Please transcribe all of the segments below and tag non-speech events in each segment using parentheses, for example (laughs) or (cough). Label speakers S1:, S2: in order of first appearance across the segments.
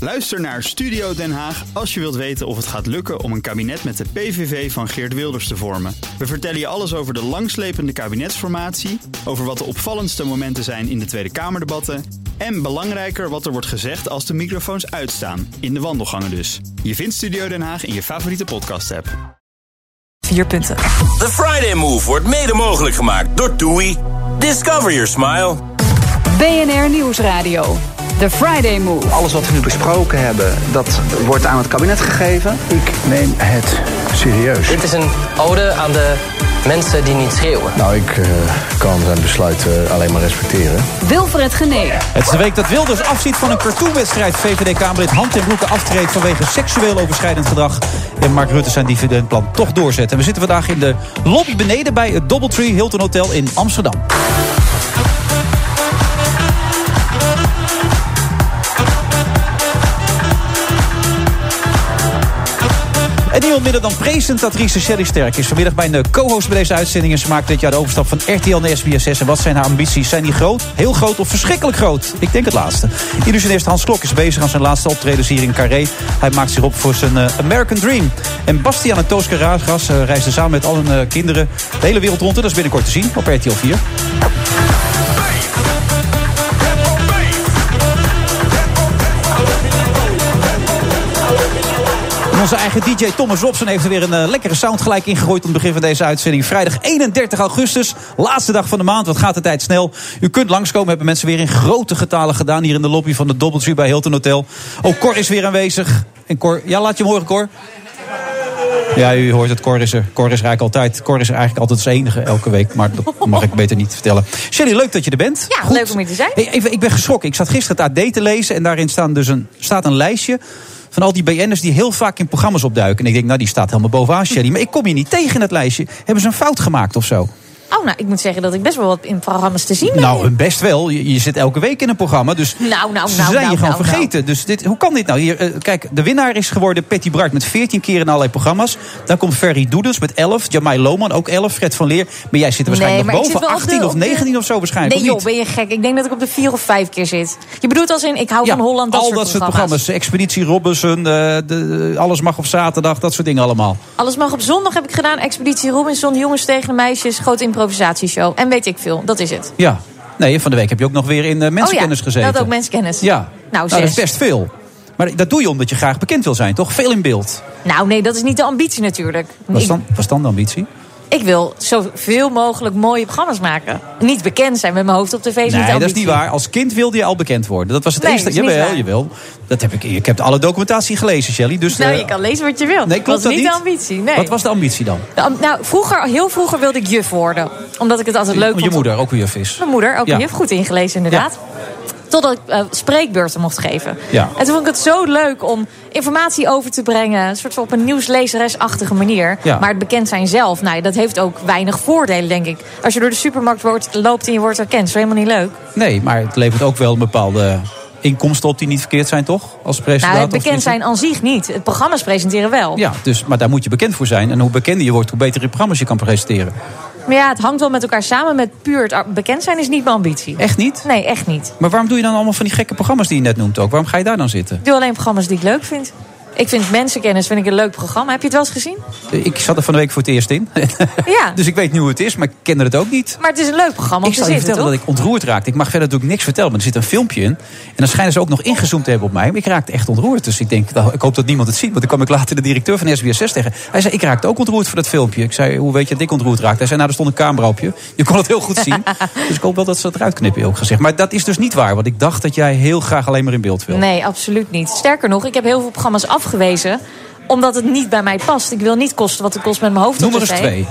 S1: Luister naar Studio Den Haag als je wilt weten of het gaat lukken om een kabinet met de PVV van Geert Wilders te vormen. We vertellen je alles over de langslepende kabinetsformatie, over wat de opvallendste momenten zijn in de Tweede Kamerdebatten en belangrijker wat er wordt gezegd als de microfoons uitstaan, in de wandelgangen dus. Je vindt Studio Den Haag in je favoriete podcast-app.
S2: Vier punten.
S3: The Friday Move wordt mede mogelijk gemaakt door TUI. Discover your smile.
S4: BNR Nieuwsradio. The Friday Move.
S5: Alles wat we nu besproken hebben, dat wordt aan het kabinet gegeven.
S6: Ik neem het serieus.
S7: Dit is een ode aan de mensen die niet schreeuwen.
S6: Nou, ik uh,
S8: eh,
S6: kan zijn besluit uh, alleen maar respecteren.
S4: Wilfred Genee.
S9: Het is de week dat Wilders afziet van een cartoonwedstrijd. VVD-Kamerlid Hand in Broeke aftreedt vanwege seksueel overschrijdend gedrag. En Mark Rutte zijn dividendplan toch doorzet. En we zitten vandaag in de lobby beneden bij het Doubletree Hilton Hotel in Amsterdam. En niemand minder dan presentatrice Sherry Sterk is vanmiddag bij een co-host bij deze uitzending. En ze maakt dit jaar de overstap van RTL naar SBS6. En wat zijn haar ambities? Zijn die groot, heel groot of verschrikkelijk groot? Ik denk het laatste. Illusionist Hans Klok is bezig aan zijn laatste optredens hier in Carré. Hij maakt zich op voor zijn uh, American Dream. En Bastiaan en Tooske Raasgras uh, reizen samen met al hun uh, kinderen de hele wereld rond. En dat is binnenkort te zien op RTL 4. onze eigen DJ Thomas Robson heeft er weer een uh, lekkere sound gelijk ingegooid... aan het begin van deze uitzending. Vrijdag 31 augustus, laatste dag van de maand. Wat gaat de tijd snel. U kunt langskomen, hebben mensen weer in grote getalen gedaan... hier in de lobby van de Doubletree bij Hilton Hotel. Ook Cor is weer aanwezig. En Cor, ja, laat je hem horen, Cor. Ja, u hoort het, Cor is er. Cor is er eigenlijk altijd. Cor is er eigenlijk altijd zijn enige elke week. Maar
S10: (laughs)
S9: dat mag ik beter niet vertellen. Sherry, leuk dat je er bent.
S10: Ja, Goed. leuk om hier te zijn.
S9: Hey, even, ik ben geschrokken. Ik zat gisteren het AD te lezen. En daarin staan dus een, staat een lijstje van al die BN'ers die heel vaak in programma's opduiken. En ik denk, nou die staat helemaal
S10: (laughs)
S9: bovenaan, Sherry. Maar ik kom hier niet tegen in het lijstje. Hebben ze een fout gemaakt of zo?
S10: Oh, nou, ik moet zeggen dat ik best wel wat in programma's te zien ben.
S9: Nou, best wel. Je, je zit elke week in een programma. Dus
S10: nou, nou, nou,
S9: ze zijn
S10: nou,
S9: je gewoon
S10: nou,
S9: vergeten.
S10: nou.
S9: Dus dit, hoe kan dit nou? Hier, eh, kijk, de winnaar is geworden Patty Bart met 14 keer in allerlei programma's. Dan komt Ferry Doedens met 11. Jamai Lohman ook 11. Fred van Leer. Maar jij zit er waarschijnlijk nog
S10: Nee, maar ik
S9: boven.
S10: zit wel op de-
S9: 18 of
S10: op de-
S9: 19 of zo waarschijnlijk.
S10: Nee
S9: of
S10: joh,
S9: niet?
S10: ben je gek. Ik denk dat ik op de vier of vijf keer zit. Je bedoelt als in, ik hou van Holland, dat
S9: al
S10: soort
S9: dat soort
S10: programma's.
S9: programma's. Expeditie Robinson, eh, de, Alles mag op zaterdag, dat soort dingen allemaal.
S10: Alles mag op zondag heb ik gedaan. Expeditie Robinson, jongens tegen de meisjes, grote improvisatieshow. En weet ik veel, dat is het.
S9: Ja. Nee, van de week heb je ook nog weer in eh, mensenkennis
S10: oh ja,
S9: gezeten.
S10: dat ook mensenkennis.
S9: Ja.
S10: Nou,
S9: dat is
S10: zes.
S9: best veel. Maar dat doe je omdat je graag bekend wil zijn, toch? Veel in beeld.
S10: Nou nee, dat is niet de ambitie natuurlijk.
S9: Wat is
S10: Ik-
S9: dan, wat is dan de ambitie?
S10: Ik wil zoveel mogelijk mooie programma's maken. Niet bekend zijn met mijn hoofd op tv is niet de
S9: nee, dat is
S10: ambitie.
S9: niet waar. Als kind wilde je al bekend worden. Dat was het
S10: Nee,
S9: eerste.
S10: dat is niet
S9: jawel,
S10: waar.
S9: jawel. Dat heb ik, ik heb alle documentatie gelezen, Shelley. Dus,
S10: Nou,
S9: eh,
S10: je kan lezen wat je wilt.
S9: Nee, klopt
S10: dat is niet de
S9: dat niet?
S10: ambitie. Nee.
S9: Wat was de ambitie dan?
S10: De am- nou, vroeger, heel vroeger wilde ik juf worden. Omdat ik het altijd leuk
S9: je
S10: vond.
S9: moeder, ook weer vis.
S10: Mijn moeder, ook
S9: Ja.
S10: juf. Goed ingelezen, inderdaad. Totdat ik eh, spreekbeurten mocht geven.
S9: Ja.
S10: En toen vond ik het zo leuk om informatie over te brengen. Een soort van op een nieuwslezeresachtige manier.
S9: Ja.
S10: Maar het bekend zijn zelf, nou, ja, dat heeft ook weinig voordelen, denk ik. Als je door de supermarkt wordt, loopt en je wordt herkend. is helemaal niet leuk.
S9: Nee, maar het levert ook wel een bepaalde inkomsten op die niet verkeerd zijn, toch? Als presentator.
S10: Nou, het
S9: of
S10: bekend
S9: tenminste-
S10: zijn aan zich niet. Het programma's presenteren wel.
S9: Ja, dus, maar daar moet je bekend voor zijn. En hoe bekender je wordt, hoe beter je programma's je kan presenteren.
S10: Maar ja, het hangt wel met elkaar samen. Met puur het ar- bekend zijn is niet mijn ambitie.
S9: Echt niet?
S10: Nee, echt niet.
S9: Maar waarom doe je dan allemaal van die gekke programma's die je net noemt ook? Waarom ga je daar dan zitten?
S10: Ik doe alleen programma's die ik leuk vind. Ik vind Mensenkennis vind ik een leuk programma. Heb je het wel eens gezien?
S9: Ik zat er van de week voor het eerst in.
S10: Ja.
S9: (laughs) dus ik weet nu hoe het is, maar ik kende het ook niet.
S10: Maar het is een leuk programma om
S9: Ik
S10: te
S9: zal je
S10: zitten,
S9: vertellen
S10: toch?
S9: dat ik ontroerd raakte. Ik mag verder natuurlijk niks vertellen, maar er zit een filmpje in. En dan schijnen ze ook nog ingezoomd te hebben op mij. Maar ik raakte echt ontroerd. Dus ik denk, nou, ik hoop dat niemand het ziet. Want dan kwam ik later de directeur van SBS6 tegen. Hij zei, ik raakte ook ontroerd voor dat filmpje. Ik zei, hoe weet je dat ik ontroerd raakte? Hij zei, nou, er stond een camera op je. Je kon het heel goed
S10: (laughs)
S9: zien. dus ik hoop wel dat ze dat eruit knippen, ook gezegd. Maar dat is dus niet waar. Want ik dacht dat jij heel graag alleen maar in beeld wil.
S10: Nee, absoluut niet. Sterker nog, ik heb heel veel programma's afgewezen omdat het niet bij mij past. Ik wil niet kosten wat het kost met mijn hoofd
S9: Noem
S10: op
S9: er
S10: tv.
S9: eens twee.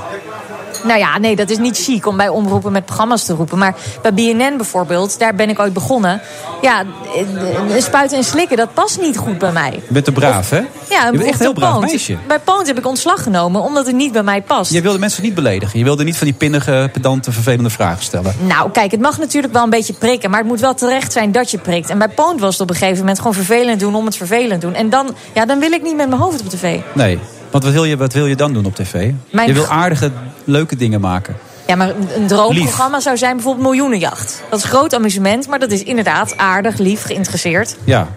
S10: Nou ja, nee, dat is niet chic om bij omroepen met programma's te roepen. Maar bij BNN bijvoorbeeld, daar ben ik ooit begonnen. Ja, eh, eh, spuiten en slikken, dat past niet goed bij mij.
S9: Je bent te braaf, hè?
S10: Ja,
S9: je bent echt
S10: of
S9: een heel
S10: bij
S9: braaf
S10: Poont.
S9: meisje.
S10: Bij Poont heb ik ontslag genomen omdat het niet bij mij past.
S9: Je wilde mensen niet beledigen. Je wilde niet van die pinnige, pedante, vervelende vragen stellen.
S10: Nou, kijk, het mag natuurlijk wel een beetje prikken. Maar het moet wel terecht zijn dat je prikt. En bij Poont was het op een gegeven moment gewoon vervelend doen om het vervelend doen. En dan, ja, dan wil ik niet met mijn hoofd op tv.
S9: Nee. Want wat wil je, wat wil je dan doen op tv?
S10: Mijn-
S9: Je wil aardige, leuke dingen maken.
S10: Ja, maar een- een droomprogramma zou zijn bijvoorbeeld Miljoenenjacht. Dat is groot amusement, maar dat is inderdaad aardig, lief, geïnteresseerd.
S9: Ja.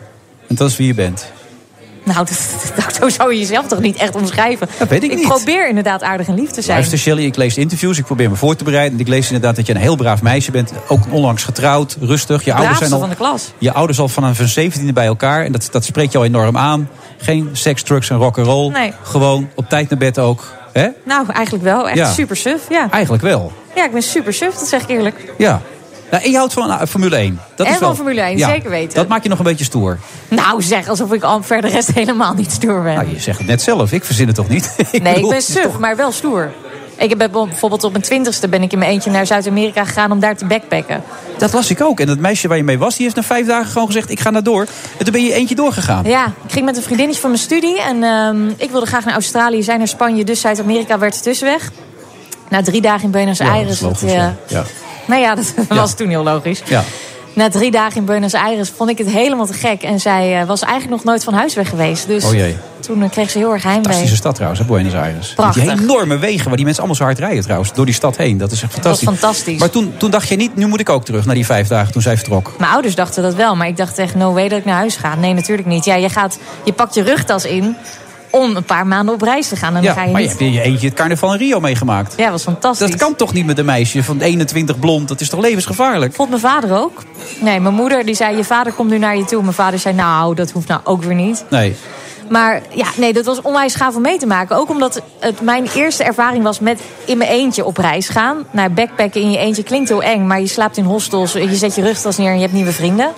S9: En dat is wie je bent.
S10: Nou, dat, (laughs) dat- zo zou je jezelf toch niet echt omschrijven?
S9: Dat weet ik niet.
S10: probeer inderdaad aardig en lief te zijn.
S9: Luister Shelley, ik lees interviews, ik probeer me voor te bereiden. En ik lees inderdaad dat je een heel braaf meisje bent. Ook onlangs getrouwd, rustig. Je ouders
S10: Braafste
S9: zijn al,
S10: van de klas.
S9: Je ouders al vanaf hun 17e bij elkaar. En dat, dat spreekt jou enorm aan. Geen seks, drugs en rock'n'roll.
S10: Nee.
S9: Gewoon op tijd naar bed ook. hè?
S10: Nou, eigenlijk wel. Echt
S9: Ja.
S10: super suf. Ja.
S9: Eigenlijk wel.
S10: ja, ik ben super suf, dat zeg ik eerlijk.
S9: Ja. Nou, en je houdt van ah, Formule 1. Dat
S10: En
S9: is wel,
S10: van Formule 1,
S9: Ja.
S10: zeker weten.
S9: Dat maakt je nog een beetje stoer.
S10: Nou, zeg alsof ik al verder rest helemaal niet stoer ben.
S9: Nou, je zegt het net zelf. Ik verzin het toch niet? (laughs)
S10: nee, ik
S9: bedoel,
S10: ben
S9: het is
S10: suf,
S9: toch-
S10: maar wel stoer. Ik heb bijvoorbeeld op mijn twintigste ben ik in mijn eentje naar Zuid-Amerika gegaan om daar te backpacken.
S9: Dat las ik ook. En dat meisje waar je mee was, die heeft na vijf dagen gewoon gezegd... ik ga naar door. En toen ben je eentje doorgegaan.
S10: Ja, ik ging met een vriendinnetje van mijn studie. En ehm, ik wilde graag naar Australië, zij naar Spanje, dus Zuid-Amerika werd de tussenweg. Na drie dagen in Buenos
S9: Ja,
S10: Aires.
S9: dat is
S10: dat,
S9: logisch,
S10: eh,
S9: ja. Ja.
S10: Nou ja, (laughs) dat was toen heel logisch.
S9: Ja.
S10: Na drie dagen in Buenos Aires vond ik het helemaal te gek. En zij eh, was eigenlijk nog nooit van huis weg geweest. Dus
S9: Oh jee.
S10: toen eh, kreeg ze heel erg heimwee.
S9: Fantastische stad trouwens, hè, Buenos Aires.
S10: Prachtig.
S9: Die enorme wegen waar die mensen allemaal zo hard rijden trouwens. Door die stad heen. Dat is echt fantastisch.
S10: fantastisch.
S9: Maar toen, toen dacht je niet, nu moet ik ook terug naar die vijf dagen toen zij vertrok.
S10: Mijn ouders dachten dat wel, maar ik dacht echt, no way dat ik naar huis ga. Nee, natuurlijk niet. Ja, je, gaat, je pakt je rugtas in om een paar maanden op reis te gaan. En
S9: ja,
S10: dan ga je
S9: maar je
S10: niet...
S9: hebt in je eentje het carnaval in Rio meegemaakt.
S10: Ja, was fantastisch.
S9: Dat kan toch niet met een meisje van 21 blond? Dat is toch levensgevaarlijk?
S10: Vond mijn vader ook. Nee, mijn moeder die zei, je vader komt nu naar je toe. Mijn vader zei, nou, dat hoeft nou ook weer niet.
S9: Nee.
S10: Maar ja, nee, dat was onwijs gaaf om mee te maken. Ook omdat het mijn eerste ervaring was met in mijn eentje op reis gaan. Naar backpacken in je eentje klinkt heel eng, maar je slaapt in hostels. Je zet je rugtas neer en je hebt nieuwe vrienden.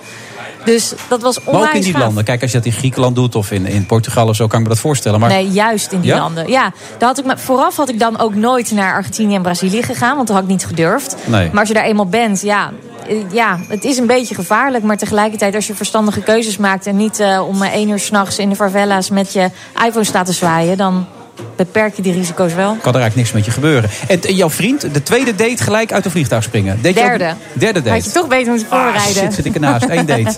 S10: Dus dat was onwijs
S9: Maar ook in die
S10: gaaf.
S9: landen. Kijk, als je dat in Griekenland doet of in, in Portugal of zo, kan ik me dat voorstellen. Oh, Maar
S10: Nee, juist in die
S9: Ja?
S10: landen. Ja, daar had ik me, vooraf had ik dan ook nooit naar Argentinië en Brazilië gegaan, want dat had ik niet gedurfd.
S9: Nee.
S10: Maar als je daar eenmaal bent, ja, eh, ja, het is een beetje gevaarlijk. Maar tegelijkertijd, als je verstandige keuzes maakt en niet eh, om eh, één uur s'nachts in de favela's met je iPhone staat te zwaaien, dan beperk je die risico's wel.
S9: kan er eigenlijk niks met je gebeuren. En eh, jouw vriend, de tweede date gelijk uit de vliegtuig springen. Deed je ook-
S10: Derde.
S9: derde date.
S10: Had je toch beter moeten
S9: Ah,
S10: voorbereiden.
S9: shit, zit ik ernaast. Eén
S10: (laughs)
S9: date.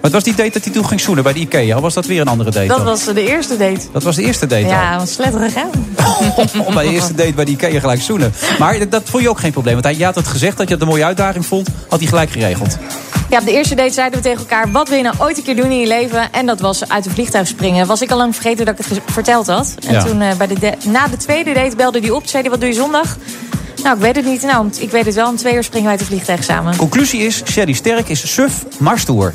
S9: Wat was die date dat hij toen ging zoenen bij de Ikea? Of was dat weer een andere date
S10: dat
S9: dan?
S10: was de eerste date.
S9: Dat was de eerste date
S10: Ja, wat sletterig hè?
S9: (laughs) al. (laughs) bij de eerste date bij de Ikea gelijk zoenen. Maar dat- dat vond je ook geen probleem. Want hij, je had het gezegd dat je het een mooie uitdaging vond. Had hij gelijk geregeld.
S10: Ja, op de eerste date zeiden we tegen elkaar: wat wil je nou ooit een keer doen in je leven? En dat was uit een vliegtuig springen. Was ik al lang vergeten dat ik het ge- verteld had. En
S9: Ja.
S10: toen eh, bij de de- na de tweede date belde hij op. Zei hij: wat doe je zondag? Nou, ik weet het niet. Nou, om t- ik weet het wel. Om twee uur springen wij uit het vliegtuig samen.
S9: Conclusie is, Sherry Sterk is suf, maar stoer.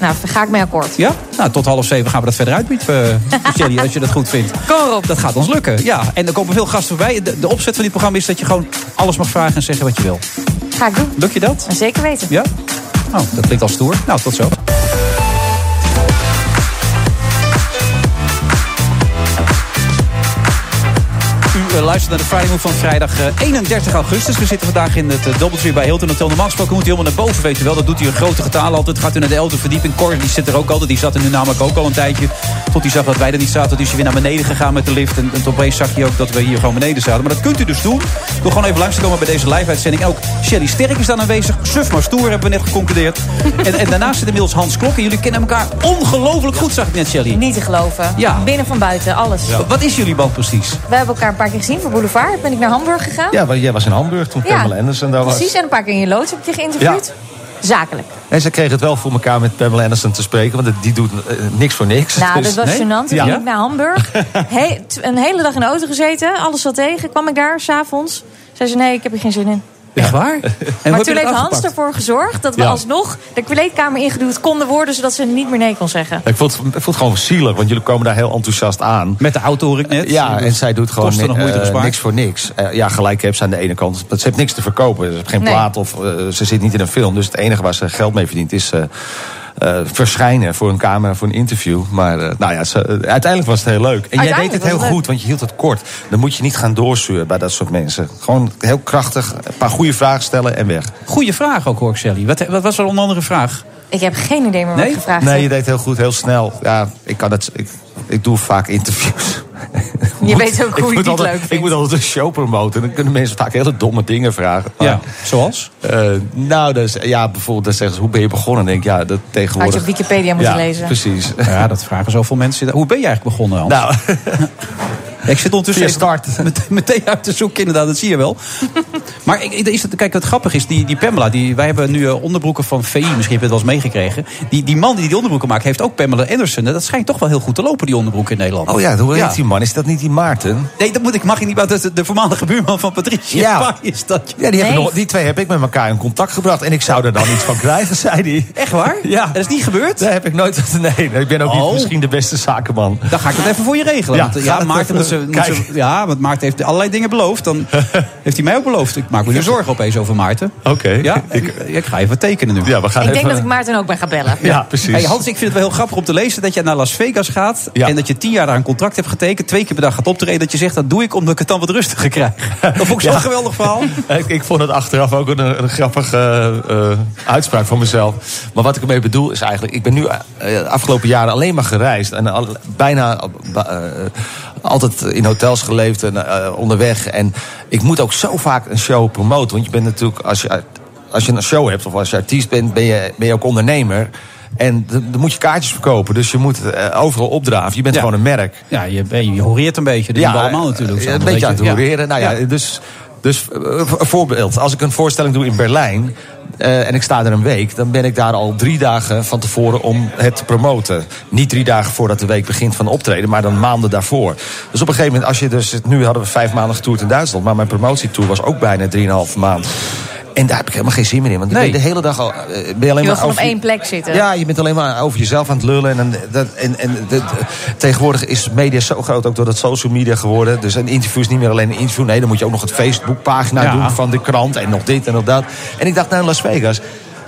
S10: Nou, daar ga ik mee akkoord.
S9: Ja? Nou, tot half zeven gaan we dat verder uitbieden,
S10: (laughs)
S9: eh, Sherry, als je dat goed vindt.
S10: Kom erop.
S9: Dat gaat ons lukken, ja. En er komen veel gasten voorbij. De, de opzet van dit programma is dat je gewoon alles mag vragen en zeggen wat je wil.
S10: Ga ik doen.
S9: Lukt je dat?
S10: En zeker weten.
S9: Ja? Nou, dat klinkt al stoer. Nou, tot zo. U eh, luistert naar de Friday Move van vrijdag eh, 31 augustus. We zitten vandaag in het uh, Doubletree bij Hilton Hotel. Normaal gesproken moet hij helemaal naar boven, weet je wel. Dat doet hij in grote getalen altijd. Gaat u naar de 11e verdieping. Cor, die zit er ook altijd. Die zat er nu namelijk ook al een tijdje. Tot hij zag dat wij er niet zaten. Dus hij weer naar beneden gegaan met de lift. En, en opeens zag hij ook dat we hier gewoon beneden zaten. Maar dat kunt u dus doen. Door gewoon even langs te komen bij deze live-uitzending. En ook Shelly Sterk is dan aanwezig. Suf maar stoer, hebben we net geconcludeerd. en, en daarnaast zit inmiddels Hans Klok. En jullie kennen elkaar ongelooflijk goed, zag ik net, Shelly.
S10: Niet te geloven.
S9: Ja.
S10: Binnen van buiten, alles.
S9: Wat is jullie band precies?
S10: We hebben elkaar een paar keer gezien voor Boulevard. Ben ik naar Hamburg gegaan.
S6: Ja, want jij was in Hamburg toen
S10: Ja,
S6: Pamela Anderson daar was.
S10: Precies, en een paar keer in je loods heb ik je geïnterviewd. Zakelijk.
S6: En ze kreeg het wel voor elkaar met Pamela Anderson te spreken. Want het- die doet eh, niks voor niks.
S10: Nou,
S6: (laughs) Dus-
S10: dat was
S9: nee?
S10: gênant. Toen
S6: Ja.
S10: ging ik naar
S6: (laughs)
S10: Hamburg. He- t- een hele dag in de auto gezeten. Alles zat tegen. Kwam ik daar s'avonds. Zei ze, nee, ik heb er geen zin in.
S9: Echt waar? En hoe heb
S10: maar
S9: je
S10: toen
S9: dat
S10: heeft Hans
S9: aangepakt?
S10: ervoor gezorgd dat we
S6: Ja.
S10: alsnog de kleedkamer ingeduwd konden worden... zodat ze niet meer nee kon zeggen.
S6: Ik vond, het- ik vond het gewoon zielig, want jullie komen daar heel enthousiast aan.
S9: Met de auto hoor ik net.
S6: Ja, en zij doet gewoon
S9: Kosten nog
S6: ni-
S9: moeite
S6: eh,
S9: bespaard.
S6: niks voor niks. Eh, ja, gelijk heb ze aan de ene kant. want Ze heeft niks te verkopen. Ze heeft geen
S10: Nee.
S6: plaat of eh, ze zit niet in een film. Dus het enige waar ze geld mee verdient is eh, eh, verschijnen voor een camera, voor een interview. Maar eh, nou ja, ze- eh, uiteindelijk was het heel leuk. En jij deed
S10: Uiteindelijk
S6: het
S10: was
S6: heel
S10: het leuk.
S6: goed, want je hield het kort. Dan moet je niet gaan doorzuren bij dat soort mensen. Gewoon heel krachtig, een paar goede vragen stellen en weg.
S9: Goeie vraag ook hoor ik, Sally. Wat, wat was er onder andere vraag?
S10: Ik heb geen idee meer wat
S9: Nee?
S10: ik eh, gevraagd
S6: Nee, je
S10: heb.
S6: deed heel goed, heel snel. Ja, ik kan het. Ik, ik doe vaak interviews.
S10: (laughs) Je weet ook hoe
S6: Ik
S10: je
S6: moet
S10: het niet
S6: altijd-
S10: leuk vindt.
S6: Ik moet altijd een show promoten. En dan kunnen mensen vaak hele domme dingen vragen. Maar,
S9: Ja, zoals?
S6: eh, nou, dus, ja, bijvoorbeeld, dan zeggen ze, hoe ben je begonnen? Dan denk ik, ja, dat tegenwoordig...
S10: Had je op Wikipedia moeten
S6: Ja,
S9: (laughs)
S10: lezen.
S6: precies.
S9: Ja, dat vragen zoveel mensen. Hoe ben je eigenlijk begonnen, Hans?
S6: Nou,
S9: (laughs) Ja, ik zit ondertussen
S6: Via
S9: even (laughs) met- meteen uit te zoeken, inderdaad, dat zie je wel. (laughs) maar ik- ik- is het, kijk, wat grappig is, die, die Pamela, die, wij hebben nu eh, onderbroeken van VI, misschien heb je het wel eens meegekregen. Die, die man die die onderbroeken maakt, heeft ook Pamela Anderson. En Dat schijnt toch wel heel goed te lopen, die onderbroeken in Nederland.
S6: Oh ja, hoe heet die man? Is dat niet die Maarten?
S9: Nee, dat moet ik, mag ik niet, maar dat is de voormalige buurman van Patricia
S6: Ja.
S9: Pai is dat.
S6: Ja, die, hebben
S10: Nee.
S6: nog, die twee heb ik met elkaar in contact gebracht. En ik zou er dan iets van krijgen, (laughs) zei hij.
S9: Echt waar?
S6: Ja.
S9: Dat is niet gebeurd?
S6: Daar heb ik nooit... (laughs) Nee, nee, ik ben ook
S9: Oh.
S6: niet misschien de beste zakenman.
S9: Dan ga ik dat even voor je regelen.
S6: Ja,
S9: want, eh,
S6: ga
S9: ja,
S6: dat
S9: Maarten, moet
S6: even-
S9: ze, moet ze-
S6: kijk.
S9: ja, want Maarten heeft allerlei dingen beloofd.
S6: (laughs)
S9: Dan heeft hij mij ook beloofd. Ik maak me nu zorgen opeens over Maarten.
S6: Oké.
S9: Ja, ik, ik ga even tekenen nu.
S6: Ja, we gaan
S10: Ik denk
S6: even...
S10: dat ik Maarten ook ben gaan bellen.
S6: Ja, precies.
S9: Hey Hans, ik vind het wel heel grappig om te lezen dat je naar Las Vegas gaat.
S6: Ja.
S9: En dat je tien jaar daar een contract hebt getekend. Twee keer per dag gaat optreden. Dat je zegt, dat doe ik omdat ik het dan wat rustiger krijg.
S6: (laughs)
S9: Dat vond ik zo'n
S6: Ja. (laughs)
S9: geweldig verhaal.
S6: Ik, ik vond het achteraf ook een, een grappige eh, eh, uitspraak van mezelf. Maar wat ik ermee bedoel is eigenlijk... Ik ben nu eh, de afgelopen jaren alleen maar gereisd. En al- bijna eh, altijd in hotels geleefd en eh, onderweg. En ik moet ook zo vaak een show promoten. Want je bent natuurlijk... Als je, als je een show hebt of als je artiest bent, ben je, ben je ook ondernemer. En d- dan moet je kaartjes verkopen. Dus je moet eh, overal opdraven. Je bent
S9: Ja.
S6: gewoon een merk
S9: Ja, je, je horeert een beetje. Dat ja, doen we allemaal natuurlijk.
S6: eh,
S9: zo,
S6: Een beetje aan het
S9: Ja.
S6: hoereren. Nou ja,
S9: Ja.
S6: dus, dus eh, een voorbeeld. Als ik een voorstelling doe in Berlijn... eh, en ik sta er een week, dan ben ik daar al drie dagen van tevoren om het te promoten. Niet drie dagen voordat de week begint van optreden, maar dan maanden daarvoor. Dus op een gegeven moment, als je dus. Nu hadden we vijf maanden getoerd in Duitsland, maar mijn promotietour was ook bijna drieënhalf maand. En daar heb ik helemaal geen zin meer in. Want ik
S9: Nee.
S6: ben de hele dag al. eh, ben je alleen maar
S10: Je wil gewoon op
S6: over-
S10: één plek zitten.
S6: ja, je bent alleen maar over jezelf aan het lullen. En, dan- dat, en, en dat- eh, tegenwoordig is media zo groot, ook door dat social media geworden. Dus een interview is niet meer alleen een interview. Nee, dan moet je ook nog het Facebookpagina
S9: Ja.
S6: doen van de krant. En nog dit en nog dat. En ik dacht, nou, Las Vegas.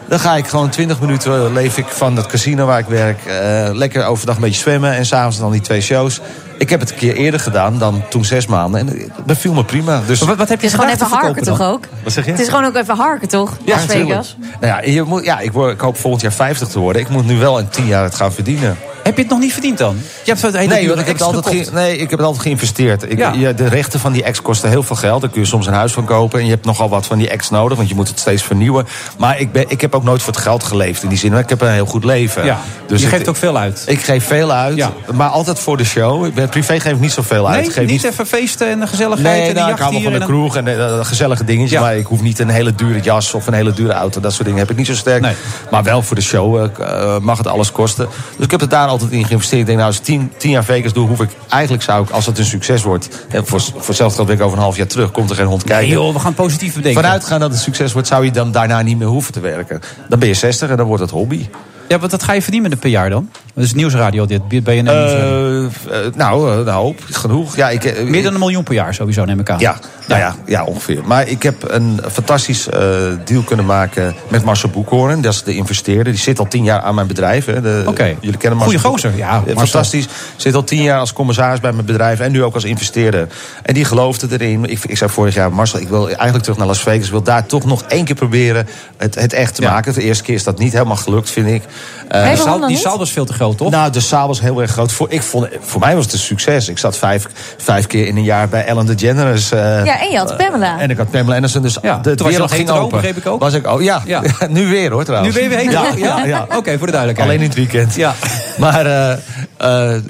S6: Dan ga ik gewoon 20 minuten eh, leef ik van dat casino waar ik werk. eh, lekker overdag een beetje zwemmen. En s'avonds dan die twee shows. Ik heb het een keer eerder gedaan dan toen zes maanden. En eh, dat viel me prima. Dus
S9: Maar Wat, wat heb
S10: Het
S9: je
S10: is gewoon
S9: gedaan te
S10: even harken
S9: verkopen dan?
S10: toch ook?
S6: Wat zeg je?
S10: Het is gewoon ook even harken toch? Las Vegas.
S6: natuurlijk. Nou ja, je moet, ja ik, word, ik hoop volgend jaar 50 te worden. Ik moet nu wel in 10 jaar het gaan verdienen.
S9: Heb je het nog niet verdiend dan? Je hebt het hele
S6: Nee,
S9: dure
S6: want ik heb,
S9: ex
S6: het altijd
S9: gekocht.
S6: ge- nee, ik heb het altijd geïnvesteerd. Ik,
S9: Ja.
S6: je- de rechten van die ex kosten heel veel geld. Daar kun je soms een huis van kopen. En je hebt nogal wat van die ex nodig, want je moet het steeds vernieuwen. Maar ik, ben, ik heb ook nooit voor het geld geleefd in die zin. Maar ik heb een heel goed leven. Dus
S9: Ja, je
S6: ik-
S9: geeft ook veel uit.
S6: Ik geef veel uit,
S9: Ja.
S6: maar altijd voor de show. Ik ben, privé geef ik niet zoveel uit.
S9: Nee,
S6: Ik geef
S9: niet even feesten en de gezelligheid
S6: Nee,
S9: en de
S6: nou, ik
S9: jacht
S6: hou wel
S9: hier.
S6: van de
S9: en dan-
S6: kroeg en eh, gezellige dingetjes.
S9: Ja.
S6: Maar ik hoef niet een hele dure jas of een hele dure auto. Dat soort dingen heb ik niet zo sterk.
S9: Nee.
S6: Maar wel voor de show eh, k- eh, mag het alles kosten. Dus ik heb het daar altijd in geïnvesteerd. Ik denk, nou, als ik tien, tien jaar Vegas doe, hoef ik... Eigenlijk zou ik, als het een succes wordt... En voor, voor hetzelfde geld ben ik over een half jaar terug. Komt er geen hond kijken.
S9: Nee, joh, we gaan positief bedenken.
S6: Vanuitgaan dat het succes wordt, zou je dan daarna niet meer hoeven te werken. Dan ben je 60 en dan wordt het hobby.
S9: Ja, want dat ga je verdienen per jaar dan? Dat is nieuwsradio dit, BNN Nieuwsradio.
S6: Eh, eh, nou, eh, een hoop. Genoeg. Ja, ik, eh,
S9: Meer dan een miljoen per jaar sowieso, neem ik aan.
S6: Ja, nou ja, ja, ongeveer. Maar ik heb een fantastisch eh, deal kunnen maken met Marcel Boekhoorn. Dat is de investeerder. Die zit al tien jaar aan mijn bedrijf. hè. De-
S9: Oké.
S6: Jullie kennen Marcel.
S9: Goeie gozer,
S6: Boekhoorn.
S9: ja,
S6: Eh,
S9: Marcel.
S6: Fantastisch. Zit al tien jaar als commissaris bij mijn bedrijf en nu ook als investeerder. En die geloofde erin. Ik, ik zei vorig jaar, Marcel, ik wil eigenlijk terug naar Las Vegas. Ik wil daar toch nog één keer proberen het, het echt te
S9: Ja.
S6: maken. De eerste keer is dat niet helemaal gelukt, vind ik. Eh,
S10: Nee,
S9: Die
S10: waarom
S9: zaal,
S10: dan
S9: die
S10: niet?
S9: zaal was veel te groot, toch?
S6: nou, de zaal was heel erg groot. Voor, ik vond, voor mij was het een succes. Ik zat vijf, vijf keer in een jaar bij Ellen DeGeneres. eh
S10: Ja, en je had Pamela.
S6: en ik had Pamela Anderson, dus
S9: Ja,
S6: de
S9: toen was je
S6: wereld
S9: nog
S6: ging
S9: hetero,
S6: open.
S9: begreep ik ook.
S6: Was ik, oh, ja.
S9: Ja.
S6: (laughs) nu weer hoor
S9: nu
S6: trouwens.
S9: ben je weer heen.
S6: Ja,
S9: ja,
S6: ja, ja.
S9: Oké, voor de duidelijkheid.
S6: Alleen in het weekend.
S9: Ja.
S6: (laughs) Maar, eh, eh,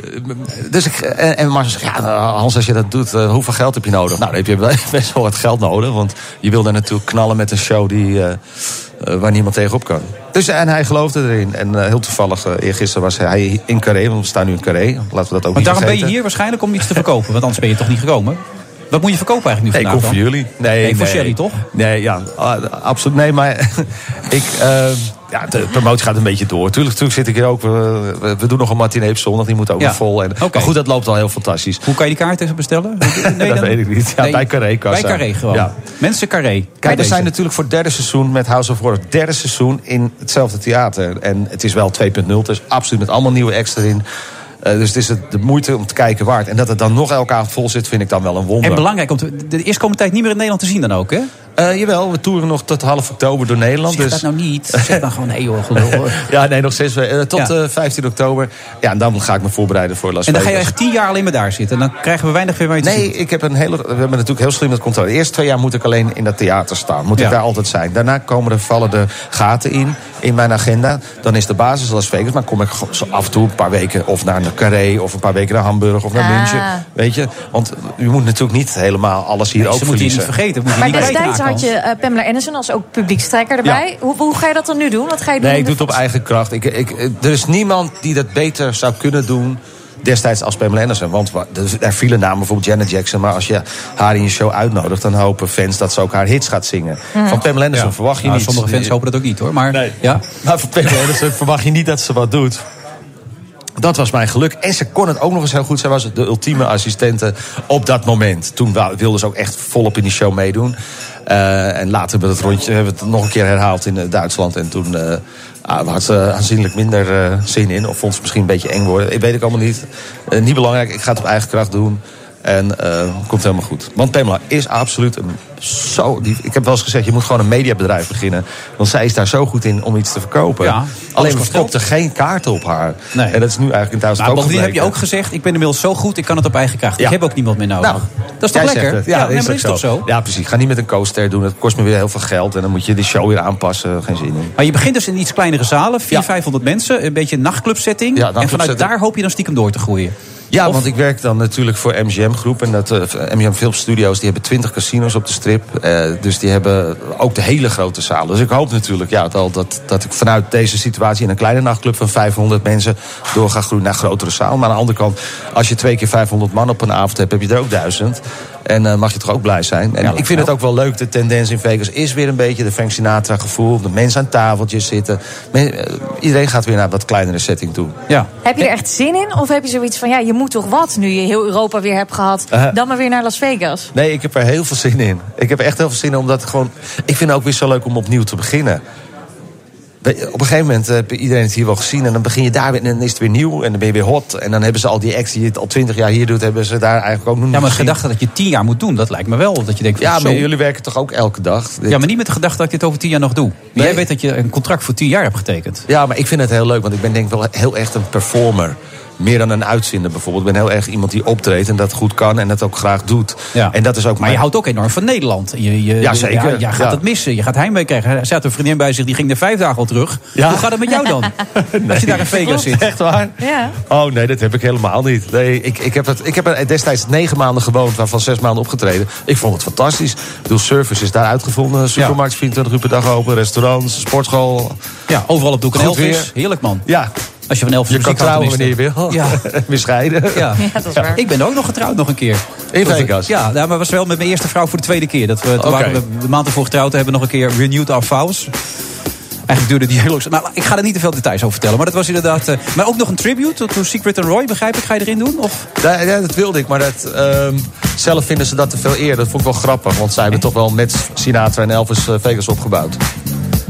S6: dus ik, en, en Marcel zegt, ja, nou, Hans, als je dat doet, eh, hoeveel geld heb je nodig? Nou, dan heb je wel- (laughs) best wel wat geld nodig, want je wil daar natuurlijk knallen met een show die, eh, eh, waar niemand tegenop kan. Dus, en hij geloofde erin. En eh, heel toevallig, eh, eergisteren was hij in Carré, want we staan nu in Carré. Laten we dat ook
S9: Maar
S6: niet
S9: daarom ben je
S6: vergeten.
S9: hier waarschijnlijk om iets te verkopen. Want anders ben je toch niet gekomen? Wat moet je verkopen eigenlijk nu
S6: Nee, ik kom
S9: vandaag
S6: voor
S9: dan?
S6: jullie. Nee,
S9: Nee, voor Sherry, toch?
S6: Nee, ja, ah, absoluut. Nee, maar (laughs) ik, eh, ja, de promotie gaat een beetje door. Tuurlijk, tuurlijk zit ik hier ook. eh, We, we doen nog een matinee op zondag, die moet ook
S9: Ja.
S6: nog vol. En,
S9: Oké.
S6: Maar goed, dat loopt al heel fantastisch.
S9: Hoe kan je die kaart even
S6: (laughs)
S9: bestellen? Nee,
S6: Dat weet ik niet. Ja, bij Carré kan
S9: Bij
S6: ze.
S9: Carré gewoon.
S6: Ja.
S9: Mensen Carré.
S6: Kijk, we
S9: Bij
S6: zijn
S9: deze.
S6: natuurlijk voor het derde seizoen met House of Horror. Derde seizoen in hetzelfde theater. En het is wel 2.0, dus absoluut met allemaal nieuwe extra in. Eh, dus het is het de moeite om te kijken waard. En dat het dan nog elke avond vol zit, vind ik dan wel een wonder.
S9: En belangrijk, om te, de eerstkomende tijd niet meer in Nederland te zien dan ook, hè?
S6: Eh, Eh, jawel, we toeren nog tot half oktober door Nederland.
S9: Zeg
S6: Dus,
S9: dat nou
S6: (laughs)
S9: niet. Zeg dan gewoon, nee joh, gelul hoor.
S6: ja, nee, nog steeds. eh, tot
S9: Ja.
S6: eh, 15 oktober. Ja, en dan ga ik me voorbereiden voor (laughs) Las
S9: En dan
S6: Vegas.
S9: ga je echt tien jaar alleen maar daar zitten. En dan krijgen we weinig weer mee te zien.
S6: Nee, ik heb een hele. We hebben natuurlijk heel slim dat contract. De eerste twee jaar moet ik alleen in dat theater staan. Moet
S9: Ja.
S6: ik daar altijd zijn. Daarna komen er, vallen de gaten in in mijn agenda. Dan is de basis Las Vegas. Maar kom ik gewoon zo af en toe een paar weken of naar een Carré of een paar weken naar Hamburg of naar
S10: Ah.
S6: München. Weet je? Want je moet natuurlijk niet helemaal alles hier
S9: Dus
S6: ook
S9: dat moet je niet
S6: verliezen.
S9: vergeten. Moet je
S10: Maar
S9: niet
S10: destijds
S9: kwijtraken,
S10: had je eh, Pamela Anderson als ook publiekstrekker erbij. Hoe, hoe ga je dat dan nu doen? Wat ga je doen?
S6: Nee, ik doe
S10: in de-
S6: het op eigen kracht. Ik, ik, eh, er is niemand die dat beter zou kunnen doen destijds als Pamela Anderson. Want wa- er- er vielen namen bijvoorbeeld Janet Jackson... maar als je haar in je show uitnodigt... dan hopen fans dat ze ook haar hits gaat zingen. Van Pamela Anderson
S9: Ja.
S6: verwacht je
S9: Nou,
S6: niet...
S9: Sommige fans hopen dat ook niet hoor. Maar
S6: Nee. (laughs)
S9: ja.
S6: Maar van Pamela Anderson verwacht je niet dat ze wat doet. Dat was mijn geluk. En ze kon het ook nog eens heel goed. Zij was de ultieme assistente op dat moment. Toen wa- wilde ze ook echt volop in die show meedoen. Eh, en later hebben we dat rondje hebben we het nog een keer herhaald in eh, Duitsland. En toen eh, ah, had ze aanzienlijk minder eh, zin in. Of vond ze misschien een beetje eng worden. Ik weet het allemaal niet. Eh, niet belangrijk. Ik ga het op eigen kracht doen. En eh komt helemaal goed. Want Pamela is absoluut een zo. Die, ik heb wel eens gezegd, je moet gewoon een mediabedrijf beginnen. Want zij is daar zo goed in om iets te verkopen.
S9: Ja, alles
S6: Alleen we
S9: kost
S6: verkoopten geen kaarten op haar.
S9: Nee.
S6: En dat is nu eigenlijk in Duitsland
S9: Maar
S6: ook
S9: bovendien Ah, heb je
S6: gebleken.
S9: ook gezegd, ik ben inmiddels zo goed, ik kan het op eigen kracht.
S6: Ja.
S9: Ik heb ook niemand meer nodig.
S6: Nou,
S9: dat is toch
S6: jij
S9: lekker?
S6: zegt het. Ja,
S9: nee,
S6: dat is,
S9: maar
S6: ook
S9: toch zo?
S6: Ja, precies. Ga niet met een coaster doen. Dat kost me weer heel veel geld. En dan moet je die show weer aanpassen. Geen zin in.
S9: Maar je begint dus in iets kleinere zalen, 400,
S6: Ja.
S9: 500 mensen. Een beetje een nachtclubsetting.
S6: Ja,
S9: en vanuit
S6: nachtclubsetting.
S9: daar hoop je dan stiekem door te groeien.
S6: Ja,
S9: Of-
S6: want ik werk dan natuurlijk voor MGM Groep. En dat eh, MGM Filmstudio's, die hebben 20 casinos op de strip. Eh, dus die hebben ook de hele grote zalen. Dus ik hoop natuurlijk ja, dat, dat, dat ik vanuit deze situatie... in een kleine nachtclub van 500 mensen door ga groeien naar grotere zalen. Maar aan de andere kant, als je twee keer 500 man op een avond hebt... heb je er ook duizend. En eh, mag je toch ook blij zijn. En ik vind het ook wel leuk, de tendens in Vegas is weer een beetje... de Frank Sinatra gevoel, de mensen aan tafeltjes zitten. Men- eh, iedereen gaat weer naar wat kleinere setting toe.
S9: Ja.
S10: Heb je er echt zin in? Of heb je zoiets van, ja, je moet toch wat nu je heel Europa weer hebt gehad?
S6: Eh.
S10: Dan maar weer naar Las Vegas.
S6: Nee, ik heb er heel veel zin in. Ik heb er echt heel veel zin in, omdat het gewoon... Ik vind het ook weer zo leuk om opnieuw te beginnen. Weet je, Op een gegeven moment heb iedereen het hier wel gezien... en dan begin je daar weer en dan is het weer nieuw en dan ben je weer hot. En dan hebben ze al die acts die je het al twintig jaar hier doet... hebben ze daar eigenlijk ook nog niet
S9: Ja, maar de
S6: gezien.
S9: gedachte dat je tien jaar moet doen, dat lijkt me wel. Dat je denkt, van,
S6: Ja,
S9: zo-
S6: maar jullie werken toch ook elke dag?
S9: ja, maar niet met de gedachte dat ik dit over tien jaar nog doe. Maar
S6: Nee.
S9: jij weet dat je een contract voor tien jaar hebt getekend.
S6: Ja, maar ik vind het heel leuk, want ik ben denk ik wel heel echt een performer. Meer dan een uitzinder bijvoorbeeld. Ik ben heel erg iemand die optreedt en dat goed kan en dat ook graag doet.
S9: Ja.
S6: En dat is ook
S9: Maar je
S6: mijn-
S9: houdt ook enorm van Nederland. Je, je,
S6: Ja, zeker.
S9: je gaat
S6: Ja.
S9: het missen. Je gaat heimwee krijgen. Er zat een vriendin bij zich, die ging er vijf dagen al terug.
S6: Ja.
S9: Hoe gaat het met jou
S6: (laughs)
S9: dan? Als je daar in Vegas zit.
S6: Echt waar?
S10: Ja.
S6: Oh nee, dat heb ik helemaal niet. Nee, ik, ik, heb het, ik heb er destijds negen maanden gewoond, waarvan zes maanden opgetreden. Ik vond het fantastisch. Ik bedoel, service is daar uitgevonden. Supermarkt 24 uur per dag open, restaurants, sportschool.
S9: Ja, overal op doek en
S6: Goed
S9: Elvis.
S6: weer.
S9: Heerlijk man.
S6: Ja,
S9: Als je van Elvis
S6: je kan
S9: muziek
S6: trouwen
S9: houdt
S6: wanneer je
S9: tenminste.
S6: wil.
S9: Ja.
S6: (laughs) Weer scheiden.
S9: Oh. Ja.
S10: Ja, dat is waar.
S9: Ik ben ook nog getrouwd nog een keer.
S6: In
S9: Dat-
S6: Vegas?
S9: Ja, nou, maar was wel met mijn eerste vrouw voor de tweede keer. Dat we, toen
S6: Oké.
S9: waren we de maand ervoor getrouwd hebben we nog een keer renewed our vows. Eigenlijk duurde die heel lang. Nou, ik ga er niet te veel details over vertellen. Maar dat was inderdaad... eh, maar ook nog een tribute tot to Secret and Roy, begrijp ik. Ga je erin doen? Of?
S6: Ja, ja, dat wilde ik, maar dat, ehm, zelf vinden ze dat te veel eer. Dat vond ik wel grappig, want zij hebben toch wel met Sinatra en Elvis eh, Vegas opgebouwd.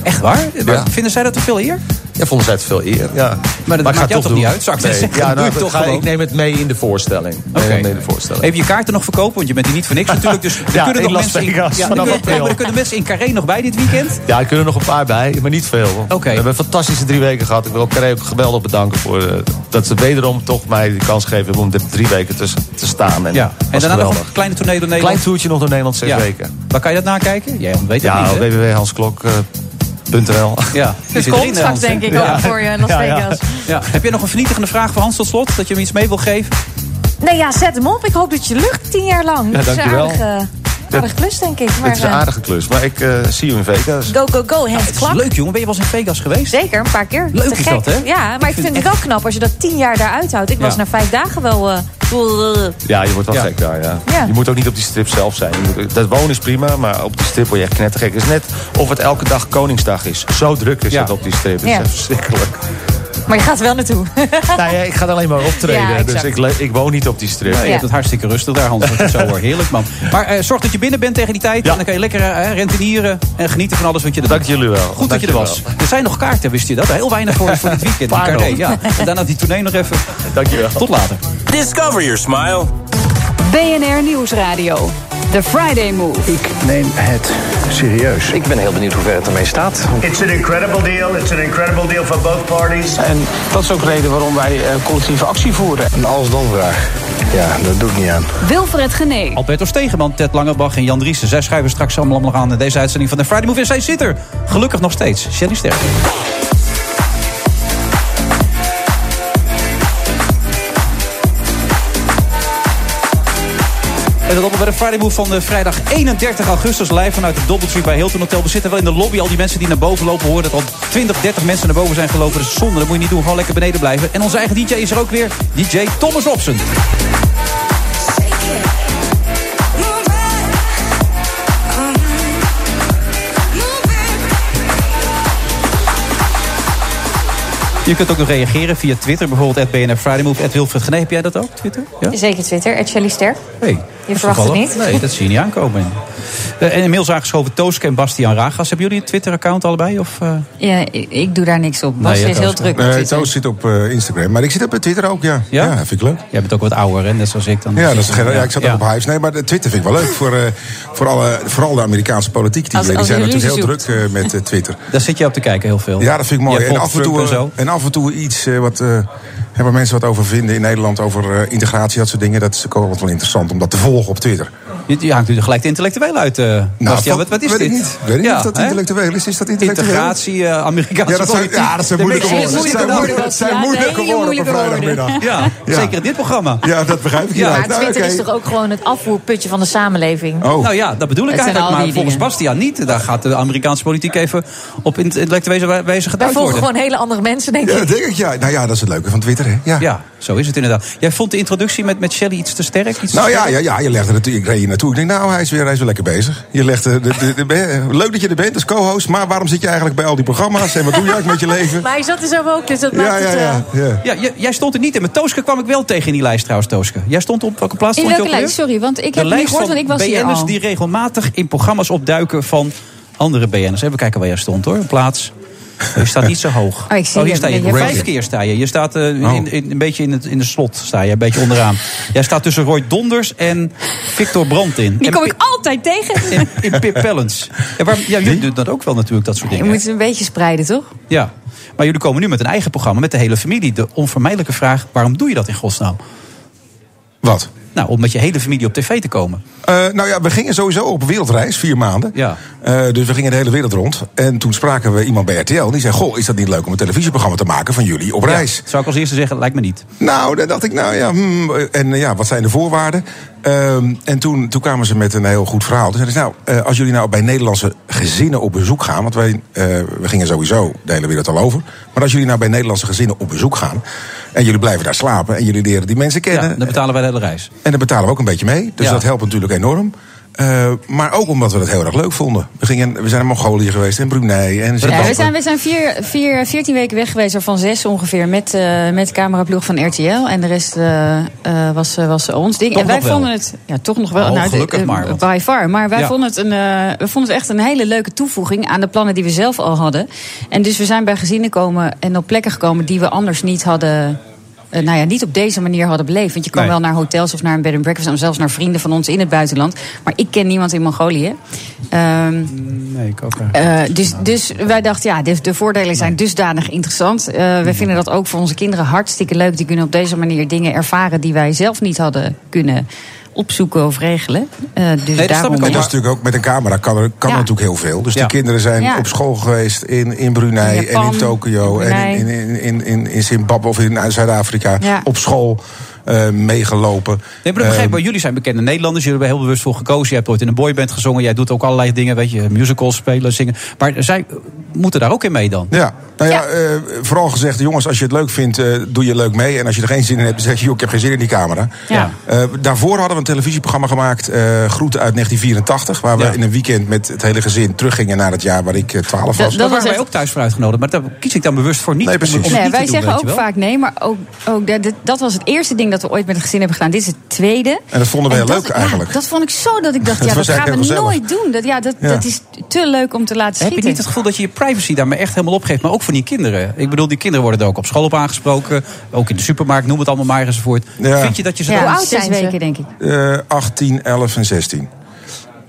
S9: Echt waar? Maar
S6: Ja.
S9: Vinden zij dat te veel eer?
S6: Ja, vonden zij te veel eer. Ja.
S9: Maar dat
S6: ik ga
S9: maakt jou
S6: het
S9: toch
S6: doen.
S9: niet uit, zou ik
S6: Nee.
S9: zeggen.
S6: Ja,
S9: Dat (laughs) doe
S6: nou,
S9: je toch
S6: ga-
S9: gewoon.
S6: ik neem het mee in de voorstelling. Ik neem
S9: Oké.
S6: het mee in de voorstelling.
S9: Even je kaarten nog verkopen, want je bent hier niet voor
S6: (laughs)
S9: niks natuurlijk. Dus er
S6: Ja,
S9: kunnen
S6: in
S9: nog
S6: Las
S9: mensen in,
S6: Vegas,
S9: ja, er
S6: vanaf
S9: kunnen-
S6: april.
S9: maar er kunnen mensen in Carré nog bij dit weekend.
S6: Ja, er kunnen er nog een paar bij, maar niet veel.
S9: Oké.
S6: We hebben een fantastische drie weken gehad. Ik wil Carré ook geweldig bedanken voor eh, dat ze wederom toch mij de kans geven om er drie weken tussen te staan. En,
S9: Ja. En
S6: was
S9: daarna nog
S6: geweldig.
S9: een kleine tournee door Nederland.
S6: Klein toertje nog door Nederland, zes weken.
S9: Waar kan je dat nakijken? Jij weet het niet,
S6: Ja,
S9: hè?
S6: eh,
S10: (laughs)
S6: www.hansklok.nl
S9: Ja,
S10: Dus
S9: zit erin,
S10: komt straks
S9: Hans.
S10: denk ik ook voor je in Las Vegas.
S9: Ja. Heb je nog een vernietigende vraag voor Hans tot slot? Dat je hem iets mee wil geven?
S10: Nee, ja, zet hem op. Ik hoop dat je lucht tien jaar lang. dat is een
S6: dankjewel.
S10: aardige, aardige klus, denk ik. Maar,
S6: Het is een
S10: eh,
S6: aardige klus, maar ik eh, zie u in Vegas.
S10: Go, go, go, Hans
S9: Het is
S10: Klak.
S9: leuk, jongen. Ben je wel eens in Vegas geweest?
S10: Zeker, een paar keer.
S9: Leuk
S10: Te
S9: is
S10: gek.
S9: dat, hè?
S10: Ja, maar ik vind het wel knap als je dat tien jaar daar uithoudt. Ik was na vijf dagen wel... eh, eh,
S6: Ja, je wordt wel
S9: Ja.
S6: gek daar, ja.
S10: Ja.
S6: Je moet ook niet op die strip zelf zijn. Je moet- dat wonen is prima, maar op die strip word je echt knettergek. Het is net of het elke dag Koningsdag is. Zo druk is
S9: Ja.
S6: het op die strip. Het is
S10: Ja.
S6: echt verschrikkelijk.
S10: maar je gaat er wel
S8: (laughs)
S10: naartoe.
S6: nou ja, ik ga er alleen maar optreden.
S10: Ja, exact.
S6: dus ik, le- ik woon niet op die strip.
S9: Nee, je
S10: Ja.
S9: hebt het hartstikke rustig daar, Hans. als ik het Zo hoor. Heerlijk, man. Maar eh, zorg dat je binnen bent tegen die tijd.
S6: Ja.
S9: En dan kan je lekker eh, rentenieren en genieten van alles wat je er
S6: Dank
S9: doet.
S6: jullie wel.
S9: Goed dat
S6: Dank
S9: je er was. Er zijn nog kaarten, wist je dat? Heel weinig voor, voor dit
S6: (laughs)
S9: weekend. in
S6: Paar
S9: Carré,
S6: nog.
S9: ja. En daarna die tournee nog even.
S6: Dank je wel.
S9: Tot later.
S3: Discover your smile.
S4: BNR Nieuwsradio. The Friday Move.
S5: Ik neem het serieus.
S7: Ik ben heel benieuwd hoe ver het ermee staat.
S11: It's an incredible deal. It's an incredible deal for both parties.
S12: En dat is ook de reden waarom wij eh, collectieve actie voeren.
S5: Een als-dan vraag. Ja, dat doe ik niet aan.
S4: Wilfred Genee.
S9: Alberto Stegeman, Ted Langebach en Jan Driessen. Zij schrijven straks allemaal nog aan deze uitzending van de Friday Movie. En zij zit er gelukkig nog steeds. Shelly Sterk. En dat allemaal bij de Friday Move van eh, vrijdag 31 augustus. Live vanuit de Doubletree bij Hilton Hotel. We zitten wel in de lobby. Al die mensen die naar boven lopen horen dat al 20, 30 mensen naar boven zijn gelopen. Dat is zonde, dat moet je niet doen. Gewoon lekker beneden blijven. En onze eigen DJ is er ook weer. DJ Thomas Robson. Je kunt ook nog reageren via Twitter. Bijvoorbeeld BNF Friday Move. Wilfred Genee, heb jij dat ook, Twitter? Ja?
S10: Zeker Twitter, at Shelley Ster.
S9: Hey,
S10: Je verwacht het niet?
S9: Nee, dat zie je niet aankomen. Eh, en inmiddels aangeschoven Tooske en Bastiaan Ragas. Hebben jullie een Twitter-account allebei? Of, eh?
S13: Ja, ik, ik doe daar niks op. Bas
S9: Nee,
S13: is
S9: Toos
S13: heel
S9: niet.
S13: druk. op
S14: Nee,
S13: Twitter.
S14: Toos zit op eh, Instagram. Maar ik zit op Twitter ook, ja.
S9: Ja?
S14: Ja, vind ik leuk.
S9: Jij bent ook wat ouder, hè? net zoals ik dan.
S14: Ja, dat is geen, ja, ik zat ook
S9: Ja.
S14: op Hives. Nee, maar de Twitter vind ik wel leuk. Voor, eh, voor alle, vooral de Amerikaanse politiek. Die,
S9: Als-
S14: die
S9: als
S14: zijn
S9: je
S14: natuurlijk heel
S9: ruzie
S14: druk eh,
S10: (laughs)
S14: met eh, Twitter.
S9: Daar zit jij op te kijken heel veel.
S14: Ja, dat vind ik mooi.
S9: Jij
S14: En
S9: volgt
S14: af, en
S9: Trump
S14: toe, eh,
S9: zo.
S14: en af en toe iets eh, wat, eh hebben mensen wat over vinden in Nederland. Over eh, integratie, dat soort dingen. Dat is ook altijd wel interessant om dat te volgen op Twitter. Nou,
S9: Je, je hangt nu er gelijk de intellectueel uit, eh Bastiaan. Wat, wat is
S14: weet
S9: dit?
S14: Ik niet. Weet ik niet
S9: Ja,
S14: of dat
S9: hè?
S14: intellectueel
S13: Dus
S14: is. Is dat intellectueel?
S9: Integratie, eh, Amerikaanse
S14: Ja, dat zijn-
S9: politiek.
S14: ja, dat zijn moeilijke
S9: Daar ben ik
S14: woorden.
S9: steeds
S14: Dat zijn
S9: moeilijker
S14: moeilijke-
S9: aan.
S14: dat zijn Ja, moeilijke hele woorden op een moeilijke woorden.
S9: Ja,
S14: vrijdagmiddag. Ja.
S9: zeker in dit programma.
S14: Ja, dat begrijp ik.
S9: Ja.
S14: niet.
S10: Maar
S14: Nou,
S10: Twitter
S14: oké.
S10: is toch ook gewoon het afvoerputje van de samenleving?
S14: Oh.
S9: Nou ja, dat bedoel ik
S10: Het zijn
S9: eigenlijk.
S10: al
S9: Maar
S10: die
S9: volgens
S10: dingen.
S9: Bastiaan niet. Daar gaat de Amerikaanse politiek even op in- intellectuele wijze
S10: Wij
S9: geduid
S10: volgen
S9: worden.
S10: gewoon hele andere mensen, denk
S14: Ja, dat
S10: ik.
S14: denk ik, ja. Nou ja, dat is het leuke van Twitter, hè. Ja.
S9: Ja, zo is het inderdaad. Jij vond de introductie met, met Shelley iets te sterk? Iets te
S14: Nou ja,
S9: sterk?
S14: ja, ja, je legde het, ik reed hier naartoe. Ik denk, nou, hij is weer, hij is weer lekker bezig. Je legt, eh, de, de, de- eh, leuk dat je er bent als co-host, maar waarom zit je eigenlijk bij al die programma's? En wat doe je eigenlijk met je
S9: (laughs)
S14: leven?
S10: Maar hij zat er zelf ook, dus dat
S14: Ja,
S10: maakt
S14: ja,
S10: het... eh,
S14: ja. ja.
S9: Ja, j- jij stond er niet in. Met Tooske kwam ik wel tegen in die lijst trouwens, Tooske. Jij stond op welke plaats
S13: In
S9: stond je
S13: welke
S9: ook alweer?
S13: lijst? Sorry, want ik
S9: de
S13: heb het niet
S9: lijst
S13: gehoord,
S9: van
S13: want ik was hier
S9: BN'ers
S13: al.
S9: die regelmatig in programma's opduiken van andere BN'ers. Even kijken waar jij stond hoor, een plaats. Je staat niet zo hoog.
S13: (laughs) Oh, ik zie
S9: hier
S13: je.
S9: sta je.
S13: Je hebt-
S9: Vijf keer sta je. Je staat eh,
S14: Oh.
S9: in, in- een beetje in, het, in de slot, sta je, een beetje onderaan. Jij staat tussen Roy Donders en Victor Brandt in.
S13: Die
S9: En
S13: kom
S9: Pi-
S13: ik altijd tegen.
S9: in, (laughs) in Pip Pellens. Ja, waar, ja, jullie doen dat ook wel natuurlijk, dat soort
S13: Je
S9: dingen.
S13: moet het een beetje spreiden, toch?
S9: Ja, maar jullie komen nu met een eigen programma, met de hele familie. De onvermijdelijke vraag, waarom doe je dat in godsnaam?
S14: Wat?
S9: Nou, om met je hele familie op tv te komen.
S14: Eh, nou ja, we gingen sowieso op wereldreis, vier maanden.
S9: Ja.
S14: Eh, dus we gingen de hele wereld rond. En toen spraken we iemand bij RTL. Die zei, goh, is dat niet leuk om een televisieprogramma te maken van jullie op reis?
S9: Ja, zou ik als eerste zeggen, lijkt me niet.
S14: Nou, dan dacht ik, nou ja, hmm, en eh, ja, wat zijn de voorwaarden? Ehm, en toen, toen kwamen ze met een heel goed verhaal. Toen zeiden ze, nou, eh, als jullie nou bij Nederlandse gezinnen op bezoek gaan... want wij, eh, we gingen sowieso de hele wereld al over... maar als jullie nou bij Nederlandse gezinnen op bezoek gaan... en jullie blijven daar slapen en jullie leren die mensen
S9: Ja,
S14: kennen...
S9: dan betalen wij Eh, de hele reis.
S14: en daar betalen we ook een beetje mee, dus
S9: Ja.
S14: dat helpt natuurlijk enorm... Eh, maar ook omdat we dat heel erg leuk vonden. We, gingen, we zijn in Mongolië geweest, en Brunei, en
S13: Ja, we
S14: Zimbabwe.
S13: zijn, we zijn vier, vier, 14 weken weg geweest, waarvan zes ongeveer, met, eh met de cameraploeg van RTL. En de rest eh, eh, was, eh, was ons ding.
S9: Toch
S13: en wij
S9: nog wel.
S13: vonden het ja, toch nog wel.
S9: Oh,
S13: de-
S9: gelukkig
S13: eh,
S9: maar, want-
S13: By far. Maar wij
S9: Ja.
S13: vonden, het een, eh, we vonden het echt een hele leuke toevoeging aan de plannen die we zelf al hadden. En dus we zijn bij gezinnen komen en op plekken gekomen die we anders niet hadden. eh, nou ja, niet op deze manier hadden beleefd. Want je kan
S9: Nee.
S13: wel naar hotels of naar een bed and breakfast. En zelfs naar vrienden van ons in het buitenland. Maar ik ken niemand in Mongolië. Ehm
S9: Nee, ik ook
S13: eh, dus, dus wij dachten, ja, de, de voordelen zijn dusdanig interessant. Eh we vinden dat ook voor onze kinderen hartstikke leuk. Die kunnen op deze manier dingen ervaren die wij zelf niet hadden kunnen opzoeken of regelen. Eh, dus
S9: snap
S13: daarom.
S9: ik
S14: En
S9: ook.
S14: dat is natuurlijk ook met een camera kan, er, kan
S13: Ja.
S14: natuurlijk heel veel. Dus
S9: Ja.
S14: die kinderen zijn
S13: Ja.
S14: op school geweest in, in Brunei
S13: In Japan,
S14: en in Tokio
S13: in Brunei.
S14: en in, in, in, in, in Zimbabwe of in Zuid-Afrika
S13: Ja.
S14: op school eh, meegelopen.
S9: Nee, maar dat begrijp ik.
S14: Ehm,
S9: wel. Jullie zijn bekende Nederlanders. Jullie hebben er heel bewust voor gekozen. Je hebt ooit in een boyband gezongen. Jij doet ook allerlei dingen, weet je, musicals spelen, zingen. Maar zij eh, moeten daar ook in mee dan.
S14: ja, nou ja, eh, vooral gezegd, jongens, als je het leuk vindt, eh, doe je leuk mee. En als je er geen zin in hebt, dan zeg je, joh, ik heb geen zin in die camera.
S13: Ja.
S14: Eh, daarvoor hadden we een televisieprogramma gemaakt, eh Groeten uit 1984. Waar we
S9: Ja.
S14: in een weekend met het hele gezin teruggingen naar het jaar waar ik eh, 12 was.
S9: Daar
S13: dat
S9: waren
S13: was
S9: wij
S13: echt-
S9: ook thuis voor uitgenodigd. Maar daar kies ik dan bewust voor niet.
S14: Nee,
S9: om- om
S14: precies.
S9: het
S13: Nee,
S9: niet te
S13: wij
S9: doen,
S13: zeggen
S9: weet je
S13: ook
S9: wel.
S13: vaak nee, maar ook, ook dat, dat- dat was het eerste ding dat we ooit met het gezin hebben gedaan. Dit is het tweede.
S14: En dat vonden we
S13: En
S14: heel
S13: dat-
S14: leuk
S13: ja,
S14: eigenlijk.
S13: dat vond ik zo dat ik dacht,
S14: Het
S13: ja, dat
S14: was
S13: gaan we
S14: eigenlijk heel
S13: nooit doen. Dat, ja, dat,
S14: Ja.
S13: dat is te leuk om te laten schieten.
S9: Heb je niet het gevoel dat je je privacy daarmee echt helemaal opgeeft? Maar ook voor die kinderen. Ik bedoel, die kinderen worden er ook op school op aangesproken. Ook in de supermarkt, noem het allemaal maar enzovoort.
S14: Ja.
S9: Vind je dat je ze
S13: ja,
S9: dan...
S10: oud
S13: zes
S10: zijn ze?
S13: weken, denk ik.
S14: Eh, 18, 11 en 16.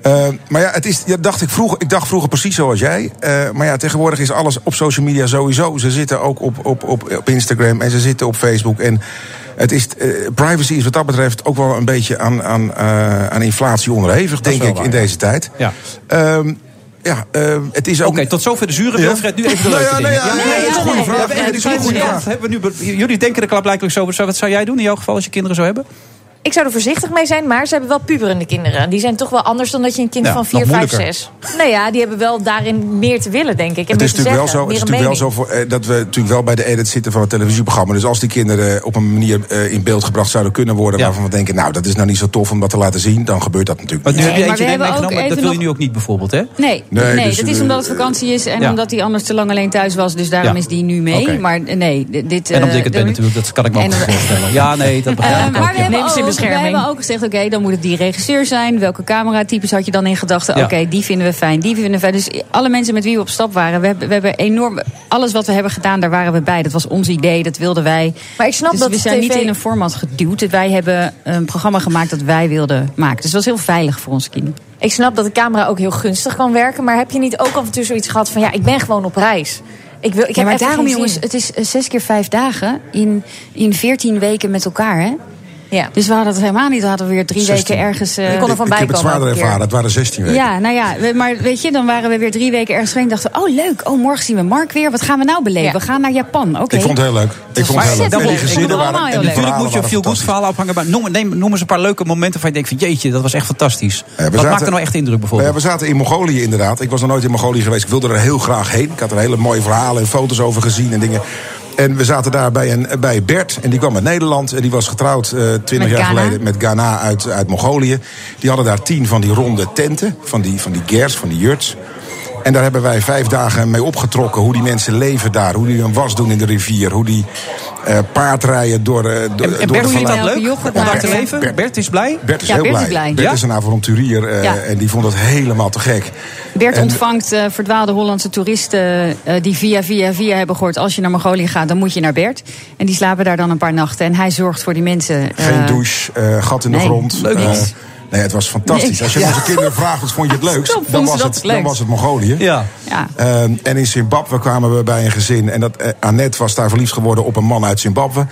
S14: Eh, maar ja, het is, ja, dacht ik, vroeger, ik dacht vroeger precies zoals jij. Eh, maar ja, tegenwoordig is alles op social media sowieso. Ze zitten ook op, op, op, op Instagram en ze zitten op Facebook. En het is, eh, privacy is wat dat betreft ook wel een beetje aan, aan, eh, aan inflatie onderhevig,
S9: Dat is
S14: denk
S9: wel
S14: ik,
S9: waar,
S14: in
S9: ja.
S14: deze tijd.
S9: Ja.
S14: Ehm, ja, ehm, het is ook... Oké,
S9: tot zover de zure Wilfred, nu even de leuke
S14: ja,
S9: dingen.
S14: nee, ja, nee, dat is een goede vraag. Nee, dat is een goede vraag.
S9: Hebben we nu be- Jullie denken er klaarblijkelijk zo over. Zo, Wat zou jij doen in jouw geval als je kinderen zou hebben?
S10: Ik zou er voorzichtig mee zijn, maar ze hebben wel puberende kinderen. Die zijn toch wel anders dan dat je een kind
S14: Ja,
S10: van
S14: nog
S10: 4, 5,
S14: moeilijker.
S10: 6. Nou ja, die hebben wel daarin meer te willen, denk ik. En
S14: Het
S10: meer
S14: is
S10: te
S14: natuurlijk wel
S10: zeggen,
S14: zo, het is
S10: meer een
S14: natuurlijk wel zo voor, eh, dat we natuurlijk wel bij de edit zitten van het televisieprogramma. Dus als die kinderen op een manier eh, in beeld gebracht zouden kunnen worden... waarvan we denken, nou, dat is nou niet zo tof om dat te laten zien... dan gebeurt dat natuurlijk
S9: Want nu
S14: niet.
S9: heb je
S13: maar
S9: eentje
S13: we
S9: mee-
S13: hebben ook
S9: meegenomen, dat
S13: even
S9: wil je
S13: nog-
S9: nu ook niet bijvoorbeeld, hè?
S13: Nee,
S9: Nee,
S13: nee,
S9: dus,
S13: dat
S9: eh,
S13: is omdat het vakantie is en
S9: ja.
S13: omdat hij anders te lang alleen thuis was. Dus daarom
S9: Ja.
S13: is die nu mee.
S9: Oké.
S13: Maar eh, nee, d- dit...
S9: En omdat
S13: eh,
S9: ik het ben
S13: de-
S9: natuurlijk, dat kan ik me
S13: En
S9: ook
S13: dan-
S9: voorstellen. Ja, nee, dat begrijp
S13: Eh,
S9: ik ook.
S13: maar we
S9: ja.
S13: hebben,
S10: Neem ze in
S13: ook, we
S10: bescherming.
S13: hebben ook gezegd, oké, dan moet het die regisseur zijn. Welke cameratypes had je dan in gedachten?
S9: Ja.
S13: Oké, die vinden we fijn, die vinden we fijn. Dus alle mensen met wie we op stap waren, we hebben, we hebben enorm... Alles wat we hebben gedaan, daar waren we bij. Dat was ons idee, dat wilden wij.
S10: Maar ik snap
S13: dus
S10: dat
S13: we
S10: de
S13: zijn niet
S10: TV
S13: in een format geduwd. Wij hebben een programma gemaakt dat wij wilden maken. Dus dat was heel veilig voor onze kinderen.
S10: Ik snap dat de camera ook heel gunstig kan werken. Maar heb je niet ook af en toe zoiets gehad van... ja, ik ben gewoon op reis. Ik wil,
S13: ja,
S10: ik heb
S13: maar
S10: even
S13: daarom,
S10: geen
S13: jongens,
S10: zin.
S13: het is eh, zes keer vijf dagen in, in veertien weken met elkaar, hè?
S10: Ja.
S13: Dus we hadden het helemaal niet. We hadden weer drie
S14: 16.
S13: weken ergens... eh,
S14: Ik heb het zwaarder ervaren, het waren 16 weken.
S13: Ja, nou ja, we- maar weet je, dan waren we weer drie weken ergens heen. Dachten we, oh leuk, oh morgen zien we Mark weer. Wat gaan we nou beleven? We gaan naar Japan, oké.
S14: Ik vond het heel leuk. Ik vond het heel leuk. En die gezinnen waren... en die
S9: Natuurlijk moet je een
S14: verhalen
S9: feel-good verhaal afhangen. Maar noem, neem, noem eens een paar leuke momenten van je denkt van... jeetje, dat was echt fantastisch.
S14: Ja, we
S9: Wat
S14: zaten-
S9: maakt er nou echt indruk bijvoorbeeld?
S14: Ja, we zaten in Mongolië inderdaad. Ik was nog nooit in Mongolië geweest. Ik wilde er heel graag heen. Ik had er hele mooie verhalen en foto's over gezien en dingen. En we zaten daar bij, een, bij Bert. En die kwam uit Nederland. En die was getrouwd eh, twintig
S15: Met
S14: jaar
S15: Ghana.
S14: geleden met Ghana uit, uit Mongolië. Die hadden daar tien van die ronde tenten. Van die, van die gers, van die jurts. En daar hebben wij vijf dagen mee opgetrokken. Hoe die mensen leven daar. Hoe die hun was doen in de rivier. Hoe die eh paardrijden door, eh, door,
S9: en
S14: door
S9: Bert,
S14: de
S9: vindt
S14: vallei.
S9: dat leuk om daar te leven? Bert, is blij?
S14: Bert is heel blij. Bert
S9: Ja?
S14: is een avonturier eh,
S13: Ja.
S14: en die vond dat helemaal te gek.
S13: Bert
S14: En-
S13: ontvangt eh, verdwaalde Hollandse toeristen eh, die via, via, via hebben gehoord... als je naar Mongolië gaat, dan moet je naar Bert. En die slapen daar dan een paar nachten. En hij zorgt voor die mensen. eh,
S14: Geen douche, eh, gat in de
S13: nee,
S14: grond.
S13: leuk
S14: eh,
S13: niks.
S14: nee, het was fantastisch.
S13: Niks.
S14: Als je
S13: Ja.
S14: onze kinderen vraagt wat vond je
S13: (laughs)
S14: het leukst,
S13: Stop,
S14: dan
S13: vonden
S14: was
S13: ze dat
S14: het,
S13: leuk.
S14: dan was het Mongolië.
S9: Ja.
S13: Ja.
S14: Ehm, en in Zimbabwe kwamen we bij een gezin. En dat, eh, Annette was daar verliefd geworden op een man uit Zimbabwe.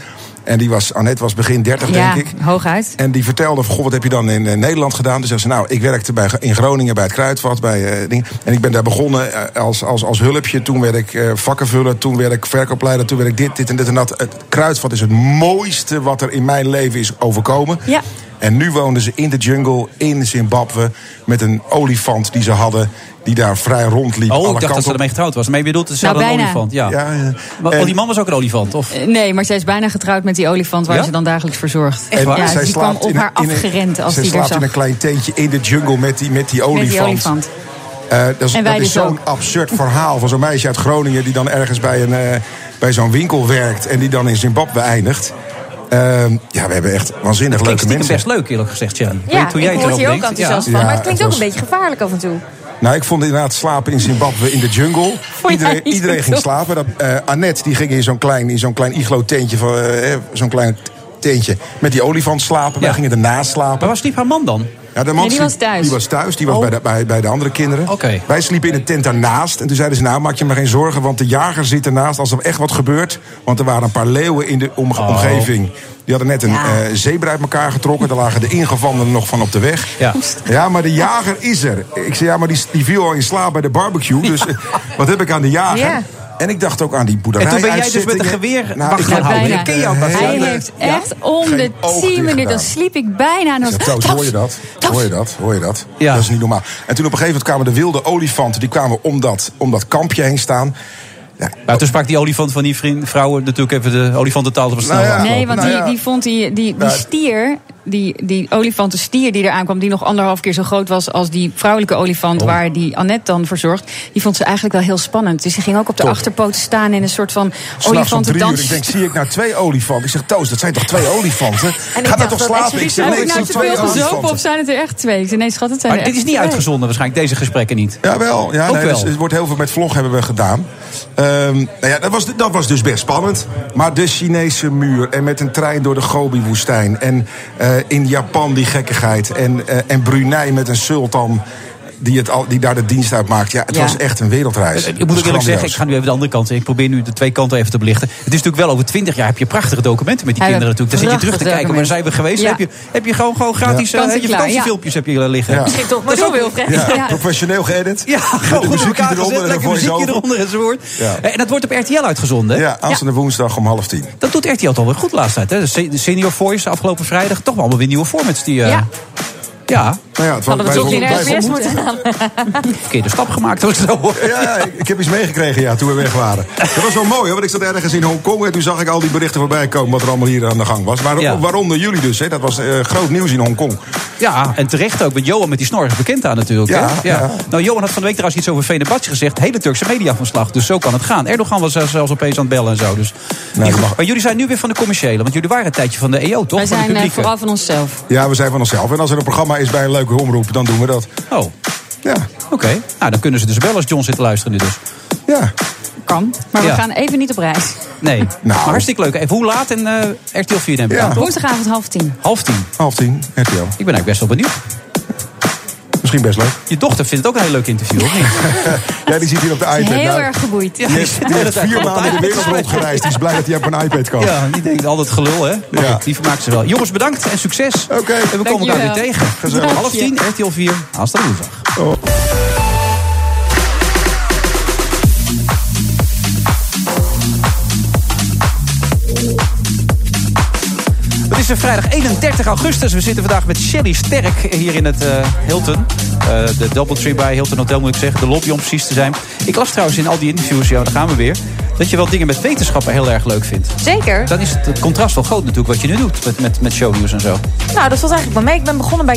S14: En die was, Annette was begin 30,
S13: ja,
S14: denk ik.
S13: hooguit.
S14: En die vertelde, van, goh, wat heb je dan in eh, Nederland gedaan? Toen zei ze, nou, ik werkte bij, in Groningen bij het Kruidvat. Bij, eh, ding. En ik ben daar begonnen eh, als, als, als hulpje. Toen werd ik eh, vakkenvuller, toen werd ik verkoopleider, toen werd ik dit, dit en dit en dat. Het Kruidvat is het mooiste wat er in mijn leven is overkomen.
S13: Ja.
S14: En nu woonden ze in de jungle in Zimbabwe met een olifant die ze hadden. Die daar vrij rondliep.
S9: Oh,
S14: alle
S9: ik dacht dat
S14: kanten
S9: ze
S14: op. Eh,
S9: ermee getrouwd was. Maar je bedoelt, het is
S13: Nou,
S9: wel een
S13: bijna.
S9: olifant. Ja.
S14: Ja, ja.
S9: Maar, oh, die man was ook een olifant, of?
S13: Eh, Nee, maar zij is bijna getrouwd met die olifant waar
S9: Ja?
S13: ze dan dagelijks voor zorgt.
S14: En
S13: Ja,
S14: zij
S13: die kwam
S14: slaapt
S13: op
S14: in een-
S13: haar
S14: in een-
S13: afgerend als
S14: zij
S13: die er
S14: slaapt in een
S13: zag.
S14: klein tentje in de jungle met die, met die olifant.
S13: Met die olifant.
S14: Eh, dat is,
S13: En wij
S14: dat is
S13: dus
S14: zo'n
S13: ook.
S14: absurd verhaal van zo'n meisje uit Groningen... die dan ergens bij, een, eh, bij zo'n winkel werkt en die dan in Zimbabwe eindigt. Ehm, ja, we hebben echt waanzinnig
S9: Dat klinkt
S14: leuke
S9: stiekem
S14: mensen.
S9: best leuk, eerlijk gezegd, ja. Ik
S10: Ja,
S9: weet hoe jij
S10: ik
S9: het erover
S10: word hier ook
S9: denkt.
S10: enthousiast
S14: Ja.
S10: van. Maar
S14: Ja,
S10: het klinkt
S14: het
S10: ook
S14: was-
S10: een beetje gevaarlijk af en toe.
S14: Nou, ik vond inderdaad slapen in Zimbabwe in de
S10: (laughs)
S14: jungle.
S10: jij
S14: Iedereen,
S10: niet
S14: iedereen
S10: zo
S14: ging
S10: tof?
S14: slapen. Dat, eh, Annette die ging in zo'n klein, in zo'n klein iglo-tentje, van, eh, eh, zo'n klein tentje met die olifant slapen. Wij gingen ernaast slapen. Maar
S9: waar sliep haar man dan? Oh.
S14: Ja, de man
S13: Nee, die
S14: sliep-
S13: was thuis.
S14: Die was thuis, die was bij, de, bij, bij de andere kinderen. Wij sliepen in een tent daarnaast. En toen zeiden ze, nou maak je maar geen zorgen, want de jager zit ernaast als er echt wat gebeurt. Want er waren een paar leeuwen in de
S9: Oh.
S14: omge- omgeving. Die hadden net een eh, zebra uit elkaar getrokken. Daar lagen de ingevanden nog van op de weg.
S9: Ja.
S14: Ja, maar de jager is er. Ik zei, ja, maar die, die viel al in slaap bij de barbecue. Dus eh, wat heb ik aan de jager?
S13: Ja.
S14: En ik dacht ook aan die
S9: En
S14: boerderij. Nou,
S9: toen ben jij dus met een geweer wacht gaan houden. Ik ken jou dat
S13: Hij heeft echt om de tien minuten, dan sliep ik bijna. En dan
S14: ja, trouwens, hoor je dat? Hoor je dat? Hoor je dat? Dat is niet normaal. En toen op een gegeven moment kwamen de wilde olifanten... die kwamen om dat, om dat kampje heen staan.
S9: Maar Nou, toen sprak die olifant van die vriend, vrouwen natuurlijk even de olifantentaal te verstaan.
S13: nee, want
S14: nou
S13: die,
S14: ja.
S13: die vond die, die, die
S9: Nou,
S13: stier, die, die olifantenstier die er aankwam, die nog anderhalf keer zo groot was als die vrouwelijke
S14: Oh.
S13: olifant waar die Annette dan voor zorgt, die vond ze eigenlijk wel heel spannend. Dus die ging ook op de
S14: Top.
S13: achterpoot staan in een soort van
S14: S'nachts om drie uur, ik
S13: olifantendans.
S14: denk, zie ik nou twee olifanten? Ik zeg, Toos, dat zijn toch twee olifanten?
S13: En ik
S14: Ga nou toch
S13: dacht dat
S14: slapen? Ik zeg,
S13: Heb
S14: nee,
S13: ik
S14: ik
S13: nou
S14: zie
S13: te
S14: twee
S13: veel gezopen
S14: olifanten.
S13: of zijn het er echt twee? Ik zei, nee schat, het
S14: Ehm, nou ja, dat, was, dat was dus best spannend. Maar de Chinese muur en met een trein door de Gobi-woestijn. En eh, in Japan die gekkigheid. En, eh, en Brunei met een sultan die, het al, die daar de dienst uit maakt. Ja, het
S9: Ja.
S14: was echt een wereldreis.
S9: Ik Dus, moet ook eerlijk zeggen, ik ga nu even de andere kant in. Ik probeer nu de twee kanten even te belichten. Het is natuurlijk wel over twintig jaar heb je prachtige documenten met die
S13: Ja,
S9: kinderen
S13: dat-
S9: natuurlijk. Dan zit je terug te
S13: prachtige
S9: kijken, waar zijn we geweest?
S13: Ja.
S9: Heb, je, heb je gewoon, gewoon gratis
S13: Ja.
S9: eh,
S13: Kant en
S9: je
S13: klaar, ja.
S9: vakantiefilmpjes heb je hier liggen.
S14: Ja.
S10: Misschien toch maar door, Wilfred.
S14: Ja,
S10: Ja.
S14: professioneel geëdit.
S9: Ja,
S14: Met
S9: (laughs) gewoon
S14: een
S9: goed op
S14: muziekje
S9: elkaar
S14: eronder
S9: gezet,
S14: en een
S9: lekker muziekje
S14: voice-over.
S9: eronder enzovoort. Eh,
S14: Ja.
S9: En dat wordt op RTL uitgezonden. hè?
S14: Ja, aanstaande woensdag om half tien.
S9: Dat doet RTL toch wel goed laatst tijd. Hè? De se- de Senior Voice afgelopen vrijdag. Toch wel allemaal weer nieuwe formats. Die, eh,
S10: Ja.
S9: ja.
S14: Nou ja, het
S10: Hadden we toch niet naar SBS moeten gaan.
S9: verkeerde stap gemaakt. Als ik zo hoor.
S14: Ja, ik, ik heb iets meegekregen ja, toen we weg waren. Dat was wel mooi hoor, want ik zat ergens in Hongkong en toen zag ik al die berichten voorbij komen wat er allemaal hier aan de gang was. Maar, Waaronder jullie dus, hè? dat was eh, groot nieuws in Hongkong.
S9: Ja, en terecht ook. Want Johan met die snor is bekend aan natuurlijk.
S14: Ja,
S9: hè?
S14: ja.
S9: Nou, Johan had van de week trouwens iets over Venebadje gezegd. Hele Turkse media van slag. Dus zo kan het gaan. Erdogan was eh, zelfs opeens aan het bellen en zo. Dus niet goed. Maar jullie zijn nu weer van de commerciële. Want jullie waren een tijdje van de EO, toch? Van de
S13: Wij zijn eh,
S9: publieke.
S13: vooral van onszelf.
S14: Ja, we zijn van onszelf. En als er een programma is bij een leuke omroep, dan doen we dat.
S9: Oh.
S14: Ja.
S9: Oké. Nou, dan kunnen ze dus bellen als John zit te luisteren nu dus.
S14: Ja.
S13: Kan. Maar
S9: Ja.
S13: we gaan even niet op reis.
S9: Nee.
S14: Nou.
S9: Maar hartstikke leuk. Even hoe laat en eh RTL 4 denk ik aan, toch?
S13: Woensdagavond half tien.
S9: Half tien.
S14: Half tien, RTL. Ik ben
S9: eigenlijk best wel benieuwd.
S14: Misschien best leuk.
S9: Je dochter vindt het ook een heel leuk interview, of niet?
S14: (laughs) ja, die zit hier op de iPad.
S13: Heel
S14: nou.
S13: erg geboeid.
S14: Die heeft, die
S9: (laughs)
S14: heeft vier maanden de wereld rondgereisd. Die is blij dat hij op een iPad kan.
S9: Ja, die denkt altijd gelul, hè? Maar goed, die vermaakt ze wel. Jongens, bedankt en succes. En we komen elkaar weer
S14: Dankjewel.
S9: tegen.
S14: Gezellig.
S9: Half tien, RTL 4. Hasta woensdag. Het is eh, vrijdag 31 augustus. We zitten vandaag met Shelly Sterk hier in het eh, Hilton. Eh, de Doubletree bij Hilton Hotel moet ik zeggen. De lobby om precies te zijn. Ik las trouwens in al die interviews, ja, daar gaan we weer... dat je wel dingen met wetenschappen heel erg leuk vindt.
S10: Zeker.
S9: Dan is het, het contrast wel groot natuurlijk wat je nu doet met, met, met shownieuws en zo.
S10: Nou, dat valt eigenlijk wel mee. Ik ben begonnen bij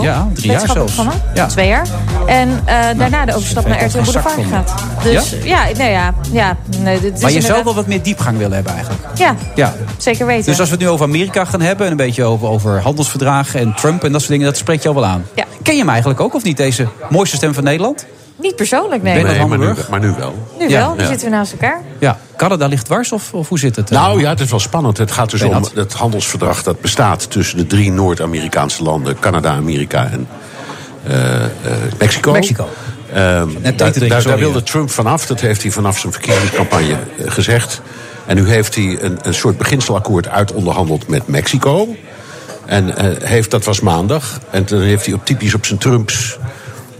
S9: Ja, drie jaar
S10: wetenschappelijk
S9: zelfs.
S10: programma.
S9: Ja. Nou,
S10: Twee jaar. En eh, daarna de overstap
S9: vind
S10: naar
S9: ik
S10: RTL
S9: ook geen zak
S10: Boulevard
S9: van
S10: gaat.
S9: me.
S10: Dus ja, nee, ja. ja nee, dit
S9: maar je
S10: is
S9: zou
S10: inderdaad-
S9: wel wat meer diepgang willen hebben eigenlijk.
S10: Ja,
S9: Ja.
S10: zeker weten.
S9: Dus als we het nu over Amerika gaan hebben... en een beetje over, over handelsverdragen en Trump en dat soort dingen... dat spreekt jou wel aan.
S10: Ja.
S9: Ken je hem eigenlijk ook of niet, deze mooiste stem van Nederland?
S10: Niet persoonlijk, nee.
S9: Bernard Hammelburg?
S15: maar nu wel.
S10: Nu
S15: Ja.
S10: wel, nu
S15: Ja.
S10: zitten we naast elkaar.
S9: Ja, Canada ligt dwars of, of hoe zit het? eh?
S15: Nou ja, het is wel spannend. Het gaat dus om
S9: Bernard.
S15: het handelsverdrag dat bestaat tussen de drie Noord-Amerikaanse landen: Canada, Amerika en eh, eh, Mexico.
S9: Mexico.
S15: Ehm,
S9: thee te
S15: daar,
S9: drinken,
S15: daar-
S9: sorry,
S15: daar wilde
S9: ja.
S15: Trump vanaf. Dat heeft hij vanaf zijn verkiezingscampagne eh, gezegd. En nu heeft hij een, een soort beginselakkoord uitonderhandeld met Mexico. En eh, heeft, dat was maandag. En toen heeft hij op, typisch op zijn Trumps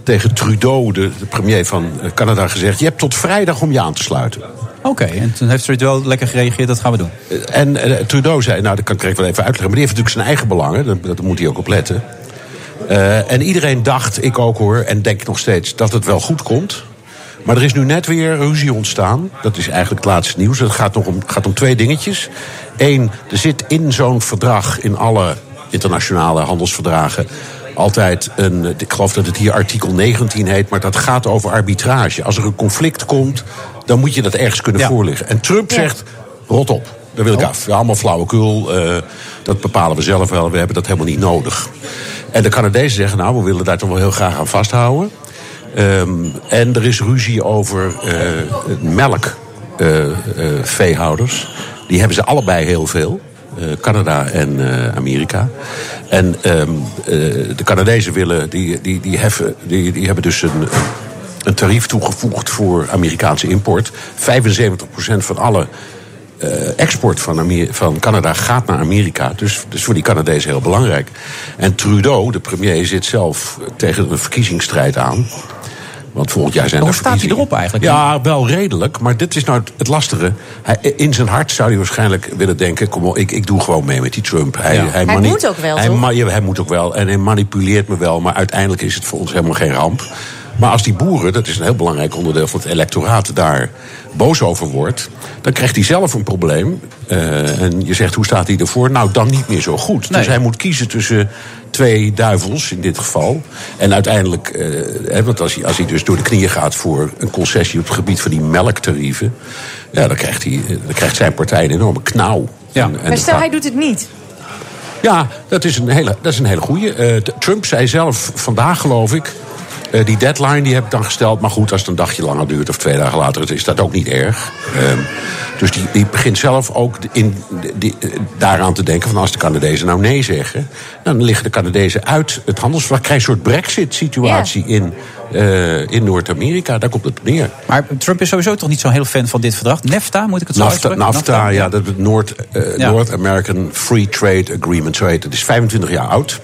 S15: tegen Trudeau, de, de premier van eh, Canada, gezegd... je hebt tot vrijdag om je aan te sluiten.
S9: Oké, en toen heeft Trudeau lekker gereageerd, dat gaan we doen.
S15: Eh, En eh, Trudeau zei, nou dat kan ik direct wel even uitleggen... maar die heeft natuurlijk zijn eigen belangen, daar, daar moet hij ook op letten. Eh, en iedereen dacht, ik ook hoor, en denk nog steeds... dat het wel goed komt. Maar er is nu net weer ruzie ontstaan. Dat is eigenlijk het laatste nieuws. Het gaat, nog om, gaat om twee dingetjes. Eén, er zit in zo'n verdrag, in alle internationale handelsverdragen... altijd een, eh, ik geloof dat het hier artikel 19 heet... maar dat gaat over arbitrage. Als er een conflict komt, dan moet je dat ergens kunnen voorleggen. En Trump zegt, rot op. Daar wil ik af. Ja, allemaal flauwekul. eh, dat bepalen we zelf wel. We hebben dat helemaal niet nodig. En de Canadezen zeggen, nou, we willen daar toch wel heel graag aan vasthouden. Ehm, en er is ruzie over eh, melkveehouders. eh, Die hebben ze allebei heel veel. eh, Canada en eh, Amerika. En ehm, eh, de Canadezen willen, die, die, die, heffen, die, die hebben dus een, een tarief toegevoegd voor Amerikaanse import. 75% van alle eh, export van, Amer- van Canada gaat naar Amerika. Dus, dus voor die Canadezen heel belangrijk. En Trudeau, de premier, zit zelf tegen een verkiezingsstrijd aan. Want volgend jaar zijn
S9: Hoe
S15: er
S9: staat hij
S15: verkiezingen.
S9: erop eigenlijk?
S15: Ja, wel redelijk. Maar dit is nou het- het lastige. Hij, in zijn hart zou hij waarschijnlijk willen denken... kom op, ik, ik doe gewoon mee met die Trump. Hij,
S10: Hij
S15: mani-
S10: moet ook wel,
S15: hij,
S10: toch?
S15: ma- ja, hij moet ook wel. En hij manipuleert me wel. Maar uiteindelijk is het voor ons helemaal geen ramp. Maar als die boeren, dat is een heel belangrijk onderdeel van het electoraat... daar boos over wordt, dan krijgt hij zelf een probleem. Eh, en je zegt, hoe staat hij ervoor? Nou, dan niet meer zo goed. Dus hij moet kiezen tussen twee duivels in dit geval. En uiteindelijk, eh, hè, want als hij, als hij dus door de knieën gaat... voor een concessie op het gebied van die melktarieven... Ja, dan, krijgt hij, eh, dan krijgt zijn partij een enorme knauw. Ja.
S10: Maar stel, hij doet het niet.
S15: Eh, Ja, dat is een hele, dat is een hele goede. Trump zei zelf vandaag, geloof ik. Eh, die deadline die heb ik dan gesteld. Maar goed, als het een dagje langer duurt of twee dagen later, is dat ook niet erg. Ehm, dus die, die begint zelf ook in, die, eh, daaraan te denken: van als de Canadezen nou nee zeggen, dan liggen de Canadezen uit het handelsverdrag. Krijg je een soort Brexit-situatie in, eh, in Noord-Amerika. Daar komt het op neer.
S9: Maar Trump is sowieso toch niet zo'n heel fan van dit verdrag. NAFTA, moet ik het zo
S15: NAFTA,
S9: uitspreken?
S15: NAFTA, ja, dat is North, eh,
S9: Ja.
S15: North American Free Trade Agreement, zo heet het. Het is 25 jaar oud.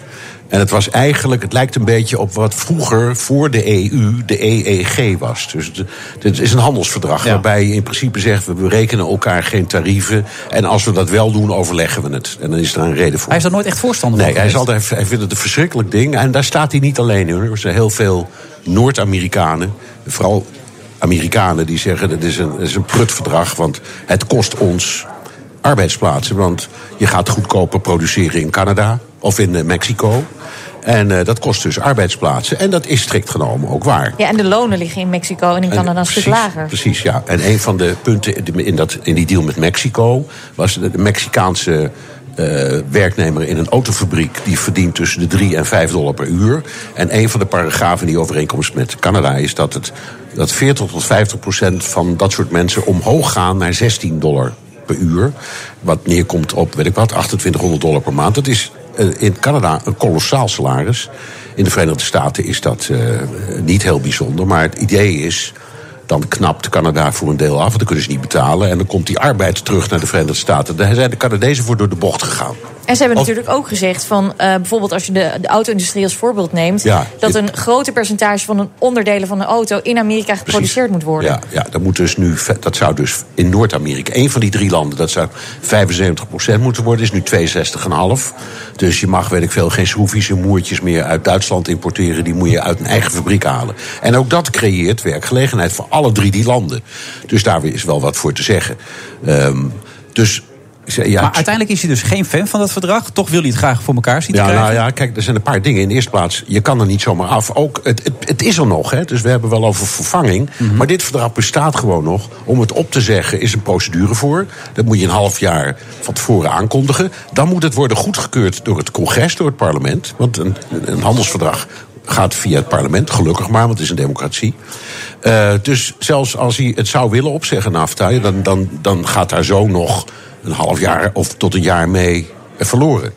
S15: En het was eigenlijk, het lijkt een beetje op wat vroeger voor de EU de EEG was. Dus het, het is een handelsverdrag waarbij je in principe zegt, we berekenen elkaar geen tarieven. En als we dat wel doen, overleggen we het. En dan is er een reden voor.
S9: Hij is daar nooit echt voorstander
S15: Nee,
S9: van
S15: hij, is
S9: geweest.
S15: altijd, hij vindt het een verschrikkelijk ding. En daar staat hij niet alleen in. hoor. Er zijn heel veel Noord-Amerikanen, vooral Amerikanen, die zeggen: dat is, een, dat is een prutverdrag, want het kost ons arbeidsplaatsen. Want je gaat goedkoper produceren in Canada of in eh, Mexico. En eh, dat kost dus arbeidsplaatsen. En dat is strikt genomen ook waar.
S10: Ja, en de lonen liggen in Mexico en in
S15: En
S10: Canada een stuk lager.
S15: Precies, ja. En een van de punten in, dat, in die deal met Mexico was de de Mexicaanse eh, werknemer in een autofabriek. Die verdient tussen de 3 en 5 dollar per uur. En een van de paragrafen in die overeenkomst met Canada is dat, het, dat 40 tot 50 procent van dat soort mensen omhoog gaan naar 16 dollar per uur. Wat neerkomt op, weet ik wat, 2800 dollar per maand. Dat is eh, in Canada een kolossaal salaris. In de Verenigde Staten is dat eh, niet heel bijzonder. Maar het idee is, dan knapt Canada voor een deel af, want dan kunnen ze niet betalen. En dan komt die arbeid terug naar de Verenigde Staten. Daar zijn de Canadezen voor door de bocht gegaan.
S10: En ze hebben
S15: Of-
S10: natuurlijk ook gezegd van eh, bijvoorbeeld als je de, de auto-industrie als voorbeeld neemt,
S15: Ja,
S10: dat
S15: dit-
S10: een groter percentage van de onderdelen van een auto in Amerika geproduceerd moet worden.
S15: Ja, ja dat, moet dus nu, ve- dat zou dus in Noord-Amerika, één van die drie landen, dat zou 75% moeten worden, is nu 62,5. Dus je mag, weet ik veel, geen schroefjes en moertjes meer uit Duitsland importeren. Die moet je uit een eigen fabriek halen. En ook dat creëert werkgelegenheid voor alle drie die landen. Dus daar is wel wat voor te zeggen. Ehm, dus. ik zei, Ja,
S9: Maar uiteindelijk is hij dus geen fan van dat verdrag. Toch wil hij het graag voor elkaar zien te
S15: ja,
S9: krijgen.
S15: nou ja, kijk, er zijn een paar dingen. In de eerste plaats, je kan er niet zomaar af. Ook, het, het, het is er nog, hè, dus we hebben wel over vervanging.
S9: Mhm.
S15: Maar dit verdrag bestaat gewoon nog. Om het op te zeggen is een procedure voor. Dat moet je een half jaar van tevoren aankondigen. Dan moet het worden goedgekeurd door het congres, door het parlement. Want een, een handelsverdrag gaat via het parlement, gelukkig maar, want het is een democratie. Eh, dus zelfs als hij het zou willen opzeggen, NAFTA... ja, Dan, dan, dan gaat daar zo nog een half jaar of tot een jaar mee eh, verloren.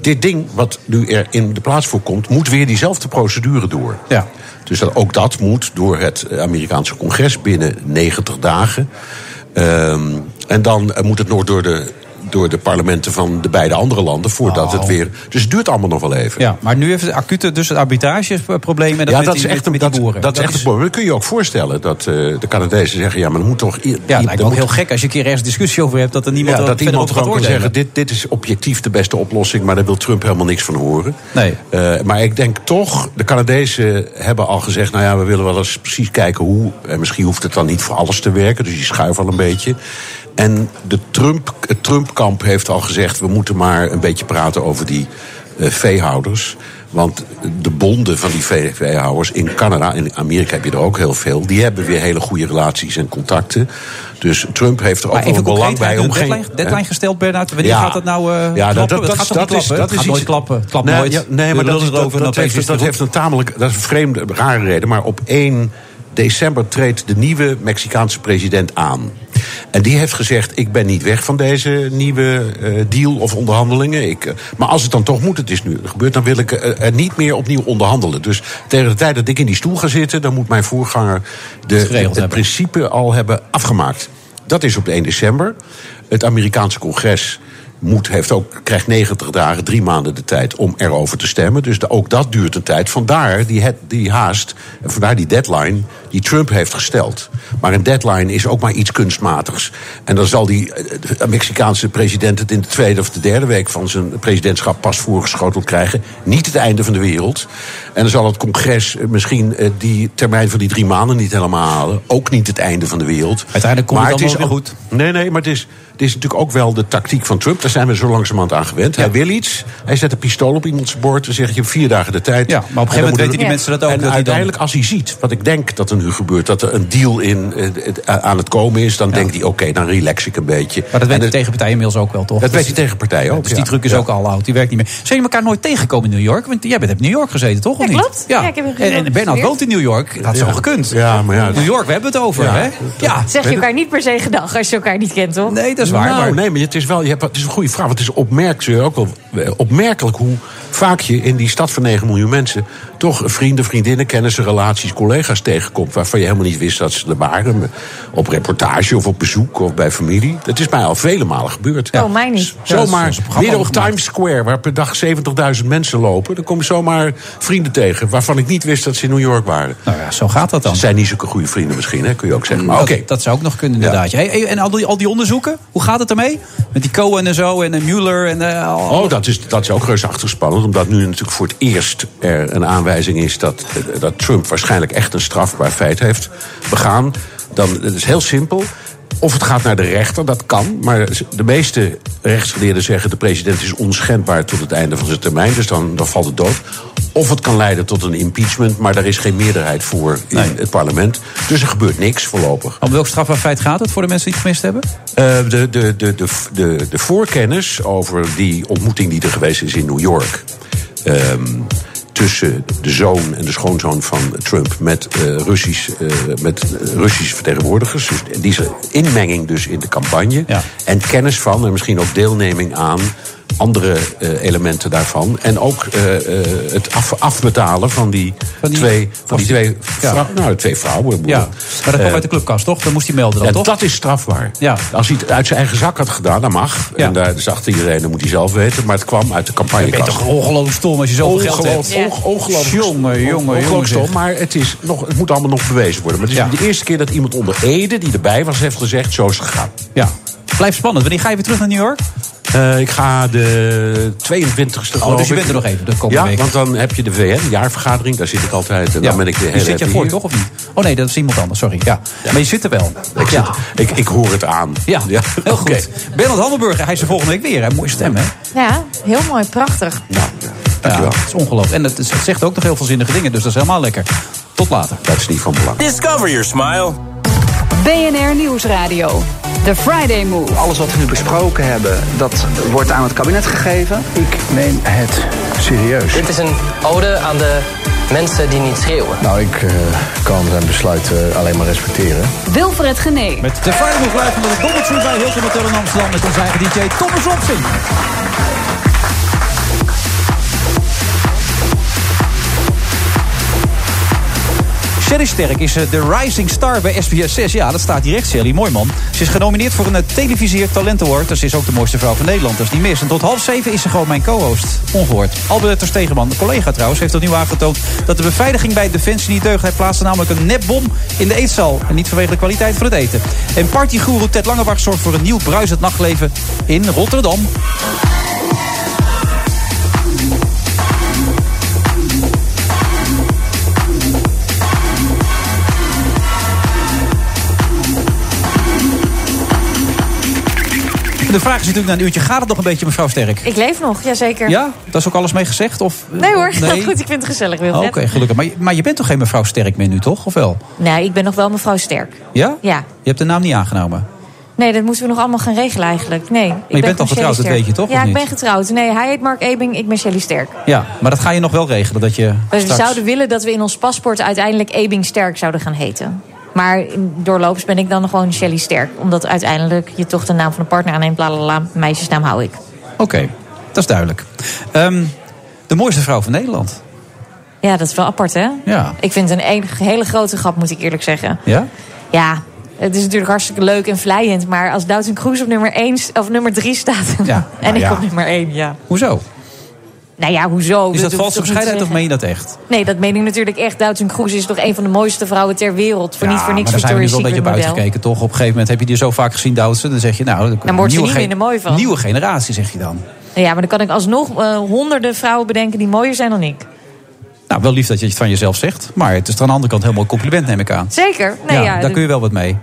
S15: Dit ding wat nu er in de plaats voor komt, moet weer diezelfde procedure door.
S9: Ja.
S15: Dus dat, ook dat moet door het eh, Amerikaanse congres binnen 90 dagen. Ehm, en dan eh, moet het nog door de, door de parlementen van de beide andere landen voordat het weer. Dus het duurt allemaal nog wel
S9: Oh.
S15: even.
S9: Ja, maar nu heeft het acute dus het arbitrageprobleem. En dat
S15: ja,
S9: met
S15: dat
S9: die-
S15: is echt een,
S9: met die
S15: dat,
S9: boeren.
S15: dat is echt een probleem. Dat kun je je ook voorstellen dat eh, de Canadezen zeggen: ja, maar er moet toch. i-
S9: Ja, het
S15: i-
S9: lijkt
S15: er
S9: me ook
S15: moet-
S9: heel gek als je een keer ergens discussie over hebt... dat er niemand
S15: ja,
S9: er
S15: dat
S9: verder
S15: iemand
S9: over gaat
S15: gewoon kan
S9: oordelen.
S15: zeggen: dit, dit is objectief de beste oplossing, maar daar wil Trump helemaal niks van horen.
S9: Nee.
S15: Eh, maar ik denk toch, de Canadezen hebben al gezegd... nou ja, we willen wel eens precies kijken hoe... en misschien hoeft het dan niet voor alles te werken, dus die schuiven al een beetje. En de Trump, het Trump-kamp heeft al gezegd... we moeten maar een beetje praten over die eh, veehouders... Want de bonden van die vee- veehouders in Canada, in Amerika heb je er ook heel veel, die hebben weer hele goede relaties en contacten. Dus Trump heeft er ook
S9: Maar
S15: wel
S9: even
S15: een belang
S9: concreet,
S15: bij
S9: bij
S15: om geen.
S9: deadline, deadline
S15: Hè?
S9: gesteld, Bernard. Wanneer
S15: Ja.
S9: gaat dat nou eh
S15: Ja,
S9: klappen?
S15: dat, dat,
S9: het gaat
S15: dat,
S9: toch niet
S15: dat is,
S9: klappen? Het
S15: dat is
S9: gaat
S15: iets-
S9: nooit klappen. Het klapt
S15: nee,
S9: nooit.
S15: ja, nee,
S9: We
S15: maar dat,
S9: lullen
S15: is, dat,
S9: erover en
S15: dat,
S9: dan
S15: heeft,
S9: feest is
S15: dat
S9: erop.
S15: heeft een tamelijk. Dat is een vreemde, rare reden. Maar op 1 december treedt de nieuwe Mexicaanse president aan. En die heeft gezegd: Ik ben niet weg van deze nieuwe eh, deal of onderhandelingen. Ik, eh, maar als het dan toch moet, het is nu gebeurd, dan wil ik eh, er niet meer opnieuw onderhandelen. Dus tegen de tijd dat ik in die stoel ga zitten, dan moet mijn voorganger de,
S9: Het geregeld
S15: het
S9: hebben.
S15: principe al hebben afgemaakt. Dat is op de 1 december. Het Amerikaanse congres moet, heeft ook, krijgt 90 dagen, drie maanden de tijd om erover te stemmen. Dus de- ook dat duurt een tijd. Vandaar die, het- die haast, en vandaar die deadline die Trump heeft gesteld. Maar een deadline is ook maar iets kunstmatigs. En dan zal die eh, de Mexicaanse president het in de tweede of de derde week van zijn presidentschap pas voorgeschoteld krijgen. Niet het einde van de wereld. En dan zal het congres eh, misschien eh, die termijn van die drie maanden niet helemaal halen. Ook niet het einde van de wereld.
S9: Uiteindelijk komt het allemaal
S15: ook- Nee, nee, maar het is, het is natuurlijk ook wel de tactiek van Trump. Daar zijn we zo langzamerhand aan gewend. Hij wil iets, hij zet een pistool op iemands bord en zegt: Je hebt vier dagen de tijd. Ja, maar
S9: op een gegeven moment weten die mensen dat ook, dat
S15: En
S9: die dan-
S15: uiteindelijk, als hij ziet wat ik denk dat er nu gebeurt, dat er een deal in, eh, het- aan het komen is, dan denkt hij: Oké, dan relax ik een beetje.
S9: Maar dat
S15: En
S9: weet de tegenpartij inmiddels ook wel, toch?
S15: Dat
S9: Dus-
S15: weet die tegenpartij ook,
S9: Dus
S15: ja.
S9: die truc is
S15: Ja.
S9: ook al oud, die werkt niet meer. Zijn jullie elkaar nooit tegengekomen in New York? Want jij bent op New York gezeten, toch? of
S10: Ja,
S9: niet?
S10: klopt. Ja, ik heb in New
S9: en,
S10: York
S9: en Bernhard
S10: gestudeerd.
S9: woont in New York. Dat had zo
S15: Ja.
S9: gekund.
S15: Ja, maar ja.
S9: New York, we hebben het over,
S15: Ja.
S9: hè? Ja.
S10: Zeg je elkaar niet per se gedag als je elkaar niet kent, toch?
S9: Nee, dat is
S15: Nou,
S9: waar. maar-
S15: nee, maar het is wel, je hebt, het is een goede vraag. Want het is opmerkelijk, ook wel, eh, opmerkelijk hoe vaak je in die stad van 9 miljoen mensen. toch vrienden, vriendinnen, kennissen, relaties, collega's tegenkomt. waarvan je helemaal niet wist dat ze er waren. Maar Op reportage of op bezoek of bij familie. Dat is mij al vele malen gebeurd.
S10: Oh, mij niet.
S15: Zomaar midden op
S10: over gemaakt.
S15: Times Square, waar per dag 70.000 mensen lopen. dan kom je zomaar vrienden tegen. waarvan ik niet wist dat ze in New York waren.
S9: Nou ja, zo gaat dat dan.
S15: Ze zijn niet zulke goede vrienden misschien, hè, kun je ook zeggen. Maar
S9: Dat-
S15: oké.
S9: dat, zou ook nog kunnen, inderdaad. Hey, hey, en al die, al die onderzoeken, hoe gaat het ermee? Met die Cohen en zo, en eh, Mueller en... eh, al-
S15: Oh, dat is, dat is ook reusachtig spannend. Omdat nu natuurlijk voor het eerst er een aanwijzing is dat, eh, dat Trump waarschijnlijk echt een strafbaar feit heeft begaan. Dan het is heel simpel. Of het gaat naar de rechter, dat kan. Maar de meeste rechtsgeleerden zeggen... de president is onschendbaar tot het einde van zijn termijn. Dus dan, dan valt het dood. Of het kan leiden tot een impeachment. Maar daar is geen meerderheid voor in het parlement. Dus er gebeurt niks voorlopig.
S9: Om welk strafbaar feit gaat het voor de mensen die het gemist hebben?
S15: Eh, de, de, de, de, de, de voorkennis over die ontmoeting die er geweest is in New York. ehm, tussen de zoon en de schoonzoon van Trump met, eh Russisch, eh, met Russische vertegenwoordigers. Dus die is er inmenging dus in de campagne. En kennis van en misschien ook deelneming aan andere eh, elementen daarvan. En ook eh, eh, het af, afbetalen van die, twee, van die twee, vrou- nou, twee vrouwen.
S9: Ja, maar dat kwam
S15: Eh,
S9: uit de clubkast, toch? Dan moest hij melden dan,
S15: ja,
S9: toch?
S15: dat is strafbaar.
S9: Ja.
S15: Als hij het uit zijn eigen zak had gedaan, dan mag. En daar zag iedereen, dat moet hij zelf weten. Maar het kwam uit de
S9: Je bent
S15: campagnekast.
S9: toch ongelooflijk stom als je zoveel geld hebt?
S15: Ongeloof- onge- Ongelooflijk
S9: Jongen, jongen, jongen.
S15: Ongelooflijk stom,
S9: zeg.
S15: maar het, is nog, het moet allemaal nog bewezen worden. Maar het is de eerste keer dat iemand onder Ede, die erbij was, heeft gezegd... zo is het gegaan.
S9: Ja. Blijft spannend. Wanneer ga je weer terug naar New York?
S15: Eh, ik ga de 22e
S9: Oh,
S15: geloof
S9: dus je
S15: ik.
S9: bent er nog even de komende
S15: ja,
S9: week.
S15: want dan heb je de VN, jaarvergadering. Daar zit ik altijd. En dan ben ik de
S9: Die
S15: hele
S9: zit je
S15: happy
S9: voor,
S15: hier.
S9: toch? Of niet? Oh nee, dat is iemand anders, sorry. Ja. Maar je zit er wel.
S15: Ik, zit- ik, ik hoor het aan.
S9: Ja, heel goed. Bernard Handelburger, hij is er volgende week weer. Hij mooie stem, hè?
S10: Ja, heel mooi, prachtig.
S9: Ja, dat is ongelooflijk. En het, is- het zegt ook nog heel veel zinnige dingen, dus dat is helemaal lekker. Tot later.
S15: Dat is niet van belang.
S3: Discover your smile.
S4: BNR Nieuwsradio. The Friday Move.
S5: Alles wat we nu besproken hebben, dat wordt aan het kabinet gegeven. Ik neem het serieus.
S7: Dit is een ode aan de mensen die niet schreeuwen.
S8: Nou, ik eh, kan zijn besluit eh, alleen maar respecteren.
S4: Wilfred Genee.
S9: Met de Friday Move live van de Doubletree bij Hilton Hotel in Amsterdam... met onze eigen DJ Thomas Robson. Sherry Sterk is eh, de rising star bij SBS 6. Ja, dat staat hier recht, Sherry. Mooi man. Ze is genomineerd voor een eh, Televisier Talent Award. Dus ze is ook de mooiste vrouw van Nederland. Dat is niet mis. En tot half zeven is ze gewoon mijn co-host. Ongehoord. Albert Ter Stegeman, een collega trouwens, heeft opnieuw aangetoond... dat de beveiliging bij Defensie niet deugt. Hij plaatste namelijk een nepbom in de eetzaal. En niet vanwege de kwaliteit van het eten. En partygoeroe Ted Langebach zorgt voor een nieuw bruisend nachtleven in Rotterdam. De vraag is natuurlijk na een uurtje, gaat het nog een beetje, mevrouw Sterk?
S10: Ik leef nog, jazeker.
S9: Ja? Daar is ook alles mee gezegd? Of,
S10: Nee hoor, (laughs)
S9: Nee?
S10: goed, ik vind het gezellig,
S9: Oh, Oké,
S10: Wilfred.
S9: gelukkig. Maar, je- maar je bent toch geen mevrouw Sterk meer nu, toch? Of wel?
S10: Nee, ik ben nog wel mevrouw Sterk.
S9: Ja?
S10: Ja.
S9: Je hebt de naam niet aangenomen.
S10: Nee, dat moeten we nog allemaal gaan regelen eigenlijk. Nee, ik
S9: je bent al
S10: gewoon Shelley
S9: getrouwd, dat
S10: Sterk.
S9: weet je toch,
S10: Ja,
S9: of
S10: ik
S9: niet?
S10: ben getrouwd. Nee, hij heet Mark Ebing, ik ben Shelly Sterk. Dus
S9: Ja, maar dat ga je nog wel regelen. Dat je
S10: We
S9: straks...
S10: zouden willen dat we in ons paspoort uiteindelijk Ebing Sterk zouden gaan heten. Maar in- doorloops ben ik dan gewoon Shelly Sterk. Omdat uiteindelijk je toch de naam van de partner aanneemt. Blablabla, meisjesnaam hou ik.
S9: Oké, dat is duidelijk. Ehm, de mooiste vrouw van Nederland.
S10: Ja, dat is wel apart, hè?
S9: Ja.
S10: Ik vind het een enig- hele grote grap, moet ik eerlijk zeggen.
S9: Ja?
S10: Ja, het is natuurlijk hartstikke leuk en vlijend. Maar als Doutzen Kroes op nummer 1 of nummer 3 staat. (laughs) en
S9: nou
S10: ik
S9: ja.
S10: op nummer 1, ja.
S9: Hoezo?
S10: Nou ja, hoezo?
S9: Is dat
S10: hoeft
S9: valse
S10: toch niet te
S9: bescheidenheid of
S10: zeggen.
S9: meen je dat echt?
S10: Nee, dat meen ik natuurlijk echt. Doutzen Kroes is toch een van de mooiste vrouwen ter wereld. Voor
S9: Ja,
S10: niet voor niks
S9: maar daar zijn we nu
S10: Victoria's
S9: wel een beetje
S10: Secret
S9: op
S10: model.
S9: uitgekeken, toch? Op een gegeven moment heb je die zo vaak gezien, Doutzen. Dan zeg je, nou...
S10: Dan word je
S9: nieuwe
S10: niet
S9: gen-
S10: minder mooi van.
S9: Nieuwe generatie, zeg je dan.
S10: Nou Ja, maar dan kan ik alsnog eh, honderden vrouwen bedenken die mooier zijn dan ik.
S9: Nou, wel lief dat je het van jezelf zegt. Maar het is aan de andere kant helemaal een compliment, neem ik aan.
S10: Zeker. Nee, ja,
S9: daar kun je wel wat mee.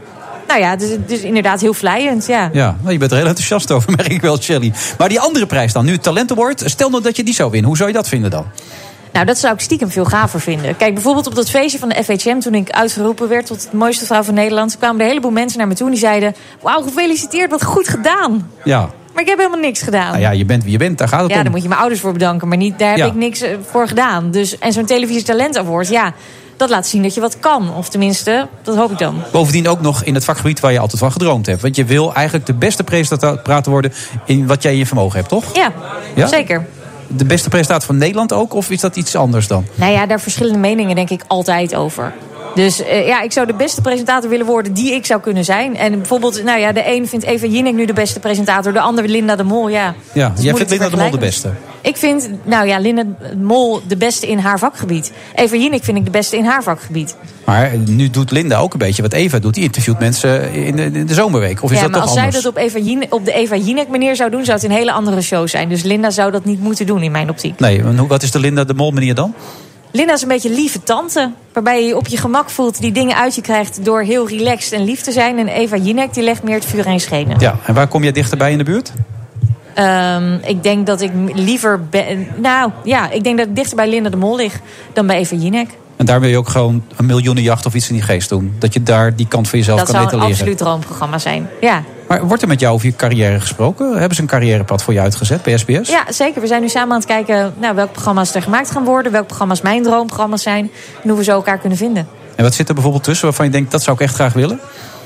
S10: nou ja, dus, dus inderdaad heel vlijend. Ja.
S9: Ja, nou, je bent er heel enthousiast over, (laughs) merk ik wel, Shelly. Maar die andere prijs dan, nu het Talent Award. Stel nou dat je die zou winnen. Hoe zou je dat vinden dan?
S10: Nou, dat zou ik stiekem veel gaver vinden. Kijk, bijvoorbeeld op dat feestje van de FHM... toen ik uitgeroepen werd tot het mooiste vrouw van Nederland... kwamen er een heleboel mensen naar me toe en die zeiden... wauw, gefeliciteerd, wat goed gedaan.
S9: Ja.
S10: Maar ik heb helemaal niks gedaan.
S9: Nou ja, je bent wie je bent, daar gaat het
S10: ja,
S9: om.
S10: daar moet je mijn ouders voor bedanken. Maar niet, daar heb
S9: Ja.
S10: ik niks eh, voor gedaan. Dus, en zo'n televisie talent award, ja, dat laat zien dat je wat kan. Of tenminste, dat hoop ik dan.
S9: Bovendien ook nog in het vakgebied waar je altijd van gedroomd hebt. Want je wil eigenlijk de beste presentator worden in wat jij in je vermogen hebt, toch?
S10: Ja,
S9: Ja?
S10: zeker.
S9: De beste presentator van Nederland ook? Of is dat iets anders dan?
S10: Nou ja, daar verschillende meningen denk ik altijd over. Dus eh, ja, ik zou de beste presentator willen worden die ik zou kunnen zijn. En bijvoorbeeld, nou ja, de een vindt Eva Jinek nu de beste presentator. De ander Linda de Mol, ja.
S9: Ja,
S10: Dat is
S9: jij
S10: moeilijk
S9: vindt
S10: te
S9: Linda de Mol de
S10: vergelijken.
S9: beste.
S10: Ik vind, nou ja, Linda de Mol de beste in haar vakgebied. Eva Jinek vind ik de beste in haar vakgebied.
S9: Maar nu doet Linda ook een beetje wat Eva doet. Die interviewt mensen in de, in de zomerweek. Of is
S10: ja,
S9: dat
S10: maar
S9: toch
S10: als
S9: anders?
S10: zij dat op, Eva Jinek, op de Eva Jinek manier zou doen, zou het een hele andere show zijn. Dus Linda zou dat niet moeten doen in mijn optiek.
S9: Nee, want hoe- wat is de Linda de Mol manier dan?
S10: Linda is een beetje lieve tante. Waarbij je je op je gemak voelt, die dingen uit je krijgt door heel relaxed en lief te zijn. En Eva Jinek die legt meer het vuur heen schenen.
S9: Ja, en waar kom jij dichterbij in de buurt?
S10: Ehm, ik denk dat ik m- liever ben. Nou ja, ik denk dat ik dichter bij Linda de Mol lig dan bij Eva Jinek.
S9: En daar wil je ook gewoon een miljoenenjacht of iets in die geest doen. Dat je daar die kant van jezelf
S10: dat
S9: kan
S10: zou een
S9: etaleren.
S10: absoluut droomprogramma zijn. Ja.
S9: Maar wordt er met jou over je carrière gesproken? Hebben ze een carrièrepad voor je uitgezet bij SBS?
S10: ja, zeker. We zijn nu samen aan het kijken nou, welke programma's er gemaakt gaan worden. Welke programma's mijn droomprogramma's zijn. En hoe we zo elkaar kunnen vinden.
S9: En wat zit er bijvoorbeeld tussen waarvan je denkt, dat zou ik echt graag willen? (laughs)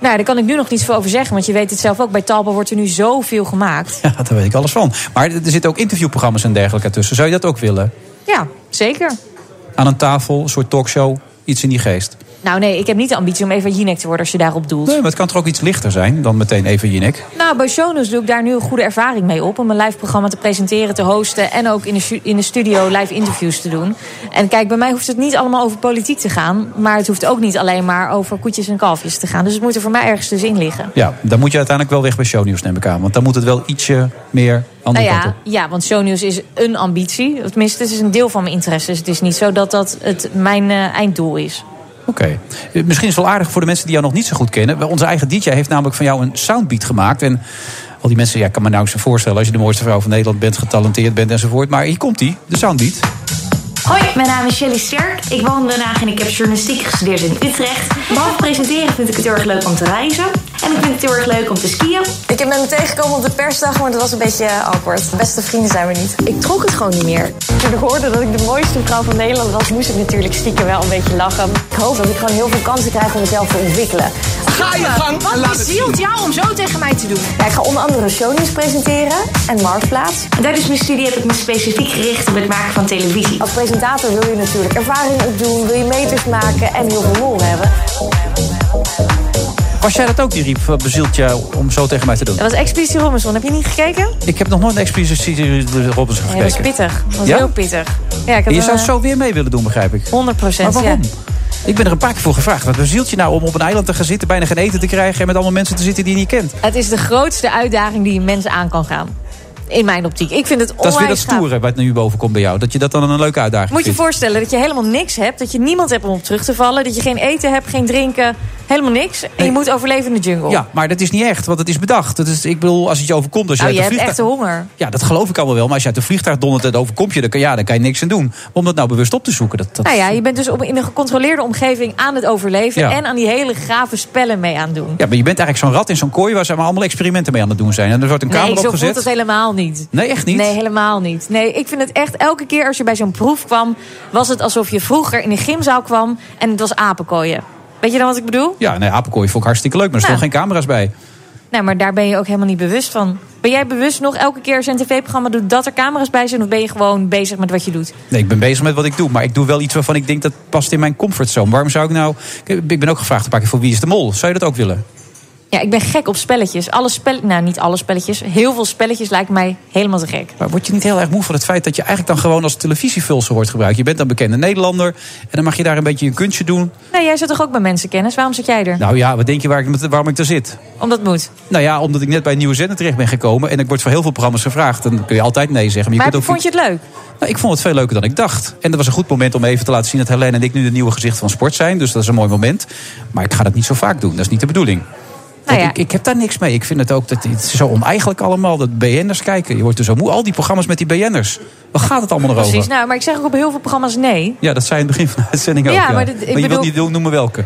S10: Nou, daar kan ik nu nog niets voor over zeggen. Want je weet het zelf ook. Bij Talpa wordt er nu zoveel gemaakt.
S9: Ja, daar weet ik alles van. Maar er zitten ook interviewprogramma's en dergelijke tussen. Zou je dat ook willen?
S10: Ja, zeker.
S9: Aan een tafel, een soort talkshow, iets in die geest.
S10: Nou nee, ik heb niet de ambitie om Eva Jinek te worden als je daarop doelt.
S9: Nee, maar het kan toch ook iets lichter zijn dan meteen even Jinek?
S10: Nou, bij Shownews doe ik daar nu een goede ervaring mee op. Om een live programma te presenteren, te hosten. En ook in de, stu- in de studio live interviews te doen. En kijk, bij mij hoeft het niet allemaal over politiek te gaan. Maar het hoeft ook niet alleen maar over koetjes en kalfjes te gaan. Dus het moet er voor mij ergens dus in liggen.
S9: Ja, dan moet je uiteindelijk wel weg bij shownieuws, neem ik aan. Want dan moet het wel ietsje meer andere
S10: nou
S9: kant
S10: ja,
S9: op.
S10: ja, want Shownews is een ambitie. Of Tenminste, het is een deel van mijn interesses. Het is niet zo dat dat het mijn eh, einddoel is.
S9: Oké. Eh, Misschien is het wel aardig voor de mensen die jou nog niet zo goed kennen. Wel, Onze eigen DJ heeft namelijk van jou een soundbeat gemaakt. En al die mensen, ja, ik kan me nou eens voorstellen... als je de mooiste vrouw van Nederland bent, getalenteerd bent enzovoort. Maar hier komt die, de soundbeat.
S16: Hoi, mijn naam is Shelly Sterk. Ik woon in Den Haag en ik heb journalistiek gestudeerd in Utrecht. Behalve presenteren vind ik het heel erg leuk om te reizen. En ik vind het heel erg leuk om te skiën.
S17: Ik ben hem tegengekomen op de persdag, maar dat was een beetje awkward. Beste vrienden zijn we niet. Ik trok het gewoon niet meer.
S18: Toen ik hoorde dat ik de mooiste vrouw van Nederland was, moest ik natuurlijk stiekem wel een beetje lachen. Ik hoop dat ik gewoon heel veel kansen krijg om mezelf te ontwikkelen.
S17: Ga je gang
S18: en
S17: Wat
S18: laat het
S17: bezielt jou om zo tegen mij te doen?
S18: ik ga onder andere shownieuws presenteren en Marktplaats.
S16: En tijdens mijn studie heb ik me specifiek gericht op het maken van televisie.
S18: Als presentator wil je natuurlijk ervaring opdoen, wil je meters maken en heel veel lol hebben.
S9: Was jij dat ook die riep, eh, bezielt jou om zo tegen mij te doen?
S10: Dat was Expeditie Robinson. Heb je niet gekeken?
S9: Ik heb nog nooit een Expeditie Robinson
S10: Ja, dat is
S9: gekeken.
S10: pittig. Dat is
S9: Ja?
S10: heel pittig. Ja, ik
S9: En
S10: heb
S9: je
S10: een,
S9: zou
S10: eh,
S9: zo weer mee willen doen, begrijp ik.
S10: 100
S9: Maar
S10: procent, ja.
S9: waarom? Ik ben er een paar keer voor gevraagd. Wat bezielt je nou om op een eiland te gaan zitten, bijna geen eten te krijgen... en met allemaal mensen te zitten die je niet kent?
S10: Het is de grootste uitdaging die een mens aan kan gaan. In mijn optiek. Ik vind het
S9: Dat
S10: onwijs
S9: is weer dat
S10: gaaf.
S9: stoere wat nu boven komt bij jou. Dat je dat dan een leuke uitdaging
S10: Moet je je
S9: vindt.
S10: voorstellen dat je helemaal niks hebt. Dat je niemand hebt om op terug te vallen. Dat je geen eten hebt, geen drinken. Helemaal niks. En je moet overleven in de jungle.
S9: Ja, maar dat is niet echt, want het is bedacht. Dat is, ik bedoel, als het je overkomt... Als
S10: nou,
S9: je
S10: je
S9: uit
S10: hebt
S9: de
S10: echt de
S9: Dus vliegtuig...
S10: honger.
S9: Ja, dat geloof ik allemaal wel. Maar als je uit de vliegtuig dondert en het overkomt je... dan kan, ja, dan kan je niks aan doen. Om dat nou bewust op te zoeken. Dat, dat...
S10: Nou ja, je bent dus op, in een gecontroleerde omgeving aan het overleven.
S9: Ja.
S10: En aan die hele gave spellen mee aan het doen.
S9: Ja, maar je bent eigenlijk zo'n rat in zo'n kooi... waar ze maar allemaal experimenten mee aan het doen zijn. En er wordt een
S10: nee,
S9: camera
S10: zo voelt
S9: opgezet.
S10: het helemaal niet.
S9: Nee, echt niet?
S10: Nee, helemaal niet. Nee, ik vind het echt, elke keer als je bij zo'n proef kwam... was het alsof je vroeger in een gymzaal kwam en het was apenkooien. Weet je dan wat ik bedoel?
S9: Ja, nee, apenkooi vond ik hartstikke leuk. Maar er
S10: Nou.
S9: stonden geen camera's bij.
S10: Nee, Nou, maar daar ben je ook helemaal niet bewust van. Ben jij bewust nog elke keer als je een tv-programma doet... dat er camera's bij zijn of ben je gewoon bezig met wat je doet?
S9: Nee, ik ben bezig met wat ik doe. Maar ik doe wel iets waarvan ik denk dat past in mijn comfortzone. Waarom zou ik nou... Ik ben ook gevraagd een paar keer voor Wie is de Mol. Zou je dat ook willen?
S10: Ja, ik ben gek op spelletjes. Alle spelletjes, nou niet alle spelletjes. Heel veel spelletjes lijken mij helemaal te gek.
S9: Maar word je niet heel erg moe van het feit dat je eigenlijk dan gewoon als televisievulsel wordt gebruikt? Je bent dan bekende Nederlander en dan mag je daar een beetje je kunstje doen.
S10: Nee, jij zit toch ook bij mensenkennis? Waarom zit jij er?
S9: Nou ja, wat denk je waar ik, met- waarom ik daar zit?
S10: Omdat moet.
S9: Nou ja, omdat ik net bij een nieuwe zender terecht ben gekomen en ik word voor heel veel programma's gevraagd. Dan kun je altijd nee zeggen. Maar, je
S10: Maar
S9: kunt ook
S10: vond je het leuk?
S9: Nou, ik vond het veel leuker dan ik dacht. En dat was een goed moment om even te laten zien dat Helene en ik nu de nieuwe gezichten van sport zijn. Dus dat is een mooi moment. Maar ik ga dat niet zo vaak doen. Dat is niet de bedoeling. Want
S10: Nou ja.
S9: ik, ik heb daar niks mee. Ik vind het ook dat, het is zo oneigenlijk allemaal. Dat BN'ers kijken. Je wordt er zo moe. Al die programma's met die BN'ers. Waar gaat het allemaal nog
S10: Precies.
S9: over?
S10: Nou, maar ik zeg ook op heel veel programma's nee.
S9: Ja, dat zei je in het begin van de uitzending
S10: Ja,
S9: ook.
S10: maar dit- ik
S9: je
S10: bedoel-
S9: wilt niet noemen welke.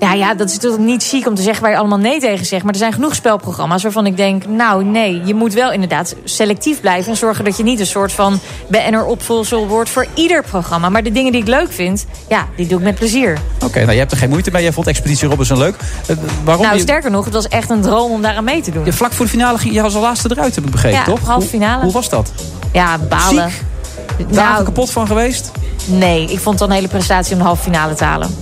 S10: Ja, ja, dat is natuurlijk niet ziek om te zeggen waar je allemaal nee tegen zegt. Maar er zijn genoeg spelprogramma's waarvan ik denk... nou nee, je moet wel inderdaad selectief blijven... en zorgen dat je niet een soort van BN'er-opvolsel wordt voor ieder programma. Maar de dingen die ik leuk vind, ja, die doe ik met plezier.
S9: Oké, nou, je hebt er geen moeite mee. Jij vond Expeditie Robinson leuk. Eh, waarom?
S10: nou,
S9: je-
S10: sterker nog, het was echt een droom om daar aan mee te doen.
S9: je, vlak voor de finale ging je als laatste eruit, heb ik begrepen,
S10: Ja,
S9: toch?
S10: halve finale.
S9: Hoe, hoe was dat?
S10: Ja, balen. Nou,
S9: Dagen kapot van geweest?
S10: Nee, ik vond dan een hele prestatie om de halve finale te halen.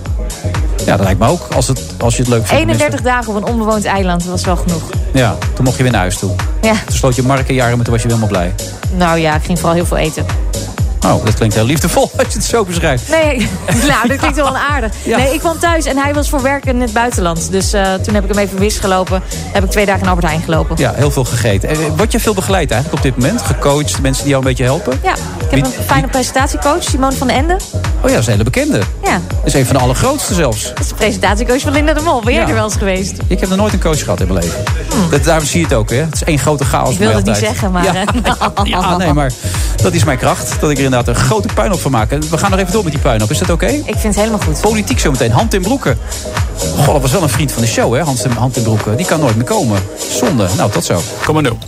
S9: Ja, dat lijkt me ook. Als, het, als je het leuk vindt. tenminste.
S10: 31 dagen op een onbewoond eiland, dat was wel genoeg.
S9: Ja, toen mocht je weer naar huis toe.
S10: Ja,
S9: Toen sloot je Mark en Jaren, maar toen was je weer helemaal blij.
S10: nou ja, ik ging vooral heel veel eten.
S9: Oh, dat klinkt heel liefdevol (laughs) als je het zo beschrijft.
S10: Nee, (laughs) nou, dat klinkt
S9: (laughs)
S10: wel aardig.
S9: Ja.
S10: Nee, ik kwam thuis en hij was voor werk in het buitenland. Dus eh, toen heb ik hem even wisgelopen. Heb ik twee dagen in Albert Heijn gelopen.
S9: Ja, heel veel gegeten. En eh, Word je veel begeleid eigenlijk op dit moment? Gecoacht, mensen die jou een beetje helpen?
S10: Ja, ik heb
S9: Wie-
S10: een fijne presentatiecoach, Simone van den Ende.
S9: Oh ja, dat is een hele bekende.
S10: Ja,
S9: Dat is een van de allergrootste zelfs.
S10: dat is de presentatiecoach van Linda de Mol. Ben jij
S9: Ja.
S10: er wel eens geweest?
S9: Ik heb nog nooit een coach gehad in mijn leven. Dat, daarom zie je het ook, hè? Het is één grote chaos.
S10: Hmm. Ik wil
S9: voor mij
S10: dat niet
S9: altijd.
S10: zeggen, maar...
S9: Ja.
S10: eh,
S9: (laughs) Ja,
S10: (laughs)
S9: nee, maar dat is mijn kracht. Dat ik er inderdaad een grote puinhoop van maak. En We gaan nog even door met die puinhoop. Is dat oké?
S10: Ik vind het helemaal goed.
S9: Politiek zometeen. Hand in Broeke. Goh, dat was wel een vriend van de show, hè? Hans Hand in Broeke. Die kan nooit meer komen. Zonde. Nou, tot zo. Commando.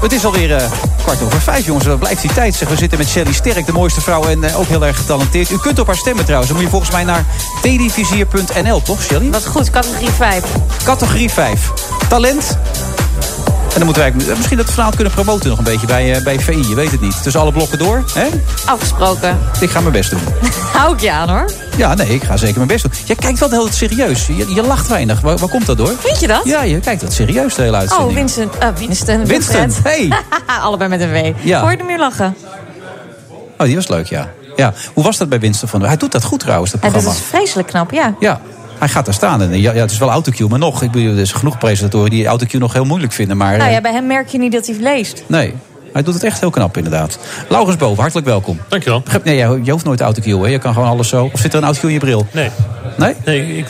S9: Het is alweer eh, kwart over vijf, jongens. Dat blijft die tijd. Zeg. We zitten met Shelly Sterk, de mooiste vrouw en eh, ook heel erg getalenteerd. U kunt op haar stemmen trouwens. Dan moet je volgens mij naar televisier.nl, toch Shelly?
S10: Wat goed, categorie 5.
S9: Categorie 5. Talent. En dan moeten wij eigenlijk- eh, misschien dat verhaal kunnen promoten nog een beetje bij, eh, bij VI. Je weet het niet. Tussen alle blokken door. Hè?
S10: Afgesproken.
S9: Ik ga mijn best doen.
S10: Hou ik je aan, hoor.
S9: Ja, nee, ik ga zeker mijn best doen. Jij kijkt wel heel serieus. Je, je lacht weinig. Waar, waar komt dat door?
S10: Vind je dat?
S9: Ja, je kijkt dat serieus de hele uitzending.
S10: Oh, Winston. eh, Winston.
S9: Winston,
S10: Wilfred.
S9: hey.
S10: (laughs) Allebei met een W.
S9: Ja.
S10: Hoor je hem nu lachen?
S9: Oh, die was leuk, ja. ja. Hoe was dat bij Winston van der Hij doet dat goed trouwens, dat
S10: Ja, dat
S9: programma.
S10: is vreselijk knap, ja.
S9: Ja, hij gaat daar staan. En, ja, ja, het is wel autocue, maar nog. Ik bedoel, er is genoeg presentatoren die autocue nog heel moeilijk vinden. Maar
S10: Nou
S9: eh,
S10: ja, bij hem merk je niet dat hij leest.
S9: nee, hij doet het echt heel knap inderdaad. Laurens Boven, hartelijk welkom.
S19: Dankjewel.
S9: Begrijp- Nee, jij- je hoeft nooit autocue, hè? Je kan gewoon alles zo. Of zit er een autocue in je bril?
S19: Nee.
S9: Nee?
S19: Nee, ik,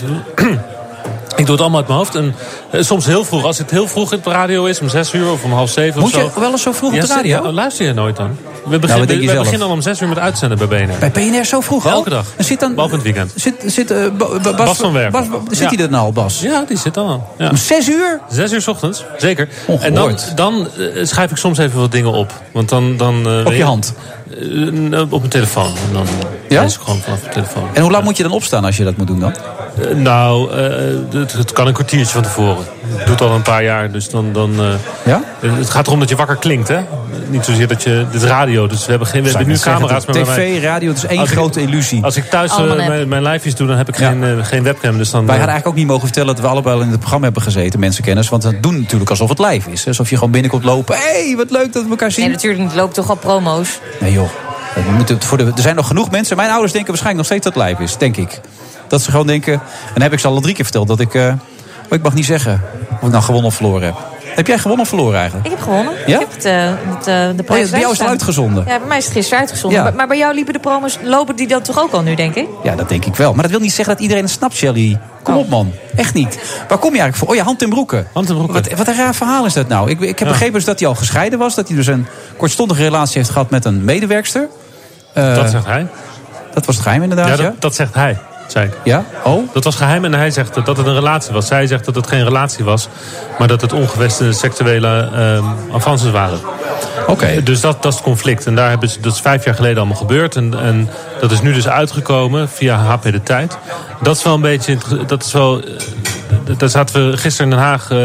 S19: (clears throat) ik doe het allemaal uit mijn hoofd. En eh, soms heel vroeg. Als het heel vroeg op de radio is, om zes uur of om half zeven
S9: Moet
S19: of zo.
S9: je wel eens zo vroeg op
S19: Ja,
S9: de
S19: zit-
S9: radio?
S19: ja, luister je nooit dan? We
S9: wat
S19: beginnen,
S9: denk je
S19: we
S9: zelf?
S19: beginnen al om zes uur met uitzenden bij BNR.
S9: Bij PNR zo vroeg al?
S19: Elke dag. Zit dan, Behalve in het weekend.
S9: Zit, zit, eh, Bo- Bas,
S19: Bas van Werven.
S9: Bas- Bas- zit
S19: Ja.
S9: hij er nou al, Bas?
S19: Ja, die zit al. Ja.
S9: Om zes uur?
S19: Zes uur 's ochtends, zeker. En dan, dan eh, schrijf ik soms even wat dingen op. Want dan, dan, eh, weet
S9: je hand?
S19: Eh, op mijn telefoon. En dan
S9: Ja?
S19: lees ik gewoon vanaf mijn telefoon.
S9: En hoe laat moet je dan opstaan als je dat moet doen dan?
S19: Eh, nou, eh, het, het kan een kwartiertje van tevoren. Ik doe het al een paar jaar, dus dan... dan eh,
S9: Ja?
S19: Het gaat erom dat je wakker klinkt, hè? Niet zozeer dat je... Dit is radio, dus we hebben, geen, we
S9: Zou
S19: hebben
S9: ik
S19: nu
S9: net zeggen,
S19: camera's.
S9: de
S19: maar bij
S9: TV,
S19: mij-
S9: radio, het is één
S19: Als ik-
S9: grote illusie.
S19: Als ik thuis eh,
S9: Allemaal nep.
S19: mijn, mijn livejes doe, dan heb ik geen, eh, geen webcam. Dus dan,
S9: Wij hadden
S19: eh,
S9: eigenlijk ook niet mogen vertellen dat we allebei al in het programma hebben gezeten, mensenkennis. Want dat doen natuurlijk alsof het live is. Alsof je gewoon binnenkomt lopen. Hé, hey, wat leuk dat we elkaar zien.
S10: Nee, natuurlijk niet. Loopt toch al promo's?
S9: Nee joh, we moeten het voor de, er zijn nog genoeg mensen. Mijn ouders denken waarschijnlijk nog steeds dat het live is, denk ik. Dat ze gewoon denken, en dan heb ik ze al drie keer verteld, dat ik... eh, oh, ik mag niet zeggen of ik nou gewonnen of verloren heb. Heb jij gewonnen of verloren eigenlijk?
S10: Ik heb gewonnen.
S9: Ja?
S10: Ik heb het, eh, het, eh, de prijs
S9: bij jou is het
S10: staan.
S9: uitgezonden.
S10: Ja, bij mij is het gisteren uitgezonden.
S9: Ja.
S10: Maar, maar bij jou liepen de promo's, lopen die dat toch ook al nu, denk ik?
S9: Ja, dat denk ik wel. Maar dat wil niet zeggen dat iedereen het snapt, Shelly. Kom op, man.
S19: Oh.
S9: Echt niet. Waar kom je eigenlijk voor? Oh ja, Hand in Broeken. Wat, wat een raar verhaal is dat nou? Ik, ik heb begrepen dus dat hij al gescheiden was. Dat hij dus een kortstondige relatie heeft gehad met een medewerkster. Eh,
S19: Dat zegt hij.
S9: Dat was het geheim inderdaad,
S19: Ja,
S9: ja?
S19: dat, dat zegt hij, zei ik.
S9: Ja? Oh?
S19: Dat was geheim en hij zegt dat het een relatie was. Zij zegt dat het geen relatie was, maar dat het ongewenste seksuele ehm avances waren.
S9: Oké.
S19: Dus dat, dat is het conflict. En daar hebben ze, dat is vijf jaar geleden allemaal gebeurd. En, en dat is nu dus uitgekomen via HP De Tijd. Dat is wel een beetje... inter- Dat is wel, eh, daar zaten we gisteren in Den Haag... eh,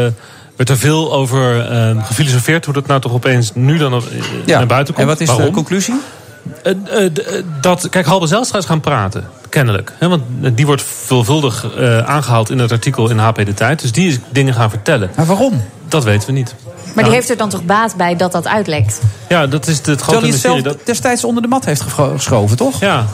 S19: werd er veel over eh, gefilosofeerd... hoe dat nou toch opeens nu dan eh, naar buiten komt.
S9: En wat is de
S19: Waarom?
S9: conclusie?
S19: Eh, eh, d- eh, dat, kijk, Halbe Zijlstra is gaan praten, kennelijk. Hè, want eh, die wordt veelvuldig eh, aangehaald in het artikel in HP De Tijd. Dus die is dingen gaan vertellen.
S9: Maar waarom?
S19: Dat weten we niet.
S10: Maar
S9: Nou.
S10: die heeft er dan toch baat bij dat dat uitlekt?
S19: Ja, dat is het,
S9: Terwijl
S19: het grote
S9: hij het zelf
S19: mysterie. Dat,
S9: destijds onder de mat heeft gegro- geschoven, toch?
S19: ja.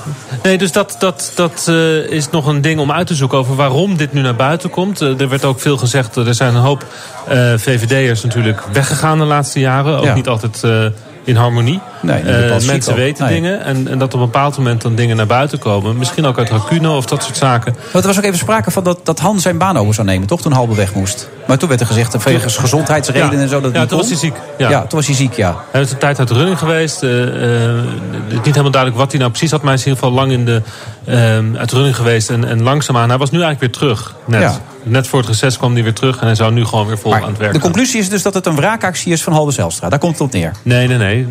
S19: Nee, dus dat, dat, dat eh, is nog een ding om uit te zoeken over waarom dit nu naar buiten komt. Eh, er werd ook veel gezegd, eh, er zijn een hoop eh, VVD'ers natuurlijk weggegaan de laatste jaren. Ook
S9: Ja.
S19: niet altijd eh, in harmonie.
S9: Nee, niet
S19: Eh,
S9: altijd chic
S19: mensen
S9: ook.
S19: weten
S9: Nee.
S19: dingen en, en dat op een bepaald moment dan dingen naar buiten komen. Misschien ook uit racuno of dat soort zaken.
S9: Want er was ook even sprake van dat, dat Han zijn baan over zou nemen, toch? Toen Halbe weg moest. Maar toen werd er gezegd, dat wegens gezondheidsredenen
S19: Ja.
S9: en zo, dat het
S19: Ja,
S9: niet
S19: toen
S9: kon.
S19: was hij ziek. Ja.
S9: toen was hij ziek, ja.
S19: Hij is een tijd uit de running geweest. eh, eh, het is niet helemaal duidelijk wat hij nou precies had. Maar hij is in ieder geval lang in de, eh, uit de running geweest. En, en langzaamaan. Hij was nu eigenlijk weer terug. Net.
S9: Ja.
S19: Net voor het reces kwam hij weer terug. En hij zou nu gewoon weer vol aan het werk
S9: De
S19: gaan.
S9: conclusie is dus dat het een wraakactie is van Halbe Zijlstra. Daar komt het op neer.
S19: Nee, nee, nee.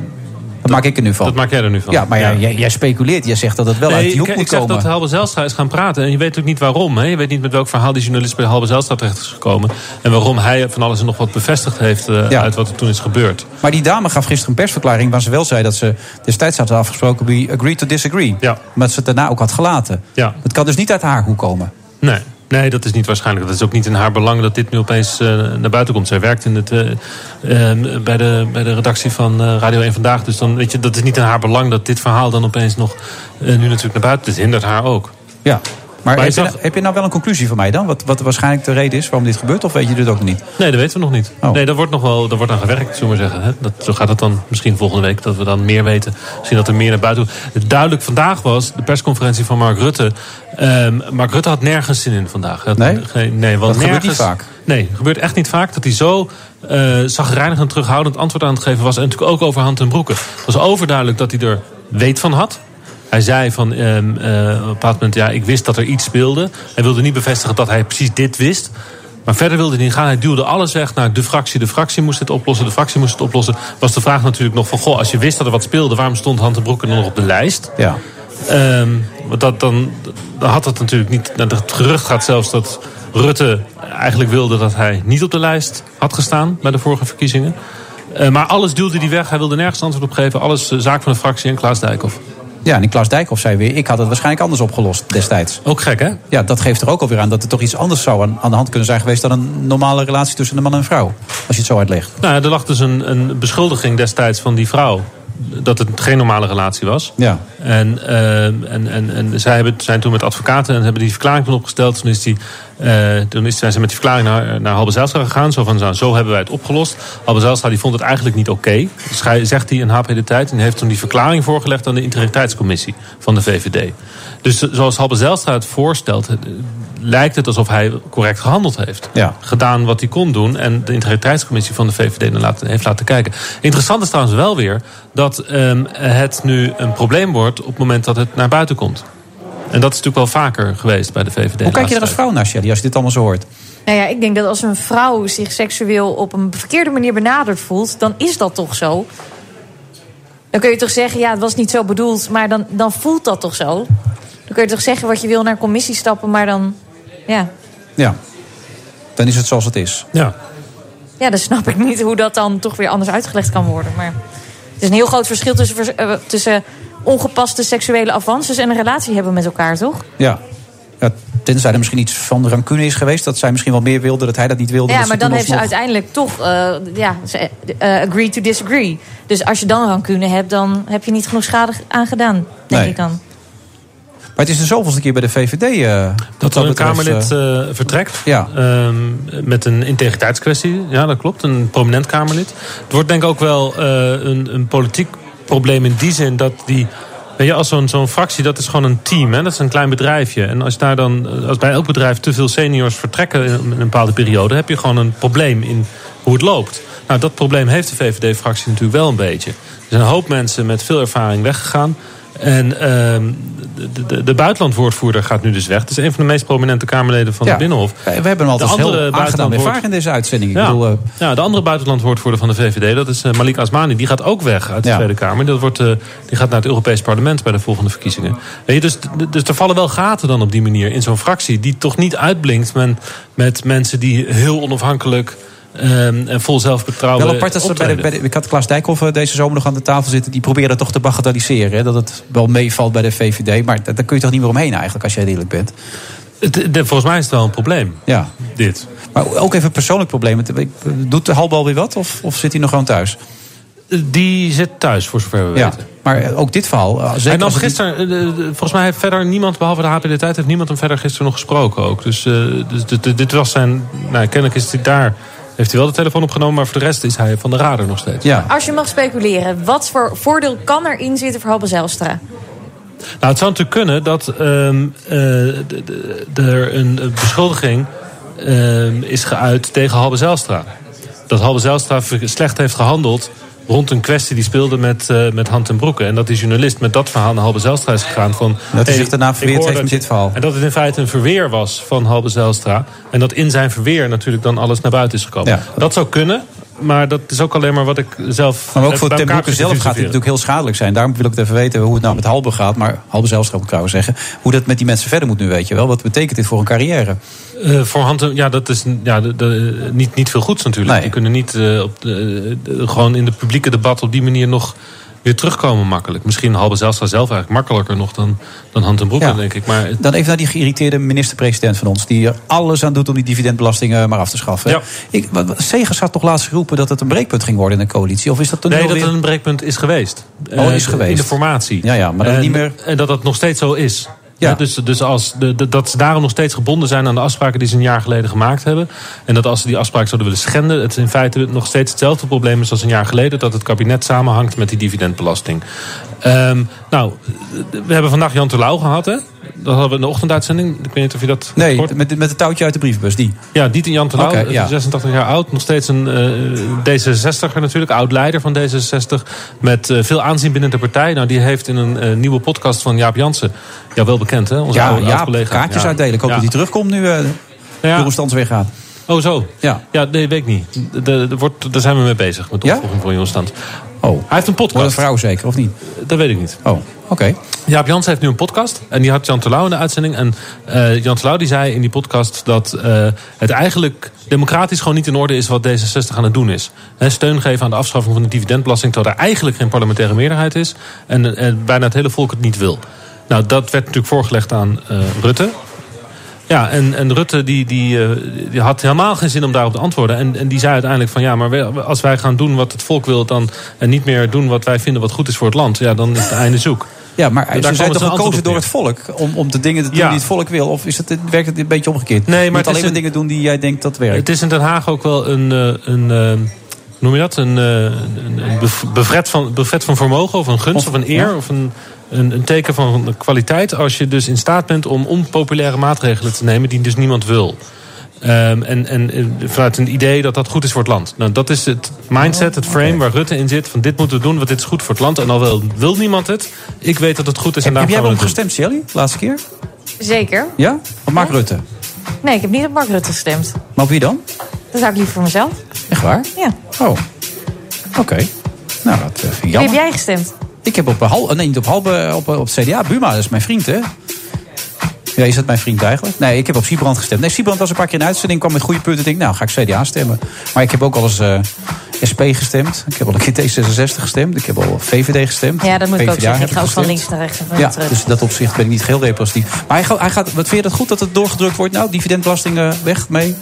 S9: Dat, maak ik er nu van.
S19: Dat maak jij er nu van.
S9: Ja, maar jij- Jij, jij speculeert. Jij zegt dat het wel
S19: Nee,
S9: uit die hoek
S19: ik,
S9: moet
S19: ik zeg
S9: komen.
S19: dat Halbe Zijlstra is gaan praten. En je weet ook niet waarom. Hè? Je weet niet met welk verhaal die journalist bij Halbe Zijlstra terecht is gekomen. En waarom hij van alles en nog wat bevestigd heeft eh, uit wat er toen is gebeurd.
S9: Maar die dame gaf gisteren een persverklaring waar ze wel zei dat ze destijds hadden afgesproken we agree to disagree. Maar dat ze het daarna ook had gelaten.
S19: Ja.
S9: Het kan dus niet uit haar hoek komen.
S19: Nee. Nee, dat is niet waarschijnlijk. Dat is ook niet in haar belang dat dit nu opeens eh, naar buiten komt. Zij werkt in het, eh, eh, bij, de, bij de redactie van eh, Radio 1 Vandaag. Dus dan, weet je, dat is niet in haar belang dat dit verhaal dan opeens nog eh, nu natuurlijk naar buiten. Dit hindert haar ook.
S9: Ja. Maar,
S19: Maar
S9: heb,
S19: je
S9: je, nou- heb je nou wel een conclusie van mij dan? Wat, wat waarschijnlijk de reden is waarom dit gebeurt? Of weet je dit ook nog niet?
S19: Nee, dat weten we nog niet.
S9: Oh.
S19: Nee, daar wordt nog wel daar wordt aan gewerkt, zullen we maar zeggen. Hè? Dat, zo gaat het dan misschien volgende week, dat we dan meer weten. Misschien dat er meer naar buiten komt. Duidelijk vandaag was de persconferentie van Mark Rutte. ehm, Mark Rutte had nergens zin in vandaag. Hij had
S9: Nee?
S19: geen- nee want
S9: Dat gebeurt
S19: nergens,
S9: niet vaak.
S19: Nee, gebeurt echt niet vaak dat hij zo eh zagrijnig en terughoudend antwoord aan het geven was. En natuurlijk ook over hand en broeken. Het was overduidelijk dat hij er weet van had. Hij zei van ehm, eh, op een bepaald moment, ja, ik wist dat er iets speelde. Hij wilde niet bevestigen dat hij precies dit wist. Maar verder wilde hij niet gaan. Hij duwde alles weg naar de fractie. De fractie moest dit oplossen. De fractie moest het oplossen. Was de vraag natuurlijk nog van, goh, als je wist dat er wat speelde, waarom stond Hand en Broeken dan nog op de lijst?
S9: Ja.
S19: Ehm, want dat, dan, dan had het natuurlijk niet. nou, Het gerucht gaat zelfs dat Rutte eigenlijk wilde dat hij niet op de lijst had gestaan bij de vorige verkiezingen. Eh, maar alles duwde hij weg. Hij wilde nergens antwoord op geven. Alles eh, zaak van de fractie en Klaas Dijkhoff.
S9: Ja, en die Klaas Dijkhoff zei weer, ik had het waarschijnlijk anders opgelost destijds.
S19: Ook gek, hè?
S9: Ja, dat geeft er ook alweer aan dat er toch iets anders zou aan, aan de hand kunnen zijn geweest... dan een normale relatie tussen een man en een vrouw. Als je het zo uitlegt.
S19: Nou, ja, er lag dus een, een beschuldiging destijds van die vrouw. Dat het geen normale relatie was.
S9: Ja.
S19: En, eh, en, en, en zij hebben, zijn toen met advocaten en hebben die verklaring toen opgesteld. Toen, is die, eh, toen is, zijn ze met die verklaring naar, naar Halbe Zijlstra gegaan. Zo van, nou, zo hebben wij het opgelost. Halbe Zijlstra die vond het eigenlijk niet oké. Dus hij- zegt hij in HP De Tijd. En heeft toen die verklaring voorgelegd aan de integriteitscommissie van de VVD. Dus zo- zoals Halbe Zijlstra het voorstelt... eh, lijkt het alsof hij correct gehandeld heeft.
S9: Ja.
S19: Gedaan wat hij kon doen. En de integriteitscommissie van de VVD naar laten- heeft laten kijken. Interessant is trouwens wel weer... dat ehm, het nu een probleem wordt op het moment dat het naar buiten komt. En dat is natuurlijk wel vaker geweest bij de VVD.
S9: Hoe kijk je er als vrouw naar, Shelly, als je dit allemaal zo hoort?
S10: Nou ja, ik denk dat als een vrouw zich seksueel op een verkeerde manier benaderd voelt, dan is dat toch zo. Dan kun je toch zeggen, ja, het was niet zo bedoeld, maar dan, dan voelt dat toch zo. Dan kun je toch zeggen wat je wil naar een commissie stappen, maar dan. Ja.
S9: Ja. Dan is het zoals het is.
S19: Ja.
S10: ja, dan snap ik niet hoe dat dan toch weer anders uitgelegd kan worden. Maar het is een heel groot verschil tussen, vers- eh, tussen ongepaste seksuele avances en een relatie hebben met elkaar, toch?
S9: Ja. ja. Tenzij er misschien iets van rancune is geweest. Dat zij misschien wel meer wilde, dat hij dat niet wilde.
S10: Ja,
S9: dat
S10: maar dan
S9: toen
S10: heeft ze
S9: alsnog-
S10: uiteindelijk toch eh, ja, ze, eh, agree to disagree. Dus als je dan rancune hebt, dan heb je niet genoeg schade aangedaan, denk
S9: Nee.
S10: ik dan.
S9: Maar het is de zoveelste keer bij de VVD. eh, wat
S19: Dat er een
S9: betreft,
S19: Kamerlid
S9: eh,
S19: eh, vertrekt. Ehm, met een integriteitskwestie. Ja, dat klopt. Een prominent Kamerlid. Het wordt denk ik ook wel eh, een, een politiek probleem in die zin dat die. Weet je, als zo'n zo'n fractie, dat is gewoon een team. Hè? Dat is een klein bedrijfje. En als, daar dan, als bij elk bedrijf te veel seniors vertrekken in een bepaalde periode... heb je gewoon een probleem in hoe het loopt. Nou, dat probleem heeft de VVD-fractie natuurlijk wel een beetje. Er zijn een hoop mensen met veel ervaring weggegaan. En ehm, de, de, de buitenlandwoordvoerder gaat nu dus weg. Het is een van de meest prominente Kamerleden van
S9: Ja.
S19: de Binnenhof.
S9: We hebben hem altijd heel aangenaam
S19: buitenlandwoord-
S9: ervaren in deze uitzending. Ik
S19: ja.
S9: bedoel, eh,
S19: ja, de andere buitenlandwoordvoerder van de VVD, dat is eh, Malik Asmani. Die gaat ook weg uit de
S9: Ja.
S19: Tweede Kamer. Dat wordt, eh, die gaat naar het Europees Parlement bij de volgende verkiezingen. Weet je, dus, dus er vallen wel gaten dan op die manier in zo'n fractie. Die toch niet uitblinkt men, met mensen die heel onafhankelijk ehm, en vol zelfvertrouwen.
S9: Wel apart dat ze bij de,
S19: optreden.
S9: bij de, ik had Klaas Dijkhoff eh, deze zomer nog aan de tafel zitten. Die probeerde toch te bagatelliseren. Hè? Dat het wel meevalt bij de VVD. Maar da- daar kun je toch niet meer omheen eigenlijk, als je eerlijk bent.
S19: Het- de- volgens mij is het wel een probleem.
S9: Ja.
S19: Dit.
S9: Maar ook even een persoonlijk probleem. Het- ik- Doet de halbal weer wat? Of, of zit hij nog gewoon thuis?
S19: Eh, Die zit thuis, voor zover we
S9: weten. Maar eh, ook dit verhaal. eh, zeker
S19: Hij nam
S9: als het niet-
S19: gisteren, eh, eh, volgens mij heeft verder niemand, behalve de HP de Tijd, heeft niemand hem verder gisteren nog gesproken ook. Dus, eh, dus dit, dit- dit was zijn, nou kennelijk is hij daar, heeft hij wel de telefoon opgenomen, maar voor de rest is hij van de radar nog steeds.
S9: Ja.
S10: Als je mag speculeren, wat voor voordeel kan erin zitten voor Halbe Zijlstra?
S19: Nou, het zou natuurlijk kunnen dat ehm, eh, d- d- er een beschuldiging ehm, is geuit tegen Halbe Zijlstra. Dat Halbe Zijlstra ver- slecht heeft gehandeld rond een kwestie die speelde met, eh met Hand en Broeke. En dat die journalist met dat verhaal naar Halbe Zijlstra is gegaan. Van,
S9: Dat hij
S19: "Hey,
S9: zich daarna verweerd
S19: ik hoor
S9: heeft
S19: dat
S9: met
S19: je-
S9: dit verhaal."
S19: En dat het in feite een verweer was van Halbe Zijlstra. En dat in zijn verweer natuurlijk dan alles naar buiten is gekomen.
S9: Ja.
S19: Dat zou kunnen, maar dat is ook alleen maar wat ik zelf...
S9: Maar ook
S19: eh,
S9: voor
S19: bij
S9: Ten
S19: elkaar
S9: Broeke zelf
S19: zit te
S9: gaat dit
S19: filosoferen.
S9: natuurlijk heel schadelijk zijn. Daarom wil ik het even weten hoe het nou met Halbe gaat. Maar Halbe zelfs moet ik trouwens zeggen. Hoe dat met die mensen verder moet nu, weet je wel. Wat betekent dit voor een carrière?
S19: Eh, voor hand, ja, dat is ja, de, de- niet, niet veel goeds natuurlijk. Die kunnen niet eh, op de, de- gewoon in het publieke debat op die manier nog weer terugkomen makkelijk. Misschien Halbe Zijlstra zelf eigenlijk makkelijker nog dan, dan Hand en Broek,
S9: Ja.
S19: denk ik. Maar het-
S9: Dan even naar die geïrriteerde minister-president van ons. Die er alles aan doet om die dividendbelasting eh, maar af te schaffen. Ik, wat- wat- Segers had toch laatst geroepen dat het een breekpunt ging worden in de coalitie? Of is dat toen
S19: nee, dat het een breekpunt is geweest.
S9: Oh, is
S19: Eh,
S9: geweest.
S19: In de formatie.
S9: Ja, ja, maar dat
S19: en,
S9: niet meer-
S19: en dat dat nog steeds zo is.
S9: Ja.
S19: Eh, dus dus als de, de- dat ze daarom nog steeds gebonden zijn aan de afspraken die ze een jaar geleden gemaakt hebben. En dat als ze die afspraak zouden willen schenden, het in feite nog steeds hetzelfde probleem is als een jaar geleden. Dat het kabinet samenhangt met die dividendbelasting. Ehm, nou, we hebben vandaag Jan Terlouw gehad, hè? Dat hadden we in de ochtenduitzending. Ik weet niet of je dat.
S9: Nee, met, met het touwtje uit de brievenbus, die.
S19: Ja, die Jan Terlouw,
S9: Oké, ja.
S19: 86 jaar oud. Nog steeds een eh D66er natuurlijk, oud-leider van D66. Met eh, veel aanzien binnen de partij. Nou, die heeft in een eh, nieuwe podcast van Jaap Jansen... Ja, wel bekend, hè? Onze
S9: ja,
S19: oude,
S9: ja,
S19: oud-collega.
S9: kaartjes
S19: Ja.
S9: uitdelen. Ik hoop
S19: Ja.
S9: dat hij terugkomt nu eh
S19: ja.
S9: de Roestands weggaat.
S19: Oh, zo?
S9: Ja.
S19: Ja, nee, weet ik niet. De, de- wordt, daar zijn we mee bezig, met de opvolging van Jon Stand.
S9: Oh.
S19: Hij heeft een podcast.
S9: Wordt een vrouw zeker, of niet?
S19: Dat weet ik niet.
S9: Oh, oké.
S19: Jaap Jans heeft nu een podcast. En die had Jan Terlouw in de uitzending. En eh, Jan Terlouw die zei in die podcast dat eh, het eigenlijk democratisch gewoon niet in orde is wat D66 aan het doen is. Hè, steun geven aan de afschaffing van de dividendbelasting. Terwijl er eigenlijk geen parlementaire meerderheid is. En, eh, bijna het hele volk het niet wil. Nou, dat werd natuurlijk voorgelegd aan eh, Rutte. Ja, en, en Rutte die, die, eh, die had helemaal geen zin om daarop te antwoorden. En, en die zei uiteindelijk van ja, maar we- als wij gaan doen wat het volk wil... Dan, en niet meer doen wat wij vinden wat goed is voor het land... ja, dan is het einde zoek.
S9: Ja, maar
S19: Daar
S9: ze
S19: kwam
S9: zijn
S19: dus
S9: toch
S19: een antwoord
S9: gekozen
S19: op
S9: door
S19: neer.
S9: het volk om, om de dingen te doen
S19: Ja.
S9: die het volk wil? Of is het, werkt het een beetje omgekeerd?
S19: Nee, maar
S9: Je moet
S19: het is
S9: alleen maar
S19: een-
S9: dingen doen die jij denkt dat werkt.
S19: Het is in Den Haag ook wel een. eh, een eh, noem je dat? Een, eh, een, een bev- bevret, van, bevret van vermogen of een gunst of een eer
S9: ja.
S19: of een, een, een teken van kwaliteit. Als je dus in staat bent om onpopulaire maatregelen te nemen die dus niemand wil. Ehm, en, en eh, vanuit een idee dat dat goed is voor het land. Nou, dat is het mindset,
S9: Oh,
S19: het frame waar Rutte in zit. Van dit moeten we doen, want dit is goed voor het land. En al wil, wil niemand het, ik weet dat het goed is. En
S9: Heb
S19: daarom
S9: jij
S19: gaan
S9: wel
S19: we
S9: hem
S19: het doen.
S9: gestemd, Shelly? Laatste keer?
S10: Zeker.
S9: Ja? Op Mark Rutte.
S10: Nee, ik heb niet op Mark Rutte gestemd.
S9: Maar op wie dan?
S10: Dat zou ik liever voor mezelf.
S9: Echt waar?
S10: Ja.
S9: Oh, oké. Nou, dat eh, vind ik
S10: Wie heb
S9: jammer.
S10: jij gestemd?
S9: Ik heb op Halbe, nee, niet op Halbe, op, op het CDA. Buma, dat is mijn vriend, hè? Ja, is dat mijn vriend eigenlijk? Nee, ik heb op Siebrand gestemd. Nee, Siebrand was een paar keer in de uitzending, kwam met goede punten. Ik denk, nou, ga ik CDA stemmen. Maar ik heb ook al eens eh, SP gestemd. Ik heb al een keer T66 gestemd. Ik heb al VVD gestemd.
S10: Ja, dat moet ik ook
S9: PvdA
S10: zeggen.
S9: heb
S10: Ik ga ook van
S9: gestemd.
S10: links naar rechts. en van
S9: Ja,
S10: terug.
S9: dus in dat opzicht ben ik niet geheel representatief. Maar hij gaat, hij gaat, wat vind je dat goed dat het doorgedrukt wordt? Nou, dividendbelasting eh, weg mee.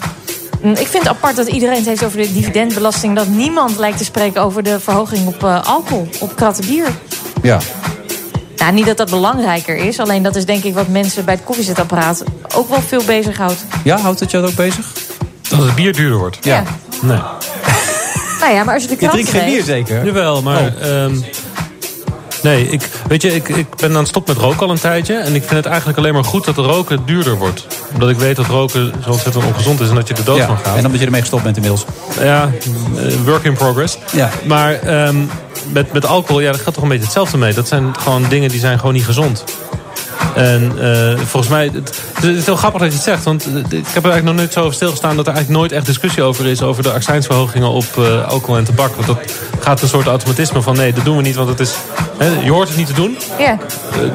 S10: Mm, Ik vind het apart dat iedereen het heeft over de dividendbelasting. Dat niemand lijkt te spreken over de verhoging op eh, alcohol, op kratten bier.
S9: Ja.
S10: Nou, niet dat dat belangrijker is. Alleen dat is denk ik wat mensen bij het koffiezetapparaat ook wel veel bezighoudt.
S9: Ja, houdt het jou ook bezig?
S19: Dat het bier duurder wordt.
S9: Ja.
S19: Nee.
S10: Nou ja, maar als je de
S9: Je
S10: krant
S9: drinkt geen bier zeker? Oh.
S19: Jawel, maar... ehm, nee, ik, weet je, ik, ik ben aan het stop met roken al een tijdje. En ik vind het eigenlijk alleen maar goed dat roken duurder wordt. Omdat ik weet dat roken zo ontzettend ongezond is en dat je er dood
S9: Ja,
S19: van gaat.
S9: en omdat je ermee gestopt bent inmiddels.
S19: Ja, eh, work in progress.
S9: Ja.
S19: Maar ehm, met, met alcohol, ja, dat gaat toch een beetje hetzelfde mee. Dat zijn gewoon dingen die zijn gewoon niet gezond. En eh, volgens mij, het, het is heel grappig dat je het zegt. Want eh, ik heb er eigenlijk nog nooit zo over stilgestaan... dat er eigenlijk nooit echt discussie over is... over de accijnsverhogingen op eh, alcohol en tabak. Want dat gaat een soort automatisme van... nee, dat doen we niet, want het is, hè, je hoort het niet te doen.
S10: Ja,
S19: eh,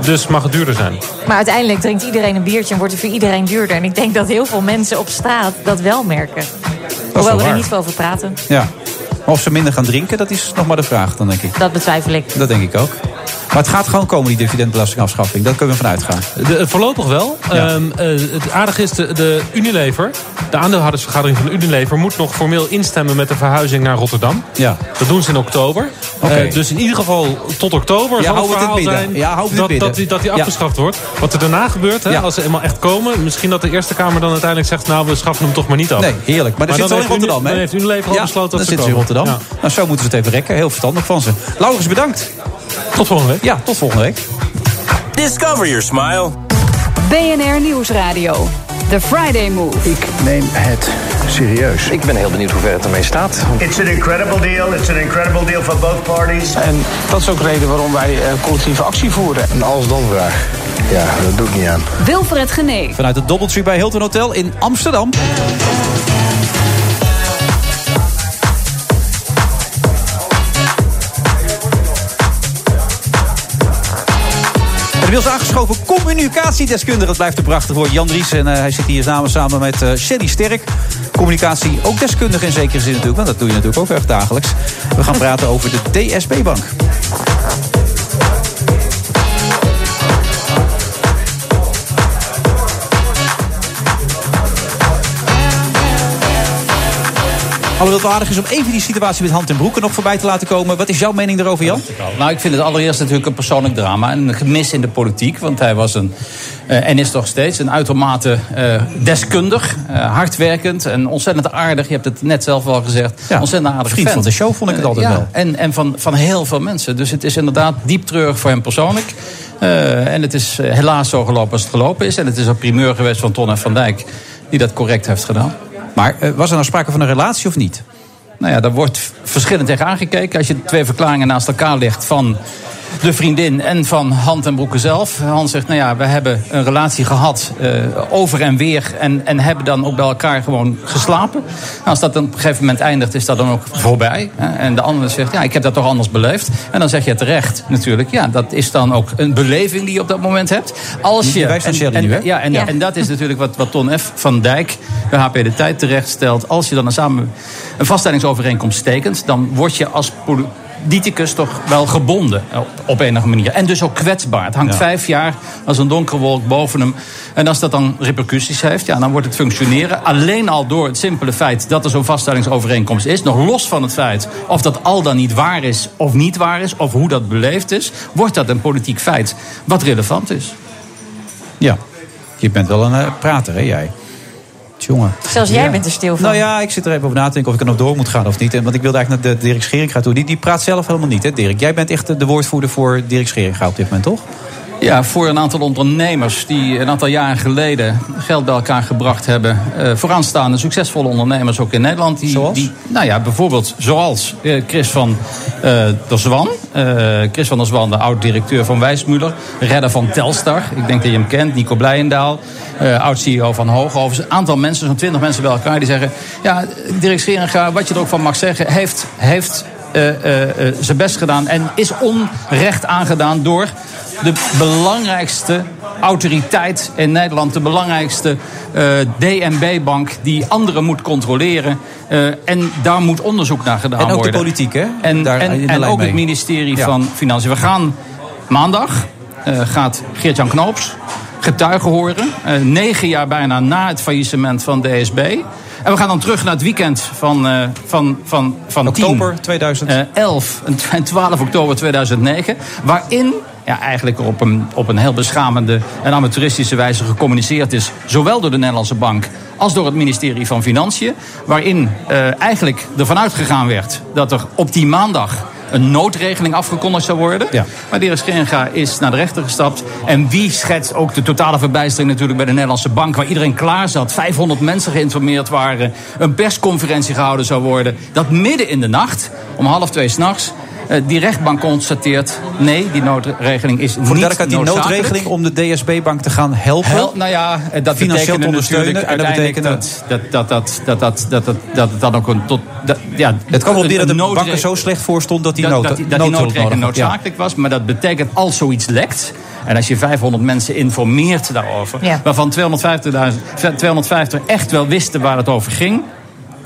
S19: dus mag het duurder zijn.
S10: maar uiteindelijk drinkt iedereen een biertje en wordt het voor iedereen duurder. En ik denk dat heel veel mensen op straat dat wel merken.
S9: wel
S10: Hoewel we er
S9: waar.
S10: niet veel over praten.
S9: Ja. Maar of ze minder gaan drinken, dat is nog maar de vraag, dan denk ik.
S10: Dat betwijfel ik.
S9: Dat denk ik ook. Maar het gaat gewoon komen, die dividendbelastingafschaffing. Daar kunnen we vanuit gaan.
S19: De, eh, voorlopig wel. Ehm, eh, het aardige is, de, de Unilever, de aandeelhoudersvergadering van Unilever... moet nog formeel instemmen met de verhuizing naar Rotterdam.
S9: Ja.
S19: Dat doen ze in oktober.
S9: Oké.
S19: Eh, dus in ieder geval tot oktober
S9: Ja,
S19: zal
S9: hou
S19: het
S9: het in
S19: verhaal
S9: het midden.
S19: zijn
S9: Ja, hou het in
S19: dat,
S9: het midden.
S19: dat, die, dat die
S9: Ja.
S19: afgeschaft wordt. Wat er daarna gebeurt, hè, als ze eenmaal echt komen... misschien dat de Eerste Kamer dan uiteindelijk zegt... nou, we schaffen hem toch maar niet af.
S9: Nee, heerlijk. Maar,
S19: dan
S9: dan zit ze al in
S19: heeft Uni-
S9: Rotterdam, hè?
S19: Dan heeft Unilever al
S9: Ja,
S19: besloten dat
S9: dan
S19: ze
S9: zitten ze in
S19: komen.
S9: Rotterdam.
S19: Ja.
S9: Nou, zo moeten ze het even rekken. Heel verstandig van ze. Laurens, bedankt.
S19: Tot volgende week.
S9: Ja, tot volgende week.
S3: Discover your smile.
S4: BNR Nieuwsradio. The Friday Move.
S8: Neem het serieus. Ik ben heel benieuwd hoe ver het ermee staat.
S11: It's an incredible deal. It's an incredible deal for both parties.
S12: En dat is ook de reden waarom wij eh, collectieve actie voeren.
S8: Een als-dan vraag. Ja, dat doe ik niet aan.
S4: Wilfred Genee.
S9: Vanuit het Doubletree bij Hilton Hotel in Amsterdam. En Inmiddels aangeschoven communicatiedeskundige. Dat blijft een prachtig woord. Jan Dries. En eh, hij zit hier samen, samen met eh Shelly Sterk. Communicatie ook deskundige in zekere zin natuurlijk. Want dat doe je natuurlijk ook echt dagelijks. We gaan praten over de DSB-bank. Alhoewel het wel aardig is om even die situatie met hand en broeken nog voorbij te laten komen. Wat is jouw mening daarover, Jan?
S20: Nou, ik vind het allereerst natuurlijk een persoonlijk drama. En een gemis in de politiek. Want hij was een, eh, en is nog steeds, een uitermate eh, deskundig. eh, hardwerkend en ontzettend aardig. Je hebt het net zelf al gezegd.
S9: Ja,
S20: ontzettend aardig
S9: vriend van de show vond ik
S10: Eh,
S9: het altijd wel.
S20: En, en van, van heel veel mensen. Dus het is inderdaad diep treurig voor hem persoonlijk. Eh, en het is eh, helaas zo gelopen als het gelopen is. En het is een primeur geweest van Ton en van Dijk. Die dat correct heeft gedaan.
S9: Maar was er nou sprake van een relatie of niet?
S20: Nou ja, daar wordt verschillend tegen aangekeken. Als je de twee verklaringen naast elkaar legt van de vriendin en van Hand en Broeke zelf. Hans zegt, nou ja, we hebben een relatie gehad eh, over en weer. En, en hebben dan ook bij elkaar gewoon geslapen. Nou, als dat dan op een gegeven moment eindigt, is dat dan ook voorbij. hè. En de ander zegt, ja, ik heb dat toch anders beleefd. En dan zeg je terecht natuurlijk. Ja, dat is dan ook een beleving die je op dat moment hebt. Als
S9: Niet
S20: je,
S9: bewijs van
S20: en-
S9: Shelley
S20: en-
S9: nu, hè?
S20: ja, en,
S9: Ja.
S20: en dat is natuurlijk wat, wat Ton F. van Dijk bij HP De Tijd terechtstelt. Als je dan een, samen, een vaststellingsovereenkomst tekent... dan word je als politicus toch wel gebonden op, op enige manier. En dus ook kwetsbaar. Het hangt
S21: Ja.
S20: vijf jaar als een donkere wolk boven hem. En als dat dan repercussies heeft, ja, dan wordt het functioneren... alleen al door het simpele feit dat er zo'n vaststellingsovereenkomst is... nog los van het feit of dat al dan niet waar is of niet waar is... of hoe dat beleefd is, wordt dat een politiek feit wat relevant is.
S9: Ja. Je bent wel een eh, prater, hè, jij? Jongen.
S10: Zelfs jij bent er stil van.
S9: Nou ja, ik zit er even over na te denken of ik er nog door moet gaan of niet. En- Want ik wilde eigenlijk naar de Dirk Scheringa toe. Die, die praat zelf helemaal niet, hè, Dirk? Jij bent echt eh, de woordvoerder voor Dirk Scheringa op dit moment, toch?
S20: Ja, voor een aantal ondernemers die een aantal jaren geleden geld bij elkaar gebracht hebben. Eh, vooraanstaande succesvolle ondernemers ook in Nederland. Die, Die, nou ja, bijvoorbeeld zoals eh, Chris van eh, der Zwan. Eh, Chris van der Zwan, de oud-directeur van Wijsmuller. Redder van Telstar. Ik denk dat je hem kent. Nico Blijendaal. eh, oud-CEO van Hoogovens. Een aantal mensen, zo'n twintig mensen bij elkaar. Die zeggen, ja, Dirk Scheringa, wat je er ook van mag zeggen, heeft... heeft eh, eh, eh, zijn best gedaan en is onrecht aangedaan door de belangrijkste autoriteit in Nederland, de belangrijkste eh, DNB-bank die anderen moet controleren. eh, en daar moet onderzoek naar gedaan
S9: En ook de
S20: worden.
S9: politiek, hè?
S20: En,
S9: Daar in de
S20: en, en
S9: lijn
S20: ook
S9: mee.
S20: het ministerie
S9: Ja.
S20: van Financiën. We gaan maandag eh, gaat Geert-Jan Knoops getuigen horen. eh, negen jaar bijna na het faillissement van DSB. En we gaan dan terug naar het weekend van, eh van, van, van
S9: Oktober
S20: 2011 en 12 oktober 2009. Waarin ja, eigenlijk op een, op een heel beschamende en amateuristische wijze gecommuniceerd is. Zowel door de Nederlandse Bank als door het ministerie van Financiën. Waarin eh, eigenlijk ervan uitgegaan werd dat er op die maandag een noodregeling afgekondigd zou worden. Maar Dirk Scheringa is naar de rechter gestapt. En wie schetst ook de totale verbijstering natuurlijk bij de Nederlandse Bank... waar iedereen klaar zat, 500 mensen geïnformeerd waren... een persconferentie gehouden zou worden... dat midden in de nacht, om half twee s'nachts... die rechtbank constateert, nee, die noodregeling is
S9: Voor
S20: niet
S9: de duidelijkheid, die
S20: noodzakelijk.
S9: noodregeling om de DSB-bank te gaan helpen.
S20: Hel- nou ja, eh, dat
S9: financieel
S20: betekende
S9: te ondersteunen.
S20: natuurlijk
S9: En dat
S20: uiteindelijk
S9: betekent
S20: dat dat dat dat dat dat dat dat het dan ook een tot dat, ja,
S9: Het kwam op
S20: een-
S9: neer dat
S20: een
S9: de bank er
S20: noodre-
S9: zo slecht voor stond dat die
S20: dat,
S9: nood,
S20: dat die- dat die
S9: noodhulp
S20: noodregeling
S9: nodig had. Ja.
S20: noodzakelijk was. Maar dat betekent als zoiets lekt. En als je 500 mensen informeert daarover.
S9: Ja.
S20: Waarvan 250, 250 echt wel wisten waar het over ging.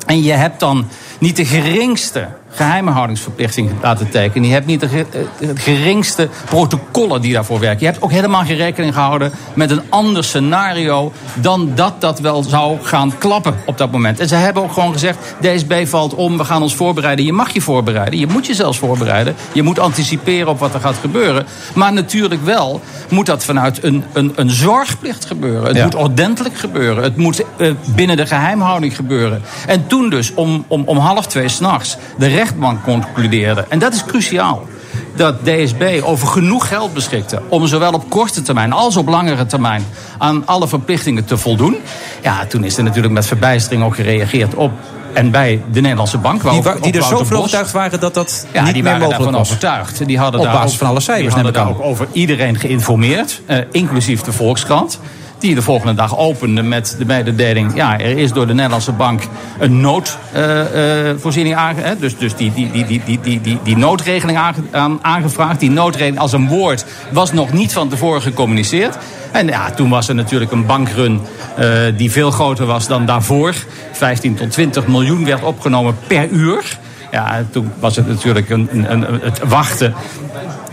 S20: En je hebt dan niet de geringste geheimhoudingsverplichting laten tekenen. Je hebt niet de ge- eh, geringste protocollen die daarvoor werken. Je hebt ook helemaal geen rekening gehouden met een ander scenario dan dat dat wel zou gaan klappen op dat moment. En ze hebben ook gewoon gezegd: DSB valt om, we gaan ons voorbereiden. Je mag je voorbereiden, je moet je zelfs voorbereiden. Je moet anticiperen op wat er gaat gebeuren. Maar natuurlijk wel moet dat vanuit een, een, een zorgplicht gebeuren. Het
S6: Ja.
S20: moet ordentelijk gebeuren. Het moet eh, binnen de geheimhouding gebeuren. En toen dus om, om, om half twee s'nachts de rechtbank concludeerde. En dat is cruciaal. Dat DSB over genoeg geld beschikte om zowel op korte termijn als op langere termijn aan alle verplichtingen te voldoen. Ja, toen is er natuurlijk met verbijstering ook gereageerd op en bij de Nederlandse Bank.
S9: Die, wa-
S20: op
S9: die er
S20: Wouter
S9: zo van
S20: Bos.
S9: overtuigd waren dat dat
S20: Ja,
S9: niet
S20: die
S9: meer
S20: waren
S9: mogelijk
S20: daarvan
S9: was.
S20: overtuigd. Die hadden
S9: Op
S20: daar
S9: basis
S20: ook-
S9: van alle
S20: die
S9: cijfers, neem
S20: hadden
S9: ik
S20: daar
S9: aan.
S20: ook over iedereen geïnformeerd, eh, inclusief de Volkskrant. Die de volgende dag opende met de mededeling... ja, er is door de Nederlandse bank een noodvoorziening aange... Dus, dus die, die, die, die, die, die, die, die noodregeling aange- aan- aangevraagd. Die noodregeling als een woord was nog niet van tevoren gecommuniceerd. En ja, toen was er natuurlijk een bankrun eh, die veel groter was dan daarvoor. 15 tot 20 miljoen werd opgenomen per uur. Ja, toen was het natuurlijk een, een, een- het wachten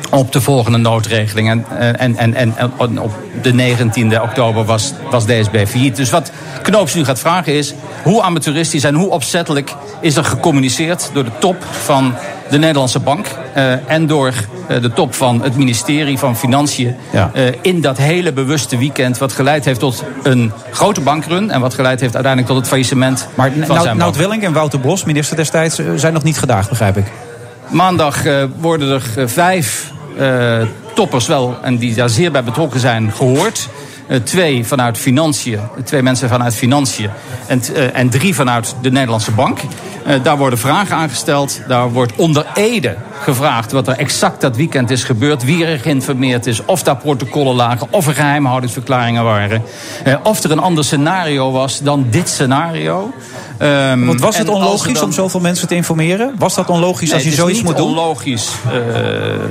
S20: op de volgende noodregeling. En, en, en, en, en op de 19e oktober was, was DSB failliet. Dus wat Knoops nu gaat vragen is... hoe amateuristisch en hoe opzettelijk is er gecommuniceerd... door de top van de Nederlandse Bank... eh, en door eh, de top van het ministerie van Financiën...
S6: Ja.
S20: eh, in dat hele bewuste weekend... wat geleid heeft tot een grote bankrun... en wat geleid heeft uiteindelijk tot het faillissement
S9: Maar nou-
S20: van
S9: Nout-
S20: zijn bank.
S9: Nout Welling en Wouter Bos, minister destijds, eh, zijn nog niet gedaagd, begrijp ik.
S20: Mm. Maandag eh, worden er eh, vijf eh, toppers wel, en die daar zeer bij betrokken zijn, gehoord. Eh, twee vanuit financiën, twee mensen vanuit financiën en, t- eh, en drie vanuit de Nederlandse Bank. Eh, daar worden vragen aangesteld. Daar wordt onder ede gevraagd wat er exact dat weekend is gebeurd. Wie er geïnformeerd is, of daar protocollen lagen, of er geheimhoudingsverklaringen waren. Eh, of er een ander scenario was dan dit scenario. Ehm,
S9: Want was het
S20: en als er
S9: onlogisch
S20: dan-
S9: om zoveel mensen te informeren? Was dat onlogisch als je
S20: Nee,
S9: zoiets
S20: het
S9: moet
S20: is niet
S9: doen?
S20: onlogisch. eh,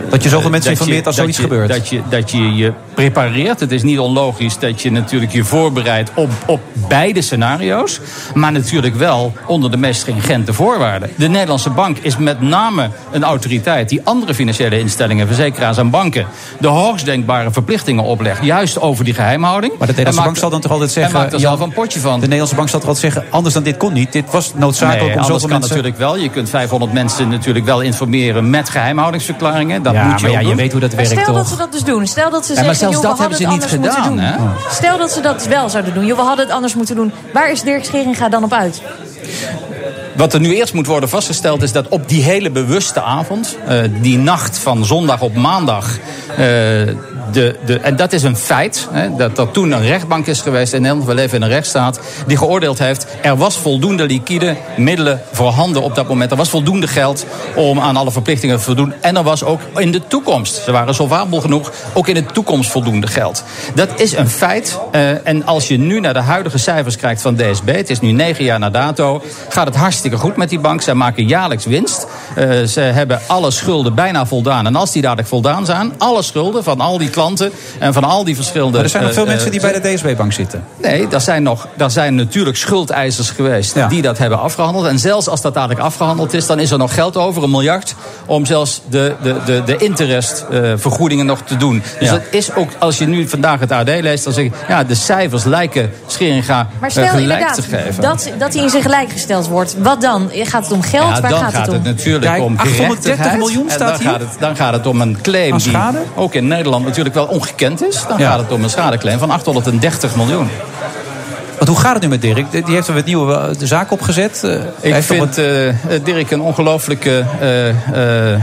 S9: Dat je zoveel mensen
S20: dat je-
S9: informeert als
S20: dat
S9: zoiets
S20: je-
S9: gebeurt.
S20: Dat je, dat je je prepareert. Het is niet onlogisch dat je natuurlijk je voorbereidt op, op beide scenario's. Maar natuurlijk wel onder de meest stringente voorwaarden. De Nederlandse bank is met name een autoriteit die andere financiële instellingen, verzekeraars en banken, de hoogst denkbare verplichtingen oplegt. Juist over die geheimhouding. Maar
S9: De Nederlandse bank zal dan toch altijd zeggen...
S20: En maakt er
S9: Jan,
S20: zelf een potje van.
S9: De Nederlandse bank zal toch altijd zeggen, anders dan dit kon niet. Dit was noodzakelijk
S20: Nee,
S9: om
S20: anders
S9: zoveel
S20: kan
S9: mensen...
S20: natuurlijk wel. Je kunt 500 mensen natuurlijk wel informeren met geheimhoudingsverklaringen. Dat
S9: Ja,
S20: moet je
S9: maar
S20: ook
S9: ja, je
S20: doen.
S9: weet hoe dat
S10: Maar stel dat ze dat dus doen. Stel dat
S20: Ja,
S10: ze
S20: maar
S10: zeggen,
S20: zelfs
S10: joh,
S20: dat
S10: we hadden
S20: hebben
S10: het
S20: ze niet
S10: anders moeten
S20: gedaan,
S10: doen. Stel dat ze dat wel zouden doen. Joh, we hadden het anders moeten doen. Waar is Dirk Scheringa dan op uit?
S20: Wat er nu eerst moet worden vastgesteld is dat op die hele bewuste avond, eh, die nacht van zondag op maandag, eh, de, de, en dat is een feit, hè, dat, dat toen een rechtbank is geweest in Nederland, we leven in een rechtsstaat, die geoordeeld heeft, er was voldoende liquide middelen voorhanden op dat moment. Er was voldoende geld om aan alle verplichtingen te voldoen. En er was ook in de toekomst, ze waren solvabel genoeg, ook in de toekomst voldoende geld. Dat is een feit. eh, en als je nu naar de huidige cijfers kijkt van DSB, het is nu negen jaar na dato, gaat het hartstikke goed met die bank. Zij maken jaarlijks winst. Eh, ze hebben alle schulden bijna voldaan. En als die dadelijk voldaan zijn, alle schulden van al die klanten en van al die verschillende.
S9: Maar er zijn nog
S20: eh,
S9: veel
S20: eh,
S9: mensen die bij de DSB-bank zitten.
S20: Nee, daar zijn, nog, daar zijn natuurlijk schuldeisers geweest die dat hebben afgehandeld. En zelfs als dat dadelijk afgehandeld is, dan is er nog geld over, een miljard, om zelfs de, de, de, de interestvergoedingen nog te doen. Dus dat is ook, als je nu vandaag het AD leest, dan zeg je, ja, de cijfers lijken Scheringa eh,
S10: Maar stel
S20: gelijk te
S10: inderdaad
S20: geven.
S10: dat, dat hij in zijn gelijk gesteld wordt. Wat dan? Gaat het om geld?
S20: ja,
S10: Waar
S20: dan
S10: gaat, het om?
S20: natuurlijk
S9: Kijk,
S20: om
S9: 830
S20: gerechtigheid.
S9: miljoen
S20: En
S9: staat
S20: dan
S9: hier.
S20: Gaat het, dan gaat het om een claim
S9: Aan
S20: die
S9: schade?
S20: ook in Nederland natuurlijk wel ongekend is. Dan
S9: Ja.
S20: gaat het om een schadeclaim van 830 miljoen.
S9: Want hoe gaat het nu met Dirk? Die heeft er het nieuwe eh, de zaak opgezet. eh, hij
S20: Ik
S9: heeft op
S20: vind eh, eh, Dirk een ongelooflijke eh, eh, eh,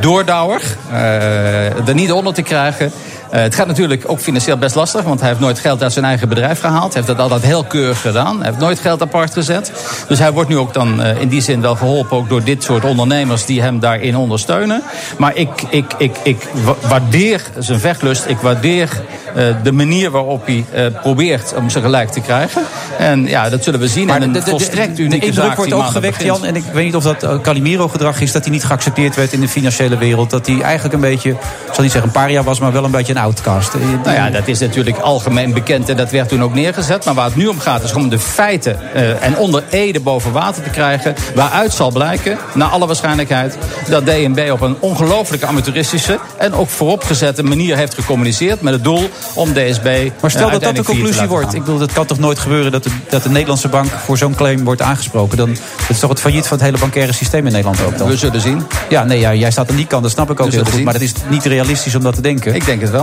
S20: doordouwer. Eh, er niet onder te krijgen. Eh, het gaat natuurlijk ook financieel best lastig, want hij heeft nooit geld uit zijn eigen bedrijf gehaald. Hij heeft dat altijd heel keurig gedaan. Hij heeft nooit geld apart gezet. Dus hij wordt nu ook dan eh, in die zin wel geholpen, ook door dit soort ondernemers die hem daarin ondersteunen. Maar ik, ik, ik, ik wa- waardeer zijn vechtlust. Ik waardeer eh, de manier waarop hij eh, probeert om zijn gelijk te krijgen. En ja, dat zullen we zien.
S9: Maar
S20: en een
S9: de- de- de-
S20: volstrekt
S9: de
S20: unieke
S9: indruk
S20: zaak
S9: wordt
S20: die
S9: ook
S20: maandag
S9: gewekt,
S20: begint.
S9: Jan. En ik weet niet of dat eh, Calimero-gedrag is... dat hij niet geaccepteerd werd in de financiële wereld. Dat hij eigenlijk een beetje, ik zal niet zeggen een paria was... maar wel een beetje een outcast?
S20: Nou ja, dat is natuurlijk algemeen bekend en dat werd toen ook neergezet. Maar waar het nu om gaat is om de feiten eh, en onder Ede boven water te krijgen. Waaruit zal blijken, naar alle waarschijnlijkheid, dat DNB op een ongelooflijke amateuristische en ook vooropgezette manier heeft gecommuniceerd. Met het doel om DSB.
S9: Maar stel
S20: eh,
S9: dat dat
S20: uiteindelijk
S9: de
S20: failliet te
S9: conclusie
S20: laten
S9: wordt.
S20: gaan.
S9: Ik bedoel, dat kan toch nooit gebeuren dat de, dat de Nederlandse bank voor zo'n claim wordt aangesproken? Dan dat is toch het failliet van het hele bankaire systeem in Nederland ook dan? We
S20: zullen zien.
S9: Ja, nee, ja, jij staat aan die kant, dat snap ik ook
S20: We
S9: heel
S20: zullen
S9: goed.
S20: zien.
S9: Maar dat is niet realistisch om dat te denken. Ik
S20: denk het wel.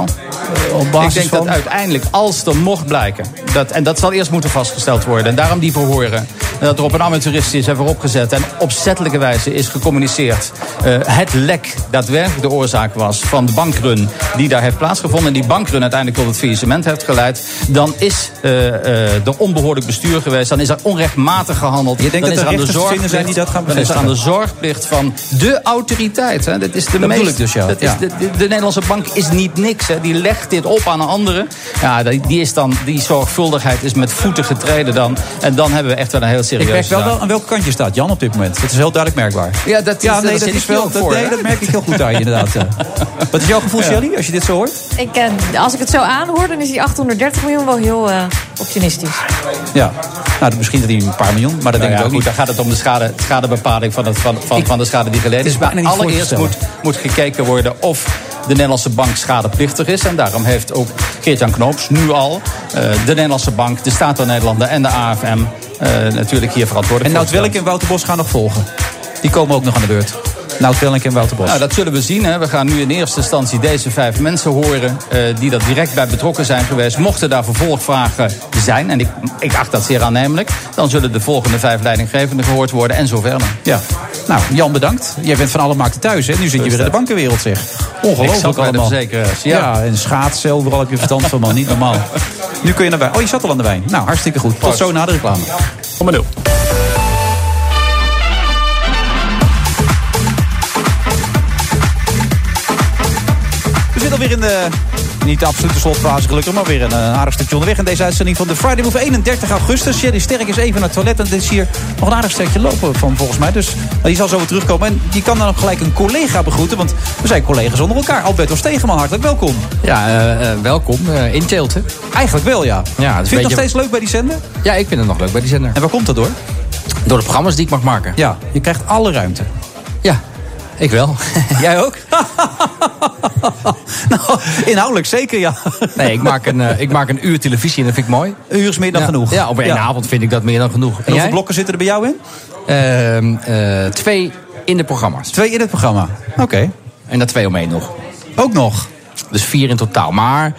S9: Op basis
S20: ik denk
S9: van...
S20: dat uiteindelijk, als er mocht blijken, dat, en dat zal eerst moeten vastgesteld worden, en daarom die verhoren, en dat er op een amateuristische en vooropgezet en opzettelijke wijze is gecommuniceerd, eh, het lek daadwerkelijk de oorzaak was van de bankrun die daar heeft plaatsgevonden, en die bankrun uiteindelijk tot het faillissement heeft geleid, dan is eh, eh, er onbehoorlijk bestuur geweest, dan is er onrechtmatig gehandeld.
S9: Je denkt
S20: dan
S9: dat
S20: is
S9: er
S20: aan de
S9: rechters te vinden zijn die dat gaan
S20: dan is er aan de
S9: bevestigen?
S20: zorgplicht van de autoriteit. Hè. Dat is de
S9: Dat bedoel
S20: meest,
S9: ik dus, ja.
S20: dat is
S9: Ja.
S20: de- de, de Nederlandse bank is niet niks. Hè. Die legt dit op aan een andere. Ja, die, die, is dan, die zorgvuldigheid is met voeten getreden dan. En dan hebben we echt wel een heel serieus. eh,
S9: Ik merk wel, wel aan welk kantje staat Jan op dit moment. Dat is heel duidelijk merkbaar.
S20: Ja, dat is,
S9: Ja, nee,
S20: daar
S9: dat
S20: zit
S9: is
S20: ik wel
S9: wel- dat-
S20: voor.
S9: nee,
S20: hè.
S9: dat merk ik heel
S20: (laughs)
S9: goed aan je inderdaad. ja. Wat is jouw gevoel,
S20: Ja.
S9: Shelly, als je dit zo hoort?
S10: Ik, eh, als ik het zo aanhoor, dan is die 830 miljoen wel heel eh, optimistisch.
S9: Ja, nou, misschien dat hij een paar miljoen, maar dat
S20: Nou
S9: denk
S20: ja,
S9: ik ook
S20: goed,
S9: niet.
S20: Dan gaat het om de schade, schadebepaling van, het, van, van, van de schade die geleden
S9: het
S20: is.
S9: is
S20: Maar
S9: bijna niet voor te
S20: allereerst
S9: stellen.
S20: moet, moet gekeken worden of de Nederlandse bank schadeplichtig is. En daarom heeft ook Geert-Jan Knoops nu al eh, de Nederlandse bank, de Staat van Nederlanden en de AFM eh, natuurlijk hier
S9: En nou
S20: verantwoordelijk
S9: Nout
S20: voor.
S9: Welling en Wouter Bos gaan nog volgen. Die komen ook nog aan de beurt. Nout Welling en Wouter Bos.
S20: Nou, dat zullen we zien. Hè. We gaan nu in eerste instantie deze vijf mensen horen eh, die daar direct bij betrokken zijn geweest. Mochten daar vervolgvragen zijn, en ik, ik acht dat zeer aannemelijk, dan zullen de volgende vijf leidinggevenden gehoord worden en zo verder.
S9: Ja. Nou, Jan, bedankt. Jij bent van alle markten thuis, hè? Nu zit je weer in de bankenwereld, zeg. Ongelooflijk
S20: Ik zat bij de
S9: allemaal.
S20: verzekeraars, ja.
S9: en schaatsen, overal heb je verstand van, man. Niet normaal. Nu kun je naar wijn. Oh, je zat al aan de wijn. Nou, hartstikke goed. Tot zo na de reclame. Kom maar We zitten alweer in de... Niet de absolute slotfase gelukkig, maar weer een eh, aardig stukje onderweg. In deze uitzending van de Friday Move 31 augustus. Sherry Sterk is even naar het toilet. En dit is hier nog een aardig stukje lopen van volgens mij. Dus eh, die zal zo weer terugkomen. En die kan dan ook gelijk een collega begroeten. Want we zijn collega's onder elkaar. Alberto Stegeman, hartelijk welkom.
S21: Ja, eh, eh, welkom. eh in Tilt, hè?
S9: Eigenlijk wel, ja.
S21: ja
S9: Vind je het nog steeds leuk bij die zender?
S21: Ja, ik vind het nog leuk bij die zender.
S9: En waar komt dat door?
S21: Door de programma's die ik mag maken.
S9: Ja, je krijgt alle ruimte.
S21: Ja, ik (laughs) wel.
S9: Jij ook? (laughs) nou, inhoudelijk zeker, ja.
S21: nee, ik maak, een, eh, ik maak een uur televisie en dat vind ik mooi.
S9: Een uur is meer dan
S21: Ja,
S9: genoeg.
S21: Ja, op één
S9: Ja.
S21: avond vind ik dat meer dan genoeg. En,
S9: hoeveel
S21: jij?
S9: blokken zitten er bij jou in?
S21: Ehm, eh, twee in de programma's.
S9: Twee in het programma, oké.
S21: En daar twee omheen nog.
S9: Ook nog?
S21: Dus vier in totaal. Maar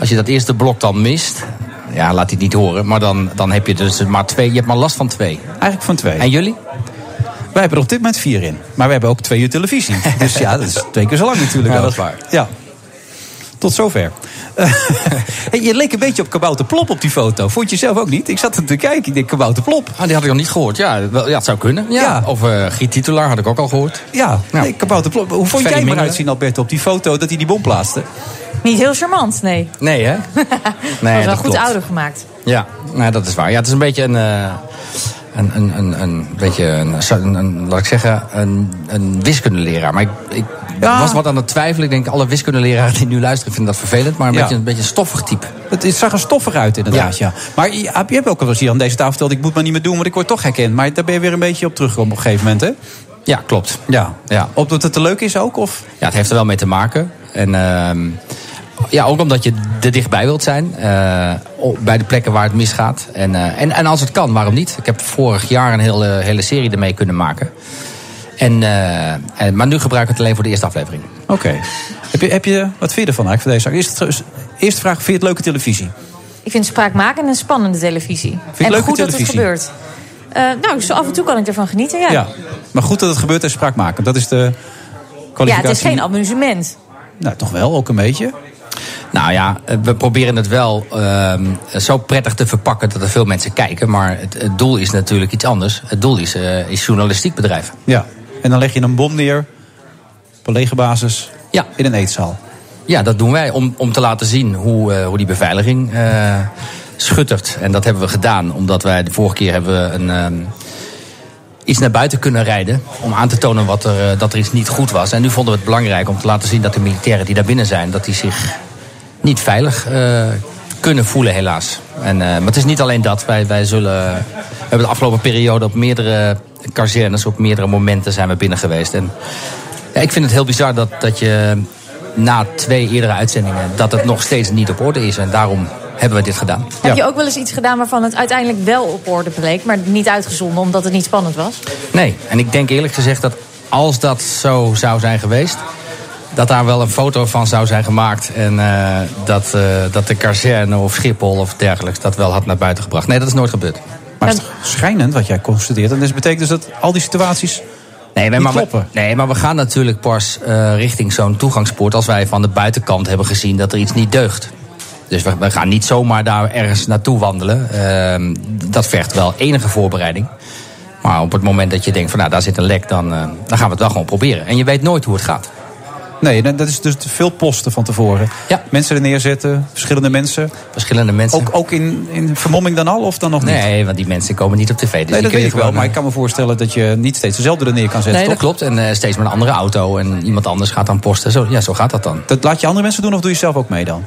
S21: als je dat eerste blok dan mist... Ja, laat die het niet horen. Maar dan, dan heb je dus maar twee. Je hebt maar last van twee.
S9: Eigenlijk van twee.
S21: En jullie?
S9: Wij hebben er op dit moment vier in. Maar we hebben ook twee uur
S21: (laughs)
S9: televisie. Dus ja, dat is twee keer zo lang natuurlijk.
S21: Ja,
S9: ook.
S21: dat is waar.
S9: Ja. Tot
S21: (laughs)
S9: zover. Eh, hey, je leek een beetje op Kabouter Plop op die foto. Vond je zelf ook niet? Ik zat er te kijken. Ik denk Kabouter Plop.
S21: Ah, die had ik nog niet gehoord. Ja, wel, ja het zou kunnen. Ja.
S9: Ja.
S21: Of eh Giet Titelaar had ik ook al gehoord.
S9: Ja, nee, Kabouter Plop. Hoe vond
S21: Ferry
S9: jij hem
S21: Mingelen.
S9: eruit zien, Albert, op die foto dat hij die bom plaatste?
S10: Niet heel charmant, nee.
S21: Nee,
S9: (laughs)
S21: hè?
S10: dat is wel
S21: dat
S10: goed
S21: klopt.
S10: ouder gemaakt.
S21: Ja, nou, dat is waar. Ja, het is een beetje een. eh, een, een, een, een beetje een, een, een- laat ik zeggen, een, een wiskundeleraar. Maar ik, ik was wat aan het twijfelen. Ik denk, alle wiskundeleraren die nu luisteren vinden dat vervelend. Maar een,
S9: Ja.
S21: beetje, een beetje een stoffig type.
S9: Het, het zag er stoffig uit, inderdaad. Ja. Maar je, heb- je hebt ook wel eens hier aan deze tafel verteld... ik moet maar niet meer doen, want ik word toch herkend. Maar daar ben je weer een beetje op teruggekomen op een gegeven moment, hè?
S21: Ja, klopt.
S9: Ja.
S21: Ja.
S9: Op dat het te leuk is ook, of?
S21: Ja, het heeft er wel mee te maken. En ehm, ja, ook omdat je er dichtbij wilt zijn. eh, op- bij de plekken waar het misgaat. En, eh, en, en als het kan, waarom niet? Ik heb vorig jaar een hele, hele serie ermee kunnen maken. En, eh, en, maar nu gebruik ik het alleen voor de eerste aflevering.
S9: Oké. Heb, je, heb je, wat vind je ervan eigenlijk, van deze zaak? Eerst, terug- eerste vraag, vind je het leuke televisie?
S10: Ik vind spraakmakend en spannende televisie.
S9: je
S10: en
S9: leuke
S10: goed
S9: televisie?
S10: dat het gebeurt. Eh, nou, zo af en toe kan ik ervan genieten, ja. Ja,
S9: Maar goed dat het gebeurt en spraakmakend. Dat is de kwalificatie.
S10: het is geen amusement.
S9: Nou, toch wel, ook een beetje.
S21: Nou ja, eh, we proberen het wel ehm, zo prettig te verpakken dat er veel mensen kijken. Maar het, het doel is natuurlijk iets anders. Het doel is, eh, is journalistiek bedrijven.
S9: Ja. En dan leg je een bom neer op een lege basis
S21: Ja.
S9: in een eetzaal.
S21: Ja, dat doen wij om, om te laten zien hoe, eh, hoe die beveiliging eh, schuttert. En dat hebben we gedaan omdat wij de vorige keer hebben we een, ehm, iets naar buiten kunnen rijden. Om aan te tonen wat er, eh, dat er iets niet goed was. En nu vonden we het belangrijk om te laten zien dat de militairen die daar binnen zijn... dat die zich niet veilig eh, kunnen voelen, helaas. En, eh, maar het is niet alleen dat. Wij, wij zullen, we hebben de afgelopen periode op meerdere kazernes, op meerdere momenten zijn we binnen geweest. En ja, ik vind het heel bizar dat, dat je na twee eerdere uitzendingen... dat het nog steeds niet op orde is. En daarom hebben we dit gedaan.
S10: Heb je ook wel eens iets gedaan waarvan het uiteindelijk wel op orde bleek, maar niet uitgezonden omdat het niet spannend was?
S21: Nee, en ik denk eerlijk gezegd dat als dat zo zou zijn geweest... dat daar wel een foto van zou zijn gemaakt... en eh, dat, eh, dat de kazerne of Schiphol of dergelijks dat wel had naar buiten gebracht. Nee, dat is nooit gebeurd.
S9: Maar het is toch schrijnend wat jij constateert. En dus betekent dus dat al die situaties
S21: Nee,
S9: niet
S21: maar, we,
S9: kloppen.
S21: nee, maar we gaan natuurlijk pas eh, richting zo'n toegangspoort... als wij van de buitenkant hebben gezien dat er iets niet deugt. Dus we, we gaan niet zomaar daar ergens naartoe wandelen. Ehm, dat vergt wel enige voorbereiding. Maar op het moment dat je denkt van nou, daar zit een lek... Dan, eh, dan gaan we het wel gewoon proberen. En je weet nooit hoe het gaat.
S9: Nee, dat dat is dus te veel posten van tevoren. Mensen er neerzetten, verschillende mensen.
S21: Verschillende mensen.
S9: Ook, ook in, in vermomming dan al of dan nog niet?
S21: Nee, want die mensen komen niet op tv. Dus
S9: nee, dat
S21: kun je
S9: weet ik wel.
S21: gewoon,
S9: Maar
S21: eh,
S9: ik kan me voorstellen dat je niet steeds dezelfde er neer kan zetten.
S21: Nee, dat
S9: toch?
S21: klopt. En eh, steeds met een andere auto. En iemand anders gaat dan posten. Zo, ja, zo gaat dat dan.
S9: Dat laat je andere mensen doen of doe je zelf ook mee dan?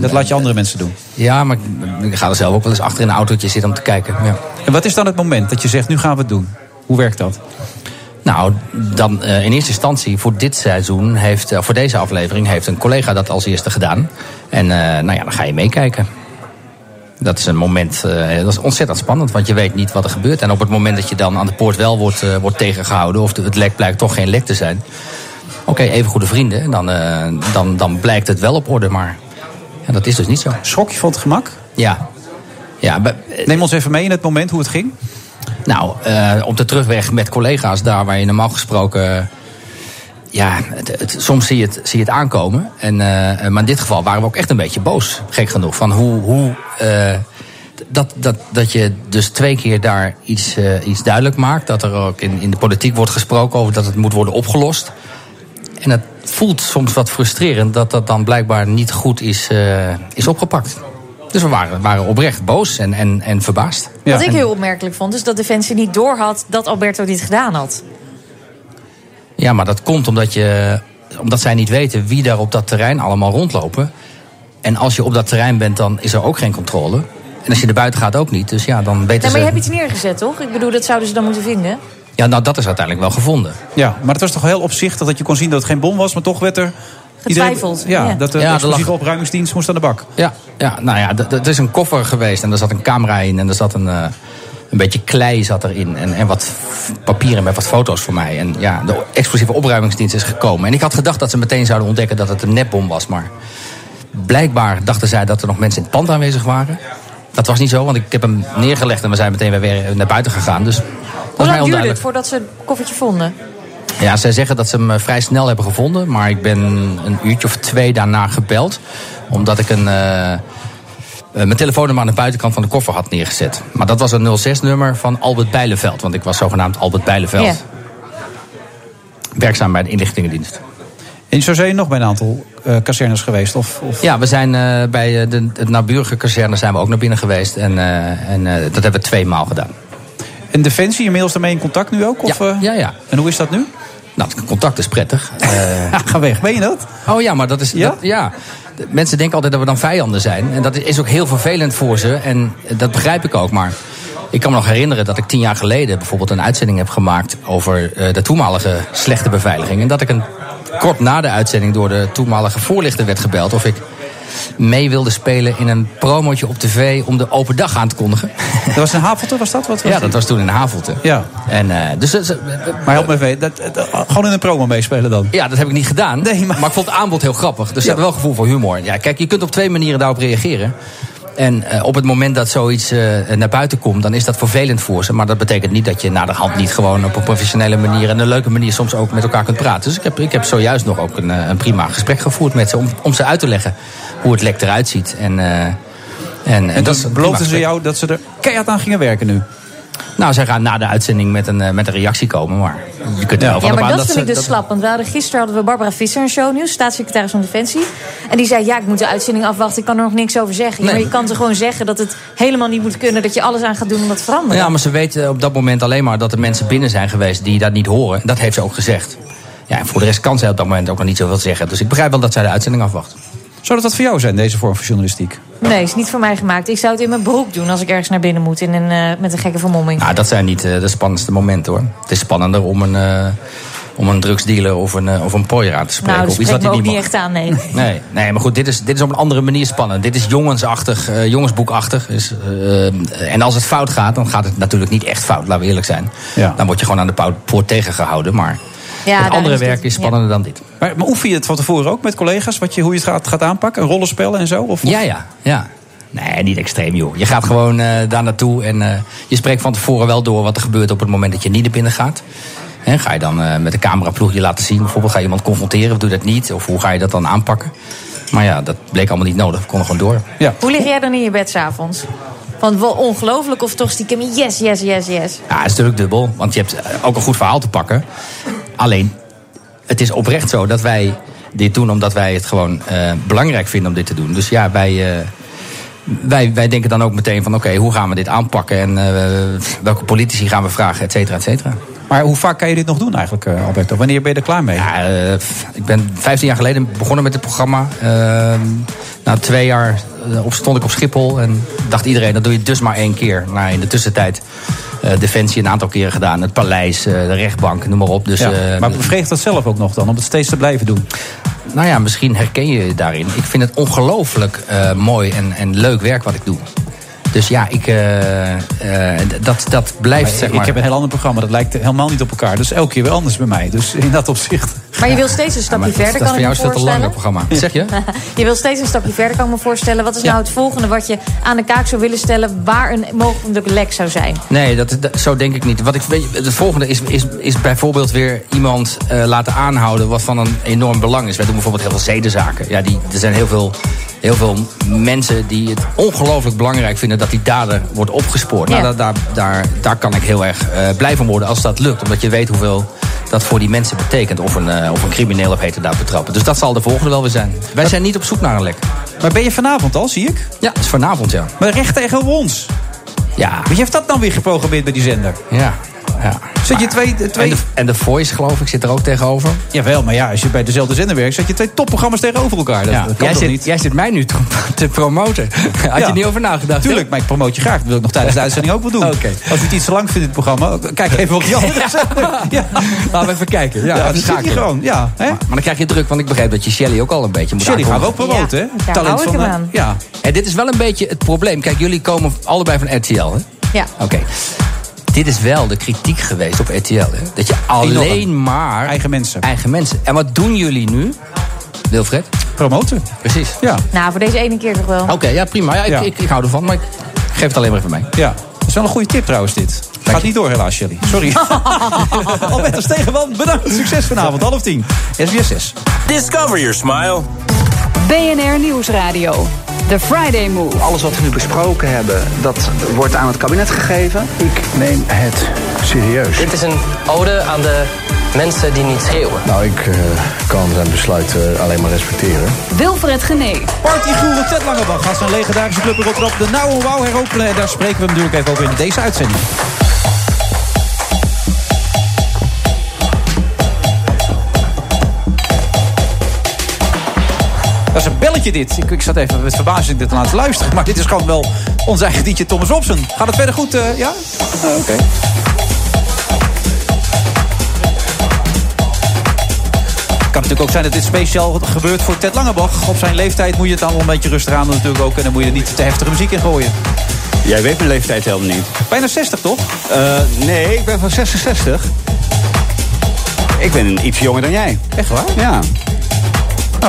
S9: dat laat je andere mensen doen.
S21: Ehm, Ja, maar ik- ik ga er zelf ook wel eens achter in een autootje zitten om te kijken. Ja.
S9: En wat is dan het moment dat je zegt, nu gaan we het doen? Hoe werkt dat?
S21: Nou, dan eh, in eerste instantie voor dit seizoen, heeft, eh, voor deze aflevering, heeft een collega dat als eerste gedaan. En eh, nou ja, dan ga je meekijken. Dat is een moment, eh, dat is ontzettend spannend, want je weet niet wat er gebeurt. En op het moment dat je dan aan de poort wel wordt, eh, wordt tegengehouden, of de- het lek blijkt toch geen lek te zijn. Oké, even goede vrienden, en dan, eh, dan, dan blijkt het wel op orde, maar ja, dat is dus niet zo.
S9: Schok je van het gemak?
S21: Ja. ja
S9: Neem ons even mee in het moment hoe het ging.
S21: Nou, eh, op de terugweg met collega's daar waar je normaal gesproken. eh, ja, het, het- soms zie je het, zie je het aankomen. En, eh, maar in dit geval waren we ook echt een beetje boos, gek genoeg. Van hoe. hoe eh, dat, dat, dat je dus twee keer daar iets, eh, iets duidelijk maakt. Dat er ook in, in de politiek wordt gesproken over dat het moet worden opgelost. En het voelt soms wat frustrerend dat dat dan blijkbaar niet goed is, eh, is opgepakt. Dus we waren, waren oprecht boos en, en, en verbaasd.
S10: Wat ik heel opmerkelijk vond, is dat Defensie niet doorhad dat Alberto dit gedaan had.
S21: Ja, maar dat komt omdat, je, omdat zij niet weten wie daar op dat terrein allemaal rondlopen. En als je op dat terrein bent, dan is er ook geen controle. En als je er buiten gaat ook niet. Dus ja, dan weten
S10: Nee,
S21: ze...
S10: maar je hebt iets neergezet, toch? Ik bedoel, dat zouden ze dan moeten vinden.
S21: Ja, nou, dat is uiteindelijk wel gevonden.
S9: Ja, maar het was toch heel opzichtig dat je kon zien dat het geen bom was, maar toch werd er.
S21: Getwijfeld,
S9: Iedereen, ja,
S21: ja.
S9: dat de
S21: Ja, er
S9: explosieve
S21: lag-
S9: opruimingsdienst moest aan de bak.
S21: Ja, ja nou ja, d- d- het is een koffer geweest en er zat een camera in en er zat een, eh, een beetje klei zat erin en, en wat f- papieren met wat foto's voor mij. En ja, de explosieve opruimingsdienst is gekomen. En ik had gedacht dat ze meteen zouden ontdekken dat het een nepbom was, maar blijkbaar dachten zij dat er nog mensen in het pand aanwezig waren. Dat was niet zo, want ik heb hem neergelegd en we zijn meteen weer- weer naar buiten gegaan. Dus dat
S10: Hoe
S21: is mij
S10: lang duurde
S21: onduidelijk.
S10: het voordat ze het koffertje vonden?
S21: Ja, zij zeggen dat ze hem eh, vrij snel hebben gevonden. Maar ik ben een uurtje of twee daarna gebeld. Omdat ik een, eh, eh, mijn telefoonnummer aan de buitenkant van de koffer had neergezet. Maar dat was een 06-nummer van Albert Bijleveld. Want ik was zogenaamd Albert Bijleveld.
S10: Ja.
S21: Werkzaam bij de inlichtingendienst.
S9: En zo zijn je nog bij een aantal eh kazernes geweest. Of, of...
S21: Ja, we zijn eh, bij eh, de, het naburige kazerne zijn we ook naar binnen geweest. En, eh, en eh, dat hebben we twee maal gedaan.
S9: En Defensie, inmiddels daarmee in contact nu ook? Of, ja.
S21: ja, ja.
S9: En hoe is dat nu?
S21: Nou, het contact is
S9: (laughs)
S21: prettig. Eh,
S9: Ga weg, weet je dat?
S21: Oh ja, maar dat is...
S9: Ja?
S21: dat- ja. De- Mensen denken altijd dat we dan vijanden zijn. En dat is ook heel vervelend voor ze. En eh, dat begrijp ik ook, maar... Ik kan me nog herinneren dat ik tien jaar geleden bijvoorbeeld een uitzending heb gemaakt over eh, de toenmalige slechte beveiliging. En dat ik een kort na de uitzending door de toenmalige voorlichter werd gebeld of ik mee wilde spelen in een promotje op tv om de open dag aan te kondigen.
S9: Dat was in Havelte, was dat? Wat was
S21: ja,
S9: die?
S21: dat was toen in Havelte.
S9: Ja.
S21: En, eh, dus, dat is-
S9: Maar help me even, dat, dat- eh, gewoon in een promo meespelen dan?
S21: Ja, dat heb ik niet gedaan. maar... ik vond het aanbod heel grappig. Dus ik had wel gevoel voor humor. Ja, kijk, je kunt op twee manieren daarop reageren. En eh, op het moment dat zoiets eh, naar buiten komt, dan is dat vervelend voor ze. Maar dat betekent niet dat je na de hand niet gewoon op een professionele manier en een leuke manier soms ook met elkaar kunt praten. Dus ik heb, ik heb zojuist nog ook een, eh, een prima gesprek gevoerd met ze om, om ze uit te leggen hoe het lek eruit ziet. En, eh, en, en
S9: En
S21: dat is
S9: dan
S21: een prima
S9: beloofden ze
S21: gesprek.
S9: jou dat ze er keihard aan gingen werken nu.
S21: Nou, zij gaan na de uitzending met een, eh, met een reactie komen. Maar je kunt er wel van
S10: Ja,
S21: op
S10: maar
S21: aan
S10: dat vind
S21: ze-
S10: ik dus slap. Want we hadden, gisteren hadden we Barbara Visser een shownieuws, staatssecretaris van Defensie. En die zei, ja, ik moet de uitzending afwachten, ik kan er nog niks over zeggen. Ja,
S21: Nee.
S10: maar je kan ze gewoon zeggen dat het helemaal niet moet kunnen... dat je alles aan gaat doen om dat te veranderen.
S21: Ja, maar ze weten op dat moment alleen maar dat er mensen binnen zijn geweest die dat niet horen. Dat heeft ze ook gezegd. Ja, en voor de rest kan zij op dat moment ook nog niet zoveel zeggen. Dus ik begrijp wel dat zij de uitzending afwacht.
S9: Zou dat wat voor jou zijn, deze vorm van journalistiek?
S10: Nee, is niet voor mij gemaakt. Ik zou het in mijn broek doen als ik ergens naar binnen moet in een, eh, met een gekke vermomming.
S21: Nou, dat zijn niet eh, de spannendste momenten hoor. Het is spannender om een, eh, om een drugsdealer of een, eh, of een pooier aan te spreken.
S10: nou, dat
S21: of iets
S10: spreekt
S21: wat
S10: me
S21: hij
S10: ook
S21: niet
S10: niet
S21: mag.
S10: echt aan, nee. (laughs)
S21: Nee, nee, maar goed, dit is, dit is op een andere manier spannend. Dit is jongensachtig, eh, jongensboekachtig. Dus, eh, en als het fout gaat, dan gaat het natuurlijk niet echt fout, laten we eerlijk zijn. Dan word je gewoon aan de pou- poort tegengehouden. Maar
S10: Ja,
S21: het
S10: daar
S21: andere
S10: is het-
S21: werk is spannender dan dit.
S9: Maar, maar oefen je het van tevoren ook met collega's? Wat je, hoe je het gaat, gaat aanpakken? Rollenspellen en zo? Of,
S21: Ja, ja, ja. Nee, niet extreem, joh. Je gaat gewoon eh, daar naartoe en eh, je spreekt van tevoren wel door wat er gebeurt op het moment dat je niet naar binnen gaat. Hè, ga je dan eh, met de cameraploeg je laten zien? Bijvoorbeeld ga je iemand confronteren of doe je dat niet? Of hoe ga je dat dan aanpakken? Maar ja, dat bleek allemaal niet nodig. We konden gewoon door.
S9: Ja.
S10: Hoe lig jij dan in je bed s'avonds? Want wel ongelooflijk of toch stiekem yes, yes, yes, yes.
S21: Ja, het is natuurlijk dubbel, want je hebt eh, ook een goed verhaal te pakken. Alleen, het is oprecht zo dat wij dit doen omdat wij het gewoon eh, belangrijk vinden om dit te doen. Dus ja, wij, eh, wij, wij denken dan ook meteen van oké, hoe gaan we dit aanpakken en eh, welke politici gaan we vragen, et cetera, et cetera.
S9: Maar hoe vaak kan je dit nog doen eigenlijk, eh, Alberto? Wanneer ben je er klaar mee?
S21: Ja, eh, f- ik ben 15 jaar geleden begonnen met het programma. Ehm, na twee jaar eh, op, stond ik op Schiphol en dacht iedereen, dat doe je dus maar één keer. Nou, in de tussentijd eh, Defensie een aantal keren gedaan, het paleis, eh, de rechtbank, noem maar op. Dus,
S9: Ja,
S21: eh,
S9: maar bevreegt dat zelf ook nog dan, om het steeds te blijven doen?
S21: nou ja, misschien herken je je daarin. Ik vind het ongelooflijk eh, mooi en, en leuk werk wat ik doe. Dus ja, ik, eh, eh, d- dat, dat blijft
S9: Maar
S21: zeg
S9: ik-
S21: maar...
S9: Ik heb een heel ander programma, dat lijkt helemaal niet op elkaar. Dus elke keer weer anders bij mij. Dus in dat opzicht.
S10: Maar je wil steeds een stapje verder, kan ik me voorstellen.
S21: programma. Zeg je?
S10: (laughs) Je wil steeds een stapje verder, kan ik me voorstellen. Wat is nou het volgende wat je aan de kaak zou willen stellen... waar een mogelijk lek zou zijn?
S21: Nee, dat, dat- zo denk ik niet. Wat ik, weet je, het volgende is, is, is bijvoorbeeld weer iemand eh, laten aanhouden wat van een enorm belang is. Wij doen bijvoorbeeld heel veel zedenzaken. Ja, die, er zijn heel veel, heel veel mensen die het ongelooflijk belangrijk vinden dat die dader wordt opgespoord.
S1: Ja.
S21: Nou, daar, daar, daar, daar kan ik heel erg eh, blij van worden als dat lukt. Omdat je weet hoeveel dat voor die mensen betekent. Of een, eh, of een crimineel op heterdaad betrappen. Dus dat zal de volgende wel weer zijn. Wij zijn niet op zoek naar een lek.
S9: Maar ben je vanavond al, zie ik?
S21: Ja, het is vanavond, ja.
S9: Maar recht tegen ons.
S21: Ja.
S9: Wie heeft dat dan weer geprogrammeerd bij die zender?
S21: Ja. ja.
S9: Zet je twee...
S21: En,
S9: twee...
S21: de, en de Voice, geloof ik, zit er ook tegenover.
S9: Jawel, maar ja, als je bij dezelfde zender werkt... zet je twee topprogramma's tegenover elkaar. Dat,
S21: Ja.
S9: dat kan
S21: Jij
S9: toch
S21: zit-
S9: niet?
S21: jij zit mij nu te, (laughs) promoten. Had je niet over nagedacht?
S9: Tuurlijk, maar ik promoot je graag. Dat wil ik nog tijdens de uitzending ook wel doen. Als je het iets te lang vindt, dit programma... Kijk even
S21: (laughs)
S9: op die andere zender. Ja.
S21: Laten we even kijken.
S9: Ja, dat zit je gewoon. Ja, hè?
S21: Maar, maar dan krijg je druk, want ik begrijp dat je Shelly ook al een beetje moet
S9: Shelly gaan we ook
S21: aankondigen.
S9: promoten, hè? Ja, daar Talent hou ik van, hem eh, aan. ja.
S21: En dit is wel een beetje het probleem. Kijk, jullie komen allebei van RTL, hè?
S10: (laughs) Ja.
S21: Oké. Dit is wel de kritiek geweest op RTL. Hè? Dat je alleen maar... Eigen
S9: mensen.
S21: Eigen mensen. En wat doen jullie nu, Wilfred?
S9: Promoten.
S21: Precies.
S9: Ja.
S10: Nou, voor deze ene keer toch wel.
S21: Oké, ja prima. Ja, ik,
S9: Ja.
S21: Ik, ik hou ervan, maar ik geef het alleen maar even mee.
S9: Ja, dat is wel een goede tip trouwens dit. Gaat niet door helaas, Shelly.
S21: (laughs)
S9: Sorry. Albertus Stegenman, bedankt. Succes vanavond, half tien. SBS 6.
S3: Discover your smile.
S4: BNR Nieuwsradio. The Friday Move.
S5: Alles wat we nu besproken hebben, dat wordt aan het kabinet gegeven. Ik neem het serieus.
S7: Dit is een ode aan de mensen die niet schreeuwen.
S8: Nou, ik eh, kan zijn besluit eh, alleen maar respecteren.
S4: Wilfred Genee.
S9: Partygoeren Ted Langebach gaat zijn legendarische club in Rotterdam de Nouwe Wouw heropenen. En daar spreken we hem natuurlijk even over in deze uitzending. Dat is een belletje dit. Ik, ik zat even met verbazing dit aan het luisteren. Maar dit is gewoon wel ons eigen DJ Thomas Robson. Gaat het verder goed, eh, ja? Oh, Oké. kan natuurlijk ook zijn dat dit speciaal gebeurt voor Ted Langebach. Op zijn leeftijd moet je het allemaal een beetje rustig aan doen natuurlijk ook. En dan moet je er niet te heftige muziek in gooien.
S22: Jij weet mijn leeftijd helemaal niet.
S9: Bijna 60, toch?
S22: Eh, nee, ik ben van 66. Ik ben iets jonger dan jij.
S9: Echt waar?
S22: Ja.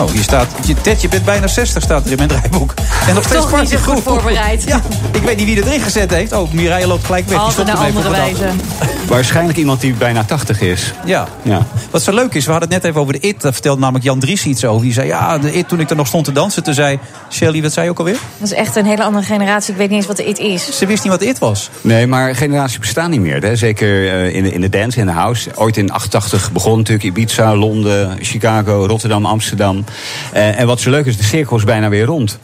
S9: Oh, je staat... Je, Ted, je bent bijna 60, staat er in mijn draaiboek. En nog steeds
S10: Toch niet zo
S9: partygroep. (laughs)
S10: goed voorbereid.
S9: Ja, ik weet niet wie erin gezet heeft. Oh, Mireille loopt gelijk weg. Die
S10: Altijd
S9: stopt
S10: naar
S9: hem even
S10: andere
S9: op het
S10: wijze.
S9: af-
S22: Waarschijnlijk iemand die bijna 80 is.
S9: Ja.
S22: Ja.
S9: Wat zo leuk is, we hadden het net even over de IT. Daar vertelde namelijk Jan Dries iets over. Die zei, ja, de IT toen ik er nog stond te dansen. Toen zei Shelly, wat zei je ook alweer?
S10: Dat is echt een hele andere generatie. Ik weet niet eens wat het is.
S9: Ze wist niet wat IT was.
S22: Nee, maar generaties bestaan niet meer. Hè? Zeker eh, in, de, in de dance, in de house. Ooit in 88 begon natuurlijk Ibiza, Londen, Chicago, Rotterdam, Amsterdam. Eh, en wat zo leuk is, de cirkel is bijna weer rond. Eh,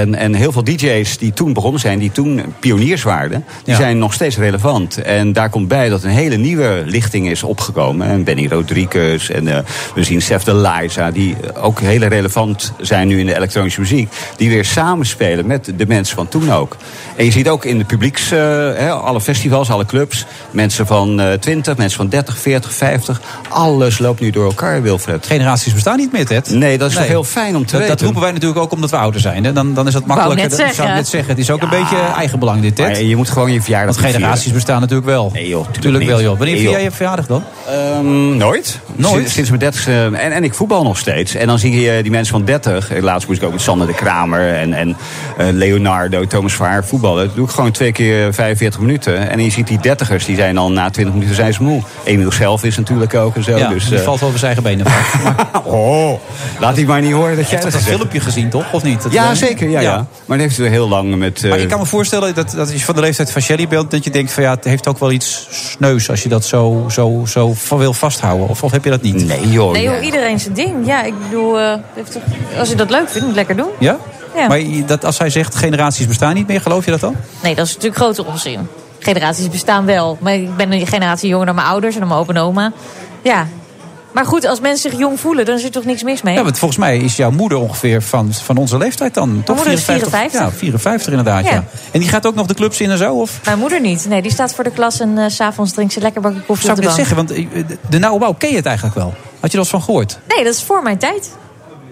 S22: En, en heel veel DJ's die toen begonnen zijn, die toen pioniers waren, die
S1: Ja.
S22: zijn nog steeds relevant. En daar komt bij dat een hele nieuwe lichting is opgekomen. En Benny Rodriguez en eh, we zien Seth de Liza, die eh, ook heel relevant zijn nu in de elektronische muziek. Die weer samenspelen met de mensen van toen ook. En je ziet ook in de publieks, eh, hè, alle festivals, alle clubs, mensen van eh 20, mensen van 30, 40, 50. Alles loopt nu door elkaar, Wilfred.
S9: Generaties bestaan niet meer, Ted.
S22: Nee, dat is
S9: Nee.
S22: toch heel fijn om te
S9: dat,
S22: weten.
S9: Dat roepen wij natuurlijk ook omdat we ouder zijn. Hè? Dan, dan is dat
S22: Wou
S9: makkelijker.
S22: net
S9: Dat zou ik
S22: zeggen.
S9: net zeggen. Het is ook een beetje eigenbelang dit, Ted.
S22: Maar je moet gewoon je verjaardag
S9: Want generaties
S22: vieren.
S9: bestaan natuurlijk wel.
S22: Nee joh, tuurlijk,
S9: Natuurlijk wel, joh. Wanneer
S22: vind
S9: vier jij je verjaardag dan?
S22: Ehm, nooit.
S9: Nooit?
S22: Sinds, sinds mijn dertigste. En, en ik voetbal nog steeds. En dan zie je die mensen van 30. Eh, Laatst moest ik ook met Sander de Kramer en, en eh, Leonardo, Thomas Vaar voetballen. Dat doe ik gewoon twee keer 45 minuten. En je ziet die dertigers, die zijn al na 20 minuten zijn ze moe. Emil zelf is natuurlijk ook en zo.
S9: ja,
S22: dus,
S9: die
S22: eh,
S9: valt wel over zijn eigen benen.
S22: (laughs) oh, laat die maar niet horen dat
S9: jij
S22: dat
S9: dat
S22: gezegd
S9: filmpje gezien, toch? Of niet? Dat
S22: ja,
S9: wel-
S22: zeker. Ja, ja. Maar dat heeft er heel lang met... eh,
S9: Maar ik kan me voorstellen dat, dat als je van de leeftijd van Shelly bent... dat je denkt van ja, het heeft ook wel iets sneus... als je dat zo, zo, zo van wil vasthouden. Of, of heb je dat niet?
S22: Nee joh.
S10: Nee, joh, iedereen zijn ding. Ja, ik bedoel, eh, heeft toch- als je dat leuk vindt, moet je het lekker doen.
S9: Ja?
S10: Ja.
S9: Maar je- dat, als zij zegt generaties bestaan niet meer, geloof je dat dan?
S10: Nee, dat is natuurlijk grote onzin. Generaties bestaan wel. Maar ik ben een generatie jonger dan mijn ouders en dan mijn opa en oma. Ja. Maar goed, als mensen zich jong voelen, dan is er toch niks mis mee?
S9: Ja, want volgens mij is jouw moeder ongeveer van, van onze leeftijd dan. Toch
S10: moeder is 54.
S9: Ja, 54 inderdaad, ja.
S10: Ja.
S9: En die gaat ook nog de clubs in en zo? Of?
S10: Mijn moeder niet. Nee, die staat voor de klas en eh, s s'avonds drinkt ze lekker bakje koffie
S9: Zou ik
S10: op de
S9: net
S10: bank.
S9: zeggen, want eh, de- de nauwe bouw ken je het eigenlijk wel. Had je er eens van gehoord?
S10: Nee, dat is voor mijn tijd.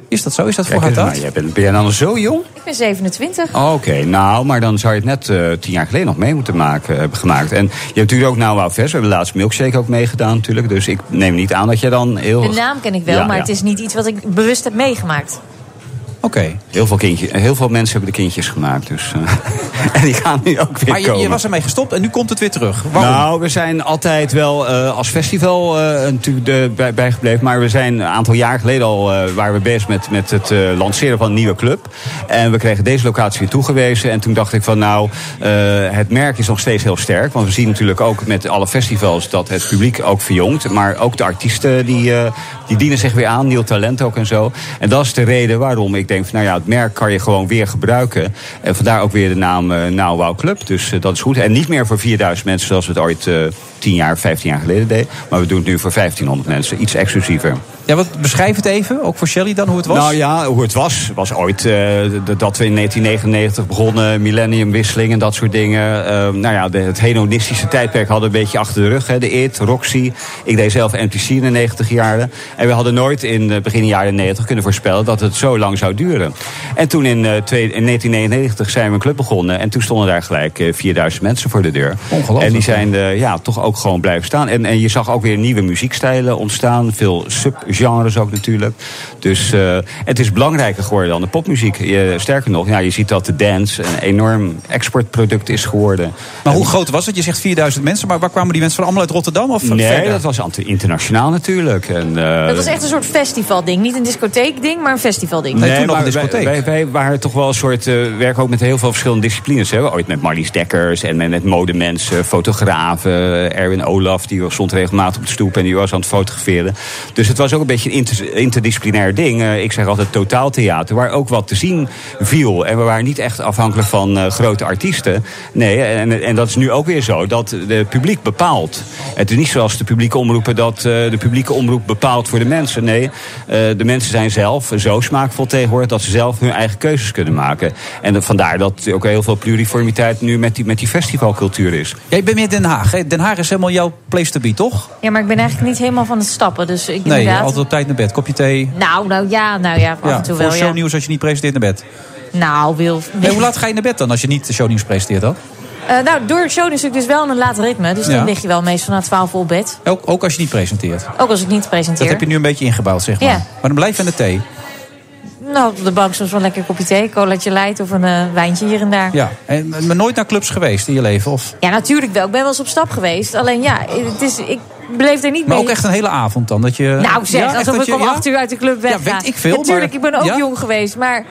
S9: Is dat zo? Is dat voor
S22: Kijk,
S9: haar
S22: nou,
S9: tijd?
S22: jij bent, ben jij dan zo jong?
S10: Ik ben 27.
S9: Oh,
S22: Oké, nou, maar dan zou je het net eh, tien jaar geleden nog mee moeten maken, hebben gemaakt. En je hebt natuurlijk ook Nou Wauw Vers. We hebben laatst Milkshake ook meegedaan natuurlijk. Dus ik neem niet aan dat jij dan heel...
S10: De naam ken ik wel,
S22: Ja,
S10: maar
S22: ja.
S10: het is niet iets wat ik bewust heb meegemaakt.
S9: Oké.
S22: Heel, veel kindje- heel veel mensen hebben de kindjes gemaakt. Dus, eh, (laughs) en die gaan nu ook weer
S9: Maar je,
S22: komen.
S9: je was ermee gestopt en nu komt het weer terug. Waarom?
S22: Nou, we zijn altijd wel eh, als festival eh, natuurlijk de, bij, bijgebleven. Maar we zijn een aantal jaar geleden al eh, waren we bezig met, met het eh, lanceren van een nieuwe club. En we kregen deze locatie weer toegewezen. En toen dacht ik van nou, eh, het merk is nog steeds heel sterk. Want we zien natuurlijk ook met alle festivals dat het publiek ook verjongt. Maar ook de artiesten die, eh, die dienen zich weer aan. Nieuw talent ook en zo. En dat is de reden waarom ik denk van nou ja, het merk kan je gewoon weer gebruiken. En vandaar ook weer de naam eh Nou Wow Club. Dus eh, dat is goed. En niet meer voor 4000 mensen zoals we het ooit eh 10 jaar, 15 jaar geleden deden. Maar we doen het nu voor 1500 mensen. Iets exclusiever.
S9: Ja, wat, beschrijf het even, ook voor Shelly dan, hoe het was.
S22: Nou ja, hoe het was. was ooit eh, d- dat we in 1999 begonnen, millenniumwisseling en dat soort dingen. Eh, nou ja, de- het hedonistische tijdperk hadden we een beetje achter de rug. Hè. De IT, Roxy. Ik deed zelf MTC in de 90 jaren. En we hadden nooit in eh, begin jaren 90 kunnen voorspellen dat het zo lang zou duren. En toen in, eh, twee- in 1999 zijn we een club begonnen. En toen stonden daar gelijk eh, 4000 mensen voor de deur.
S9: Ongelooflijk.
S22: En die zijn eh, ja, toch ook gewoon blijven staan. En, en je zag ook weer nieuwe muziekstijlen ontstaan. Veel subgenres ook natuurlijk. Dus eh, het is belangrijker geworden dan de popmuziek. Je- sterker nog, ja, je ziet dat de dance een enorm exportproduct is geworden.
S9: Maar hoe groot was het? Je zegt 4000 mensen, maar waar kwamen die mensen van? Allemaal uit Rotterdam of van
S22: nee,
S9: verder?
S22: dat was ant- internationaal natuurlijk. En, eh,
S10: Dat was echt een soort festivalding. Niet een discotheekding, maar een festivalding.
S22: maar wij- Wij, wij waren toch wel een soort eh, werken ook met heel veel verschillende disciplines. Hè. Ooit met Marlies Dekkers en met, met modemensen, fotografen. Erwin Olaf, die stond regelmatig op de stoep en die was aan het fotograferen. Dus het was ook een beetje een inter- interdisciplinair ding. Eh, ik zeg altijd totaaltheater, waar ook wat te zien viel. En we waren niet echt afhankelijk van eh, grote artiesten. Nee, en, en dat is nu ook weer zo, dat het publiek bepaalt. Het is niet zoals de publieke omroepen dat eh, de publieke omroep bepaalt voor de mensen. Nee, eh, de mensen zijn zelf zo smaakvol tegenwoordig dat ze zelf hun eigen keuzes kunnen maken. En dat- vandaar dat ook heel veel pluriformiteit nu met die, met die festivalcultuur is.
S9: Jij bent meer Den Haag. hè? Den Haag is helemaal jouw place to be, toch?
S10: Ja, maar ik ben eigenlijk niet helemaal van het stappen. Dus ik
S9: Nee,
S10: inderdaad...
S9: altijd op tijd naar bed. Kopje thee.
S10: Nou, nou ja, nou ja, af
S9: Ja,
S10: en toe
S9: voor
S10: wel, ja.
S9: shownieuws als je niet presenteert naar bed.
S10: Nou, wil...
S9: Nee, hoe laat ga je naar bed dan als je niet de shownieuws presenteert dan?
S10: Eh, nou, door shownieuws is natuurlijk dus wel een laat ritme. Dus
S9: Ja.
S10: dan lig je wel meestal na 12 op bed.
S9: Ook, ook als je niet presenteert.
S10: Ook als ik niet
S9: Dat
S10: presenteer.
S9: heb je nu een beetje ingebouwd, zeg maar.
S10: Ja.
S9: Maar dan blijf je aan de thee.
S10: Nou, op de bank soms wel een lekker kopje thee, colaatje light of een eh, wijntje hier en daar.
S9: Ja. En, maar nooit naar clubs geweest in je leven? Of?
S10: Ja, natuurlijk wel. Ik ben wel eens op stap geweest. Alleen ja, het is, ik beleef er niet
S9: Maar
S10: mee.
S9: ook echt een hele avond dan? Dat je,
S10: Nou
S9: Eh,
S10: zeg,
S9: Ja, echt
S10: alsof
S9: dat
S10: ik
S9: je-
S10: om
S9: ja?
S10: acht uur uit de club weg
S9: Ja, weet ik veel,
S10: Natuurlijk,
S9: maar-
S10: ik ben ook
S9: Ja?
S10: jong geweest. Maar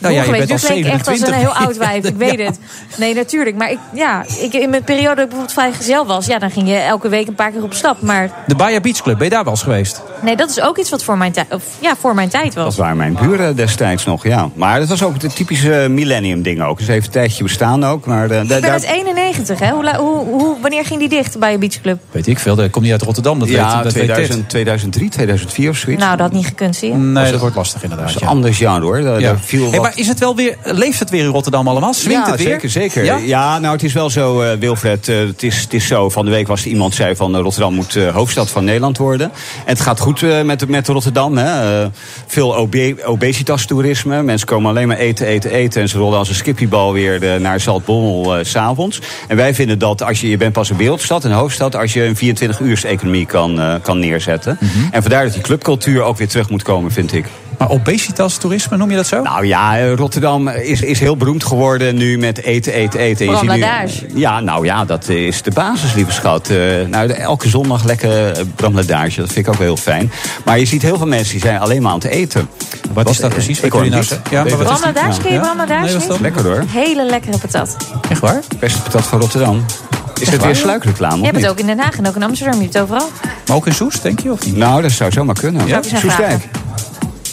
S9: Nou ja, je
S10: Ongewezen.
S9: bent al
S10: Nu klink ik echt als een
S9: 27.
S10: heel oud wijf, ik
S9: (laughs)
S10: weet het. Nee, natuurlijk. Maar ik, ja, ik, in mijn periode dat ik bijvoorbeeld vrijgezel was... ja, dan ging je elke week een paar keer op stap. Maar
S9: De Baja Beach Club, ben je daar wel eens geweest?
S10: nee, dat is ook iets wat voor mijn, tijd- of, ja, voor mijn tijd was.
S22: Dat waren mijn buren destijds nog, ja. Maar dat was ook het typische millennium ding ook. Dus even een tijdje bestaan ook. Maar eh, da-
S10: Ik ben
S22: daar-
S10: uit 91, hè? Hoe, la- hoe, hoe, wanneer ging die dicht bij je beachclub?
S9: Weet ik veel, dat komt niet uit Rotterdam, dat
S22: ja,
S9: weet dat weet
S22: 2000,
S9: dit.
S22: 2003, 2004 of zoiets.
S10: Nou, dat had niet gekund, zie je.
S9: Nee, dat wordt lastig inderdaad.
S22: Dat is een ander jaar hoor. Daar, daar viel
S9: Hey,
S22: wat-
S9: maar is het wel weer, leeft het weer in Rotterdam allemaal? Swingt
S22: ja,
S9: het weer?
S22: zeker, zeker. Ja?
S9: Ja?
S22: nou, het is wel zo, eh, Wilfred. eh, het, is, het is zo. Van de week was er iemand zei van eh, Rotterdam moet eh, hoofdstad van Nederland worden. En het gaat goed eh, met, met Rotterdam. Hè. Eh, veel obe obesitas-toerisme. Mensen komen alleen maar eten, eten, eten. En ze rollen als een skippiebal weer eh, naar Zaltbommel eh, s s'avonds. En wij vinden dat als je, je bent pas een wereldstad, een hoofdstad, als je een 24-uurs-economie kan, eh, kan neerzetten. En vandaar dat die clubcultuur ook weer terug moet komen, vind ik.
S9: Mhm. Maar obesitas-toerisme, noem je dat zo?
S22: Nou ja, eh, Rotterdam is, is heel beroemd geworden nu met eten, eten, eten. En je
S10: Vooral
S22: ziet nu-
S10: ladage.
S22: Ja, nou ja, dat is de basis, lieve schat. Eh, nou, de- elke zondag lekker eh, bramladage, dat vind ik ook wel heel fijn. Maar je ziet heel veel mensen die zijn alleen maar aan het eten. Wat,
S9: is dat precies?
S22: eh,
S9: Wat
S22: Ik hoor
S9: doe je
S22: hem
S9: nou
S22: niet.
S9: zo? Ja, maar
S22: Weet
S9: wat
S22: het
S9: is die-
S10: Bramladage, ken je
S22: Ja.
S10: bramladage
S22: Nee, wat is dat?
S10: niet?
S22: Lekker hoor.
S10: Hele lekkere patat.
S9: Echt waar?
S22: Beste patat van Rotterdam. Is het
S10: waar?
S22: weer sluikreclame?
S10: Je
S22: of
S10: hebt het
S22: niet?
S10: ook in Den Haag en ook in Amsterdam. Je hebt het overal.
S9: Maar ook in Soest, denk je? Of niet?
S22: Nou, dat zou zomaar kunnen.
S10: Zou ik eens aan
S22: Soestdijk.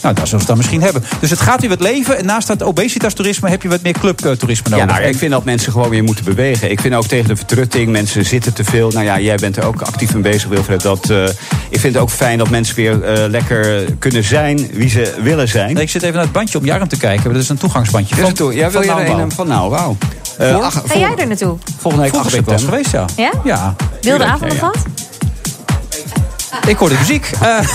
S9: Nou, daar zullen we het dan misschien hebben. Dus het gaat weer wat leven. En naast dat obesitas-toerisme heb je wat meer clubtoerisme
S22: Ja,
S9: nodig.
S22: nou, ik vind dat mensen gewoon weer moeten bewegen. Ik vind ook tegen de vertrutting, mensen zitten te veel. Nou ja, jij bent er ook actief mee bezig, Wilfred. Dat, eh, ik vind het ook fijn dat mensen weer eh, lekker kunnen zijn wie ze willen zijn.
S9: Nee, ik zit even naar het bandje om je arm te kijken. maar Dat is een toegangsbandje.
S22: Dus toe, jij wil je er een
S9: Nauwbouw.
S22: eh, van nou, wauw. Eh,
S9: Voor?
S22: ach,
S10: Ga jij er naartoe?
S22: volgende week
S9: Vroeger
S22: 8
S9: ben ik wel eens
S22: september.
S9: geweest, ja.
S10: Ja?
S9: Ja.
S10: Wilde
S9: tuurlijk.
S10: avond
S9: Ja,
S10: nog
S9: ja.
S10: wat?
S9: Ik hoorde muziek. Eh,
S22: (laughs)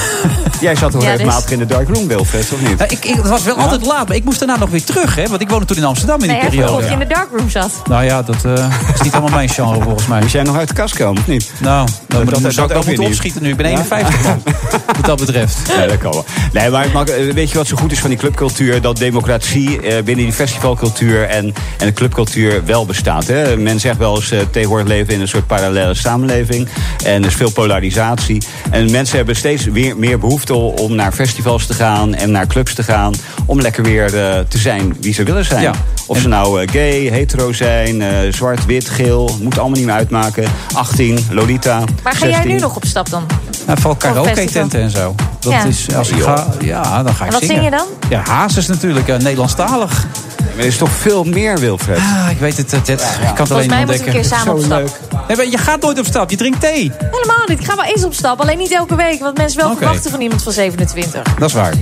S22: Jij zat toch
S9: Ja,
S22: regelmatig
S9: dus-
S22: in de dark room, Wilfred, of niet?
S9: nou, ik, ik, het was wel altijd laat, maar ik moest daarna nog weer terug. Hè, want ik woonde toen in Amsterdam in die
S10: Nee, hij vroeg
S9: periode.
S10: of Nou je in de darkroom zat.
S9: Nou ja, dat eh, (laughs) is niet helemaal mijn genre volgens mij.
S22: Moest jij nog uit de kast komen, of niet?
S9: Nou, dan
S22: dat-
S9: moet-
S22: dat
S9: zou ik
S22: ook
S9: wel
S22: weer
S9: moeten
S22: niet.
S9: opschieten nu. Ik ben
S22: Ja?
S9: 51 man, (laughs) wat dat betreft.
S22: Nee, dat kan wel. Nee, maar het mag- eh, weet je wat zo goed is van die clubcultuur? Dat democratie eh, binnen die festivalcultuur en, en de clubcultuur wel bestaat. Hè? Men zegt wel eens, eh, tegenwoordig leven we in een soort parallele samenleving. En er is veel polarisatie. En mensen hebben steeds weer meer behoefte om naar festivals te gaan en naar clubs te gaan. Om lekker weer eh, te zijn wie ze willen zijn.
S9: Ja.
S22: Of ze nou eh, gay, hetero zijn, eh, zwart, wit, geel. Moet allemaal niet meer uitmaken. 18, Lolita.
S10: Maar ga jij nu
S22: 16.
S10: nog op stap dan?
S9: En vooral karaoke
S10: festival.
S9: tenten en zo. Dat
S10: Ja.
S9: is, als ik
S22: Joh.
S9: ga, ja, Ah, dan ga ik
S10: En wat zing
S9: zingen.
S10: je dan?
S9: Ja, Hazes natuurlijk, eh, Nederlandstalig.
S22: Maar er is toch veel meer, Wilfred?
S9: Ah, ik weet het, Ted. Ik kan het
S10: Volgens
S9: alleen
S10: mij moeten we
S9: ontdekken.
S10: een keer samen op
S9: Zo
S10: stap.
S9: leuk. Nee, maar je gaat nooit op stap, je drinkt thee.
S10: Helemaal niet. Ik ga wel eens op stap. Alleen niet elke week. Want mensen wel
S9: Oké.
S10: verwachten van iemand van 27.
S9: Dat is waar.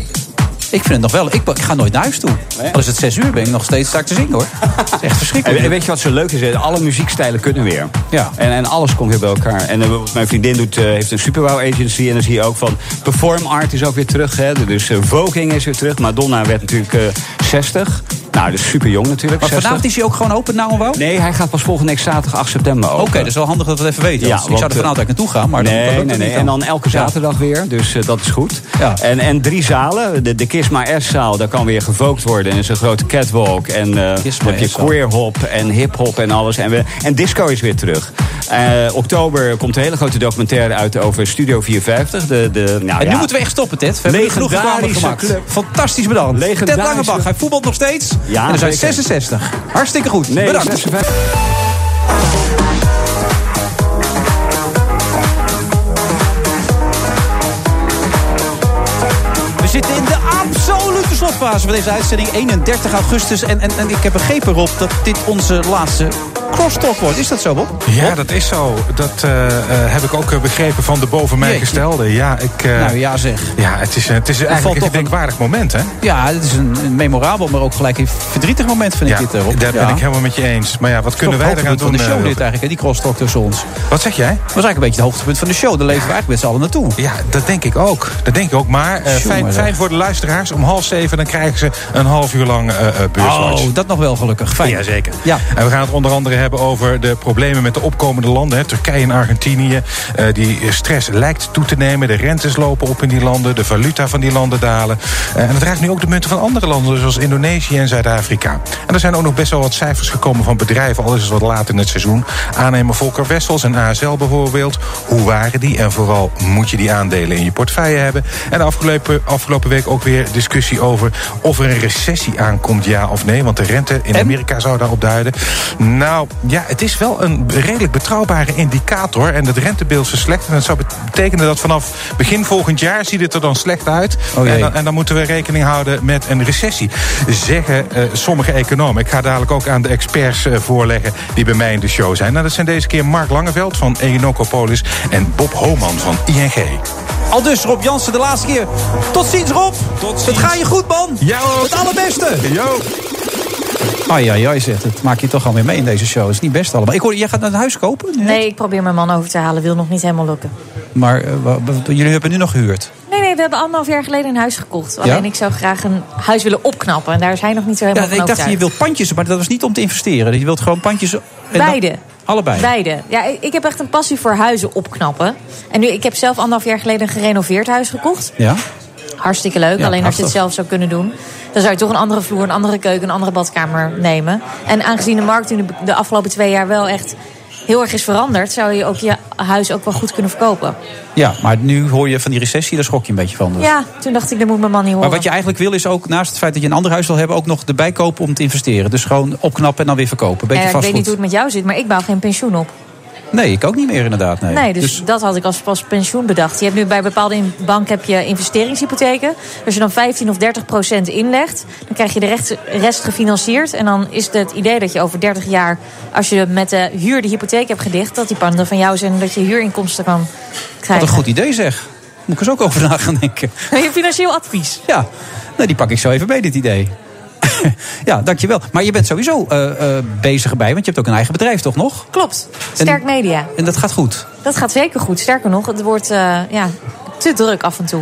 S9: Ik vind het nog wel. Ik, ik ga nooit naar huis toe. Al is het zes uur, ben ik nog steeds sta ik te zingen hoor. Dat is echt
S22: En,
S9: verschrikkelijk.
S22: en weet je wat zo leuk is? hè? Alle muziekstijlen kunnen weer.
S9: Ja.
S22: En, en alles komt weer bij elkaar. En eh, bijvoorbeeld mijn vriendin doet, eh, heeft een superwow agency. En dan zie je ook van perform art is ook weer terug. Hè? Dus eh, voguing is weer terug. Madonna werd natuurlijk eh, 60. Nou, dus super jong natuurlijk.
S9: Maar
S22: 60.
S9: vanavond is hij ook gewoon open, nou en wou?
S22: Nee, hij gaat pas volgende week zaterdag 8 september open.
S9: Oké, dat is wel handig dat we het even weten.
S22: Ja,
S9: want ik
S22: want,
S9: zou er
S22: eh,
S9: vanavond eigenlijk naartoe gaan, maar dan,
S22: nee,
S9: dan lukt
S22: nee,
S9: het
S22: nee.
S9: niet
S22: En
S9: dan.
S22: dan elke
S9: Ja.
S22: zaterdag weer. Dus eh, dat is goed.
S9: Ja.
S22: En, en drie zalen. De, de Kiss My Ass-zaal, daar kan weer gevookt worden. En is een grote catwalk. En eh,
S9: Kiss
S22: dan
S9: My
S22: heb je
S9: Ass-zaal.
S22: queerhop en hiphop en alles. En, we, en disco is weer terug. Eh, oktober komt een hele grote documentaire uit over Studio 54. De, de, nou,
S9: En nu
S22: ja,
S9: moeten we echt stoppen, Ted. We hebben er genoeg reclame
S22: Legendarische
S9: gemaakt.
S22: club.
S9: Fantastisch bedankt. Ted
S22: Legendarische-
S9: Langebach, hij voetbalt nog steeds.
S22: Ja,
S9: en er zijn
S22: zeker.
S9: 66. Hartstikke goed.
S22: Nee,
S9: bedankt.
S22: 56.
S9: We zitten in de absolute slotfase van deze uitzending. 31 augustus. En, en, en ik heb begrepen, Rob, dat dit onze laatste crosstalk wordt. Is dat zo, Bob?
S1: Ja, dat is zo. Dat eh, eh, heb ik ook eh, begrepen van de boven mij
S9: Jeetje.
S1: gestelde. Ja, ik, eh,
S9: Nou ja, zeg.
S1: ja, het is, eh, het is eigenlijk
S9: valt
S1: een
S9: toch een-
S1: gedenkwaardig moment, hè?
S9: Ja, het is een, een memorabel, maar ook gelijk een verdrietig moment, vind ik
S1: Ja,
S9: dit, eh, Rob.
S1: daar
S9: Ja.
S1: ben ik helemaal met je eens. Maar ja, wat
S9: Het is
S1: kunnen
S9: toch
S1: wij
S9: het
S1: eraan
S9: hoogtepunt
S1: doen?
S9: van de show
S1: eh,
S9: dit eigenlijk, hè? die crosstalk tussen ons. Dat
S1: wat zeg jij?
S9: was eigenlijk een beetje het hoogtepunt van de show. Daar leven we eigenlijk met z'n allen naartoe.
S1: Ja, dat denk ik ook. Dat denk ik ook. Maar eh,
S9: Tjonge,
S1: fijn,
S9: zeg.
S1: fijn voor de luisteraars. Om half zeven dan krijgen ze een half uur lang eh eh, beurswatch.
S9: Oh, dat nog wel gelukkig. Fijn.
S1: Jazeker.
S9: Ja.
S1: En we gaan het onder andere hebben hebben over de problemen met de opkomende landen. Hè, Turkije en Argentinië. Eh, die stress lijkt toe te nemen. De rentes lopen op in die landen. De valuta van die landen dalen. Eh, en dat raakt nu ook de munten van andere landen, zoals Indonesië en Zuid-Afrika. En er zijn ook nog best wel wat cijfers gekomen van bedrijven, al is het wat laat in het seizoen. Aannemer Volker Wessels en ASL bijvoorbeeld. Hoe waren die? En vooral moet je die aandelen in je portefeuille hebben. En de afgelopen, afgelopen week ook weer discussie over of er een recessie aankomt, ja of nee. Want de rente in Amerika zou daarop duiden. Nou ja, het is wel een redelijk betrouwbare indicator. En het rentebeeld verslechtert. En dat zou betekenen dat vanaf begin volgend jaar ziet het er dan slecht uit.
S14: Oh jee.
S1: en, dan, Nou, en dan moeten we rekening houden met een recessie. Zeggen eh, sommige economen. Ik ga dadelijk ook aan de experts eh, voorleggen die bij mij in de show zijn. Nou, dat zijn deze keer Mark Langeveld van Enocopolis en Bob Homan van ING.
S9: Al dus Rob Jansen de laatste keer. Tot ziens Rob. Tot Het gaat je goed man. Het allerbeste.
S1: Yo.
S9: Ai, ai, ai, zegt het. Maak je toch alweer mee in deze show. Het is niet best allemaal. Ik hoor, jij gaat naar het huis kopen?
S10: Nee, ik probeer mijn man over te halen. Wil nog niet helemaal lukken.
S9: Maar eh, wa- wa- jullie hebben nu nog gehuurd.
S10: Nee, nee, we hebben anderhalf jaar geleden een huis gekocht. Alleen ik zou graag een huis willen opknappen. En daar is hij nog niet zo
S9: Ja,
S10: helemaal van
S9: ik dacht, je
S10: overtuigd.
S9: wilt pandjes, maar dat was niet om te investeren. Je wilt gewoon pandjes... en dan-
S10: Beide.
S9: Allebei.
S10: Beide. Ja, ik- ik heb echt een passie voor huizen opknappen. En nu, ik heb zelf anderhalf jaar geleden een gerenoveerd huis gekocht.
S9: Ja?
S10: Hartstikke leuk.
S9: Ja,
S10: Alleen als je het
S9: prachtig.
S10: zelf zou kunnen doen, dan zou je toch een andere vloer, een andere keuken, een andere badkamer nemen. En aangezien de markt in de, de afgelopen twee jaar wel echt heel erg is veranderd, zou je ook je huis ook wel goed kunnen verkopen.
S9: Ja, maar nu hoor je van die recessie, daar schrok je een beetje van. Dus.
S10: Ja, toen dacht ik, dat moet mijn man niet horen.
S9: Maar wat je eigenlijk wil is ook naast het feit dat je een ander huis wil hebben... ook nog erbij kopen om te investeren. Dus gewoon opknappen en dan weer verkopen. Beetje
S10: Eh, ik weet
S9: vastgoed.
S10: niet hoe het met jou zit, maar ik bouw geen pensioen op.
S9: Nee, ik ook niet meer inderdaad. Nee,
S10: Nee, dus, dat had ik als pas pensioen bedacht. Je hebt nu bij bepaalde in- bank heb je investeringshypotheken. Als je dan 15 of 30 procent inlegt, dan krijg je de recht- rest gefinancierd. En dan is het, het idee dat je over 30 jaar, als je met de huur de hypotheek hebt gedicht, dat die panden van jou zijn en dat je huurinkomsten kan
S9: Wat
S10: krijgen.
S9: een goed idee zeg. Moet ik eens ook over na gaan
S10: (laughs)
S9: denken.
S10: Je financieel advies.
S9: Ja, nou, die pak ik zo even mee, dit idee. (laughs) ja, dankjewel. Maar je bent sowieso eh, eh, bezig erbij, want je hebt ook een eigen bedrijf, toch nog?
S10: Klopt. Sterk media.
S9: En dat gaat goed.
S10: Dat gaat zeker goed. Sterker nog, het wordt eh, ja, te druk af en toe.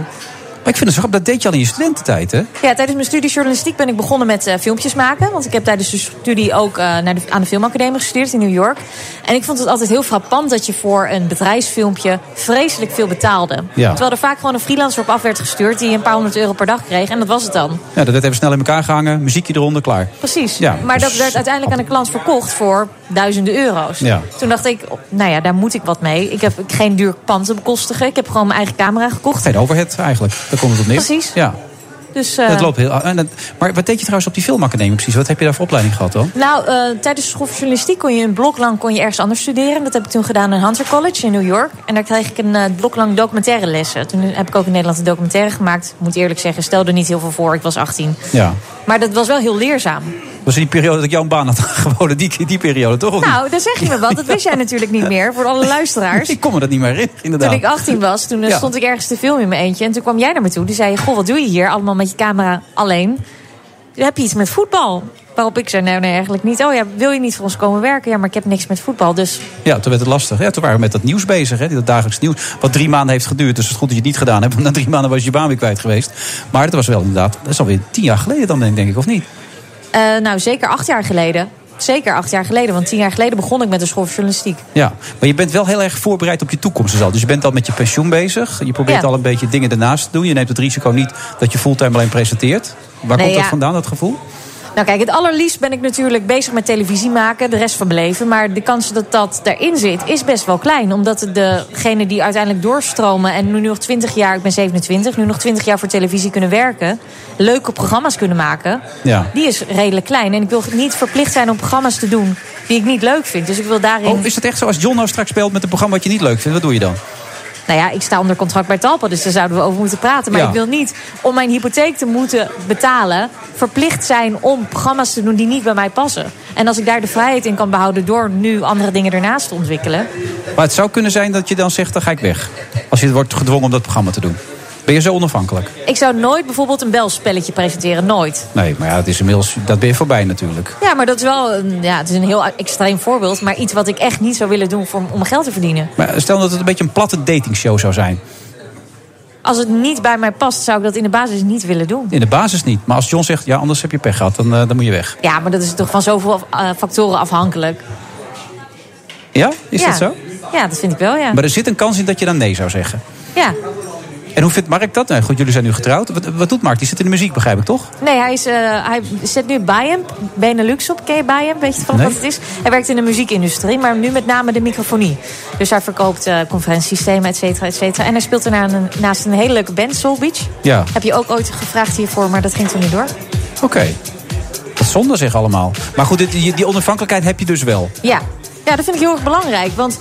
S9: Maar ik vind het zo grappig, dat deed je al in je studententijd, hè?
S10: Ja, tijdens mijn studie journalistiek ben ik begonnen met eh, filmpjes maken. Want ik heb tijdens de studie ook eh, naar de, aan de filmacademie gestudeerd in New York. En ik vond het altijd heel frappant dat je voor een bedrijfsfilmpje vreselijk veel betaalde.
S9: Ja.
S10: Terwijl er vaak gewoon een freelancer op af werd gestuurd die een paar honderd euro per dag kreeg. En dat was het dan.
S9: Ja, dat werd even snel in elkaar gehangen, muziekje eronder, klaar.
S10: Precies.
S9: Ja.
S10: Maar dat werd uiteindelijk aan de klant verkocht voor duizenden euro's.
S9: Dus- Ja.
S10: Toen dacht ik, oh, nou ja, daar moet ik wat mee. Ik heb geen duur pand te bekostigen. Ik heb gewoon mijn eigen camera gekocht.
S9: Geen overhead eigenlijk, daar komt het op neer.
S10: Precies.
S9: Ja,
S10: Dus, eh,
S9: dat loopt heel... ah, en dat- maar wat deed je trouwens op die filmacademie precies? Wat heb je daar voor opleiding gehad dan?
S10: Nou, eh, tijdens de school voor journalistiek kon je een blok lang kon je ergens anders studeren. Dat heb ik toen gedaan in Hunter College in New York. En daar kreeg ik een eh, blok lang documentaire lessen. Toen heb ik ook in Nederland een documentaire gemaakt. Ik Moet eerlijk zeggen, stelde niet heel veel voor. Ik was 18.
S9: Ja.
S10: Maar dat was wel heel leerzaam.
S9: Dat was in die periode dat ik jou een baan had (laughs) aangeboden. Die, die periode, toch? Of niet?
S10: Nou, daar zeg je me wat. Dat wist jij natuurlijk niet meer voor alle luisteraars.
S9: Ik kon me dat niet meer herinneren, (laughs) inderdaad.
S10: Toen ik 18 was, toen eh,
S9: Ja.
S10: stond ik ergens te filmen in mijn eentje. En toen kwam jij naar me toe. Die zei, je, goh, wat doe je hier allemaal met je camera alleen? Heb je iets met voetbal? Waarop ik zei, nou nee, eigenlijk niet. Oh ja, wil je niet voor ons komen werken? Ja, maar ik heb niks met voetbal, dus...
S9: Ja, toen werd het lastig. Ja, toen waren we met dat nieuws bezig, hè, dat dagelijks nieuws. Wat drie maanden heeft geduurd, dus het is goed dat je het niet gedaan hebt. Want na drie maanden was je je baan weer kwijt geweest. Maar dat was wel inderdaad, dat is alweer tien jaar geleden dan, denk ik, of niet?
S10: Eh, nou, zeker acht jaar geleden. Zeker acht jaar geleden, want tien jaar geleden begon ik met de school voor journalistiek.
S9: Ja, maar je bent wel heel erg voorbereid op je toekomst. Dus, al. dus je bent al met je pensioen bezig. Je probeert
S10: Ja.
S9: al een beetje dingen daarnaast te doen. Je neemt het risico niet dat je fulltime alleen presenteert. Waar
S10: Nee,
S9: komt
S10: ja.
S9: dat vandaan, dat gevoel?
S10: Nou kijk, het allerliefst ben ik natuurlijk bezig met televisie maken, de rest van mijn leven. Maar de kans dat dat daarin zit, is best wel klein. Omdat degenen die uiteindelijk doorstromen en nu nog 20 jaar, ik ben 27, nu nog 20 jaar voor televisie kunnen werken, leuke programma's kunnen maken,
S9: Ja.
S10: die is redelijk klein. En ik wil niet verplicht zijn om programma's te doen die ik niet leuk vind. Dus ik wil daarin.
S9: Oh, is het echt zo als John nou straks speelt met een programma wat je niet leuk vindt? Wat doe je dan?
S10: Nou ja, ik sta onder contract bij Talpa, dus daar zouden we over moeten praten. Maar
S9: Ja.
S10: ik wil niet om mijn hypotheek te moeten betalen, verplicht zijn om programma's te doen die niet bij mij passen. En als ik daar de vrijheid in kan behouden door nu andere dingen ernaast te ontwikkelen.
S9: Maar het zou kunnen zijn dat je dan zegt, dan ga ik weg. Als je wordt gedwongen om dat programma te doen. Ben je zo onafhankelijk?
S10: Ik zou nooit bijvoorbeeld een belspelletje presenteren, nooit.
S9: Nee, maar ja, het is inmiddels, dat ben je voorbij natuurlijk.
S10: Ja, maar dat is wel een, ja, het is een heel extreem voorbeeld, maar iets wat ik echt niet zou willen doen voor, om geld te verdienen.
S9: Maar stel dat het een beetje een platte datingshow zou zijn.
S10: Als het niet bij mij past, zou ik dat in de basis niet willen doen.
S9: In de basis niet. Maar als John zegt, ja, anders heb je pech gehad, dan, eh, dan moet je weg.
S10: Ja, maar dat is toch van zoveel eh, factoren afhankelijk.
S9: Ja? Is
S10: Ja.
S9: dat zo?
S10: Ja, dat vind ik wel, ja.
S9: Maar er zit een kans in dat je dan nee zou zeggen.
S10: Ja.
S9: En hoe vindt Mark dat? Nou, goed, jullie zijn nu getrouwd. Wat, wat doet Mark? Die zit in de muziek, begrijp ik toch?
S10: Nee, hij, is, eh, hij zet nu Bayern, Benelux op. Ken je Bayern? Weet je van
S9: Nee.
S10: wat het is? Hij werkt in de muziekindustrie, maar nu met name de microfonie. Dus hij verkoopt eh, conferentiesystemen, et cetera, et cetera. En hij speelt daarna een, naast een hele leuke band, Soul Beach.
S9: Ja.
S10: Heb je ook ooit gevraagd hiervoor, maar dat ging toen niet door.
S9: Oké. Dat is zonde zeg allemaal. Maar goed, dit- die, die onafhankelijkheid heb je dus wel.
S10: Ja. ja, dat vind ik heel erg belangrijk. Want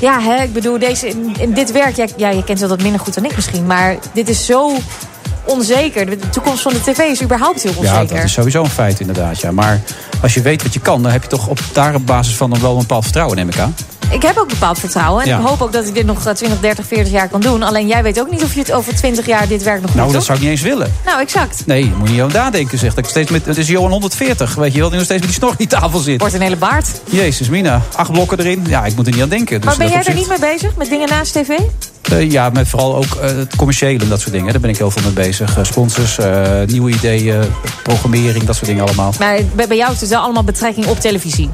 S10: ja, hè, ik bedoel, deze, in, in dit werk, ja, ja, je kent het wat minder goed dan ik misschien, maar dit is zo onzeker. De toekomst van de tv is überhaupt heel onzeker.
S9: Ja, dat is sowieso een feit inderdaad. Ja. Maar als je weet wat je kan, dan heb je toch op daar op basis van dan wel een bepaald vertrouwen, neem ik aan.
S10: Ik heb ook bepaald vertrouwen. En
S9: Ja.
S10: ik hoop ook dat ik dit nog eh, 20, 30, 40 jaar kan doen. Alleen jij weet ook niet of je het over 20 jaar dit werk nog
S9: Nou,
S10: doet,
S9: dat
S10: toch?
S9: zou ik niet eens willen.
S10: Nou, exact.
S9: Nee, je moet niet aan nadenken, zegt ik. Steeds met, het is Johan 140, weet je wel, die nog steeds met die snor die tafel zit.
S10: Wordt een hele baard.
S9: Jezus, Mina. Acht blokken erin. Ja, ik moet er niet aan denken. Dus
S10: maar ben
S9: in
S10: jij
S9: dat
S10: er niet
S9: opzicht-
S10: mee bezig? Met dingen naast tv?
S9: Eh, ja, met vooral ook eh, het commerciële en dat soort dingen. Daar ben ik heel veel mee bezig. Eh, sponsors, eh, nieuwe ideeën, programmering, dat soort dingen allemaal.
S10: Maar bij bij jou is het wel allemaal betrekking op televisie.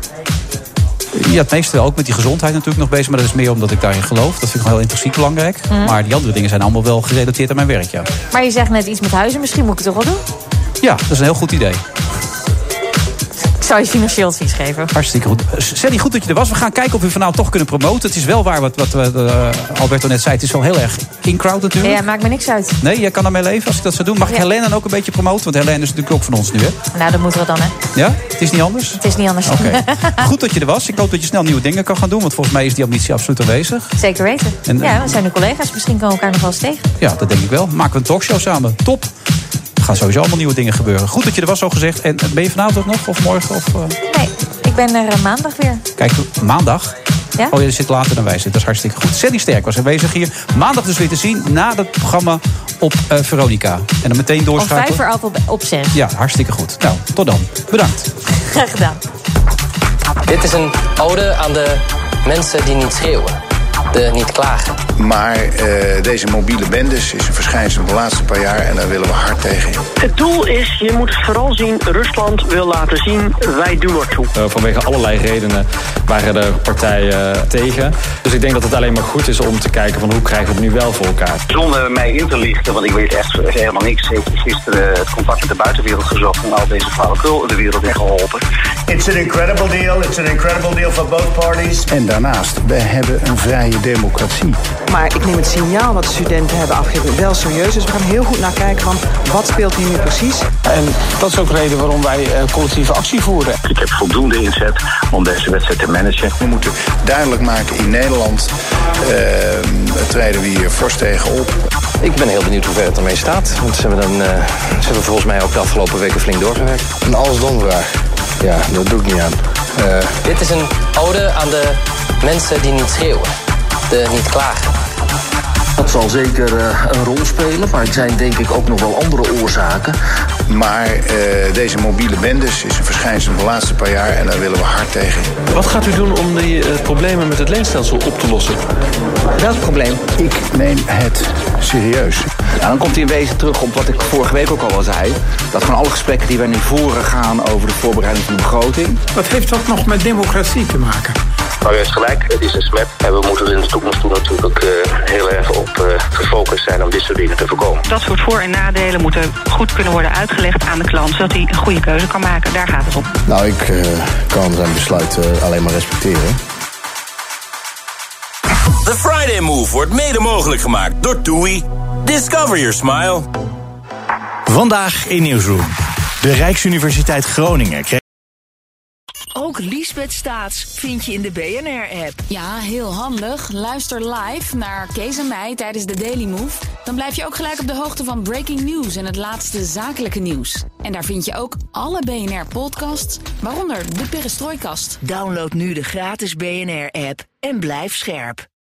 S9: Ja, het meeste wel. Ook met die gezondheid natuurlijk nog bezig. Maar dat is meer omdat ik daarin geloof. Dat vind ik wel heel intrinsiek belangrijk.
S10: Mhm.
S9: Maar die andere dingen zijn allemaal wel gerelateerd aan mijn werk, ja.
S10: Maar je zegt net iets met huizen. Misschien moet ik het toch wel doen?
S9: Ja, dat is een heel goed idee.
S10: Ik zou je financieel advies geven.
S9: Hartstikke goed. Eh, Sally, goed dat je er was. We gaan kijken of we vanavond toch kunnen promoten. Het is wel waar wat, wat eh, Alberto net zei. Het is wel heel erg in-crowd natuurlijk.
S10: Ja, maakt me niks uit.
S9: Nee, jij kan daarmee leven als ik dat zou doen. Mag ik
S10: Ja.
S9: Helene dan ook een beetje promoten? Want Helene is natuurlijk ook van ons nu, hè?
S10: Nou, dat moeten we dan, hè.
S9: Ja? Het is niet anders?
S10: Het is niet anders.
S9: Oké.
S10: Ah.
S9: Goed dat je er was. Ik hoop dat je snel nieuwe dingen kan gaan doen. Want volgens mij is die ambitie absoluut aanwezig.
S10: (laughs) Zeker weten.
S9: En, eh,
S10: ja, we zijn nu collega's. Misschien komen we elkaar nog wel eens tegen.
S9: Ja, dat denk ik wel. Maken we een talkshow samen. Top. Er gaan sowieso allemaal nieuwe dingen gebeuren. Goed dat je er was, zo gezegd. En eh, ben je vanavond ook nog? Of morgen? Of, eh,
S10: Nee, ik ben er eh, maandag weer.
S9: Kijk, maandag.
S10: Ja?
S9: Oh, je zit later dan wij zitten. Dat is hartstikke goed. Sandy Sterk was aanwezig hier. Maandag dus weer te zien na het programma op eh, Veronica. En dan meteen
S10: Om vijf voor
S9: doorschakelen.
S10: elf op, op zes. (laughs)
S9: Ja, hartstikke goed. Nou, tot dan. Bedankt.
S10: Graag gedaan.
S7: Dit is een ode aan de mensen die niet schreeuwen, de niet klagen.
S8: Maar eh, deze mobiele bendes is een verschijnsel van de laatste paar jaar en daar willen we hard tegen.
S2: Het doel is, je moet vooral zien, Rusland wil laten zien, wij doen er toe.
S22: Eh,
S13: vanwege allerlei redenen waren er partijen tegen. Dus ik denk dat het alleen maar goed is om te kijken van hoe krijgen we het nu wel voor elkaar.
S23: Zonder mij in te lichten, want ik weet echt helemaal niks. Ik heb gisteren het contact met de buitenwereld gezocht en al deze flauwekul de wereld in geholpen.
S11: It's an incredible deal. It's an incredible deal for both parties.
S8: En daarnaast, we hebben een vrije democratie.
S24: Maar ik neem het signaal wat de studenten hebben afgegeven wel serieus. Dus we gaan heel goed naar kijken van wat speelt hier nu precies.
S12: En dat is ook de reden waarom wij eh, collectieve actie voeren.
S23: Ik heb voldoende inzet om deze wedstrijd te managen.
S8: We moeten duidelijk maken in Nederland eh, treden we hier fors tegen op.
S13: Ik ben heel benieuwd hoe ver het ermee staat. Want ze hebben, dan, eh, ze hebben volgens mij ook de afgelopen weken flink doorgewerkt.
S8: Een als dan vraag. Ja, dat doe ik niet aan. Eh,
S7: Dit is een ode aan de mensen die niet schreeuwen, de niet klagen.
S13: Dat zal zeker eh, een rol spelen, maar het zijn denk ik ook nog wel andere oorzaken.
S8: maar eh, deze mobiele bendes is een verschijnsel van de laatste paar jaar en daar willen we hard tegen.
S13: Wat gaat u doen om die eh, problemen met het leenstelsel op te lossen?
S8: Welk probleem? Ik neem het serieus.
S13: Ja, Nou, dan komt hij in wezen terug op wat ik vorige week ook al al zei. Dat van alle gesprekken die wij nu voeren gaan over de voorbereiding van de begroting.
S12: Wat heeft dat nog met democratie te maken?
S23: Maar u heeft gelijk, het is een smet. En we moeten er in de toekomst toe natuurlijk eh, heel erg op eh, gefocust zijn om dit soort dingen te voorkomen.
S24: Dat soort voor- en nadelen moeten goed kunnen worden uitgelegd aan de klant. Zodat hij een goede keuze kan maken. Daar gaat het om.
S8: Nou, ik eh, kan zijn besluit eh, alleen maar respecteren.
S3: The Friday Move wordt mede mogelijk gemaakt door TUI. Discover your smile.
S25: Vandaag in Nieuwsroom. De Rijksuniversiteit Groningen kreeg...
S26: Ook Liesbeth Staats vind je in de BNR-app.
S27: Ja, heel handig. Luister live naar Kees en mij tijdens de Daily Move. Dan blijf je ook gelijk op de hoogte van breaking news en het laatste zakelijke nieuws. En daar vind je ook alle BNR-podcasts, waaronder de Perestrooikast.
S26: Download nu de gratis BNR-app en blijf scherp.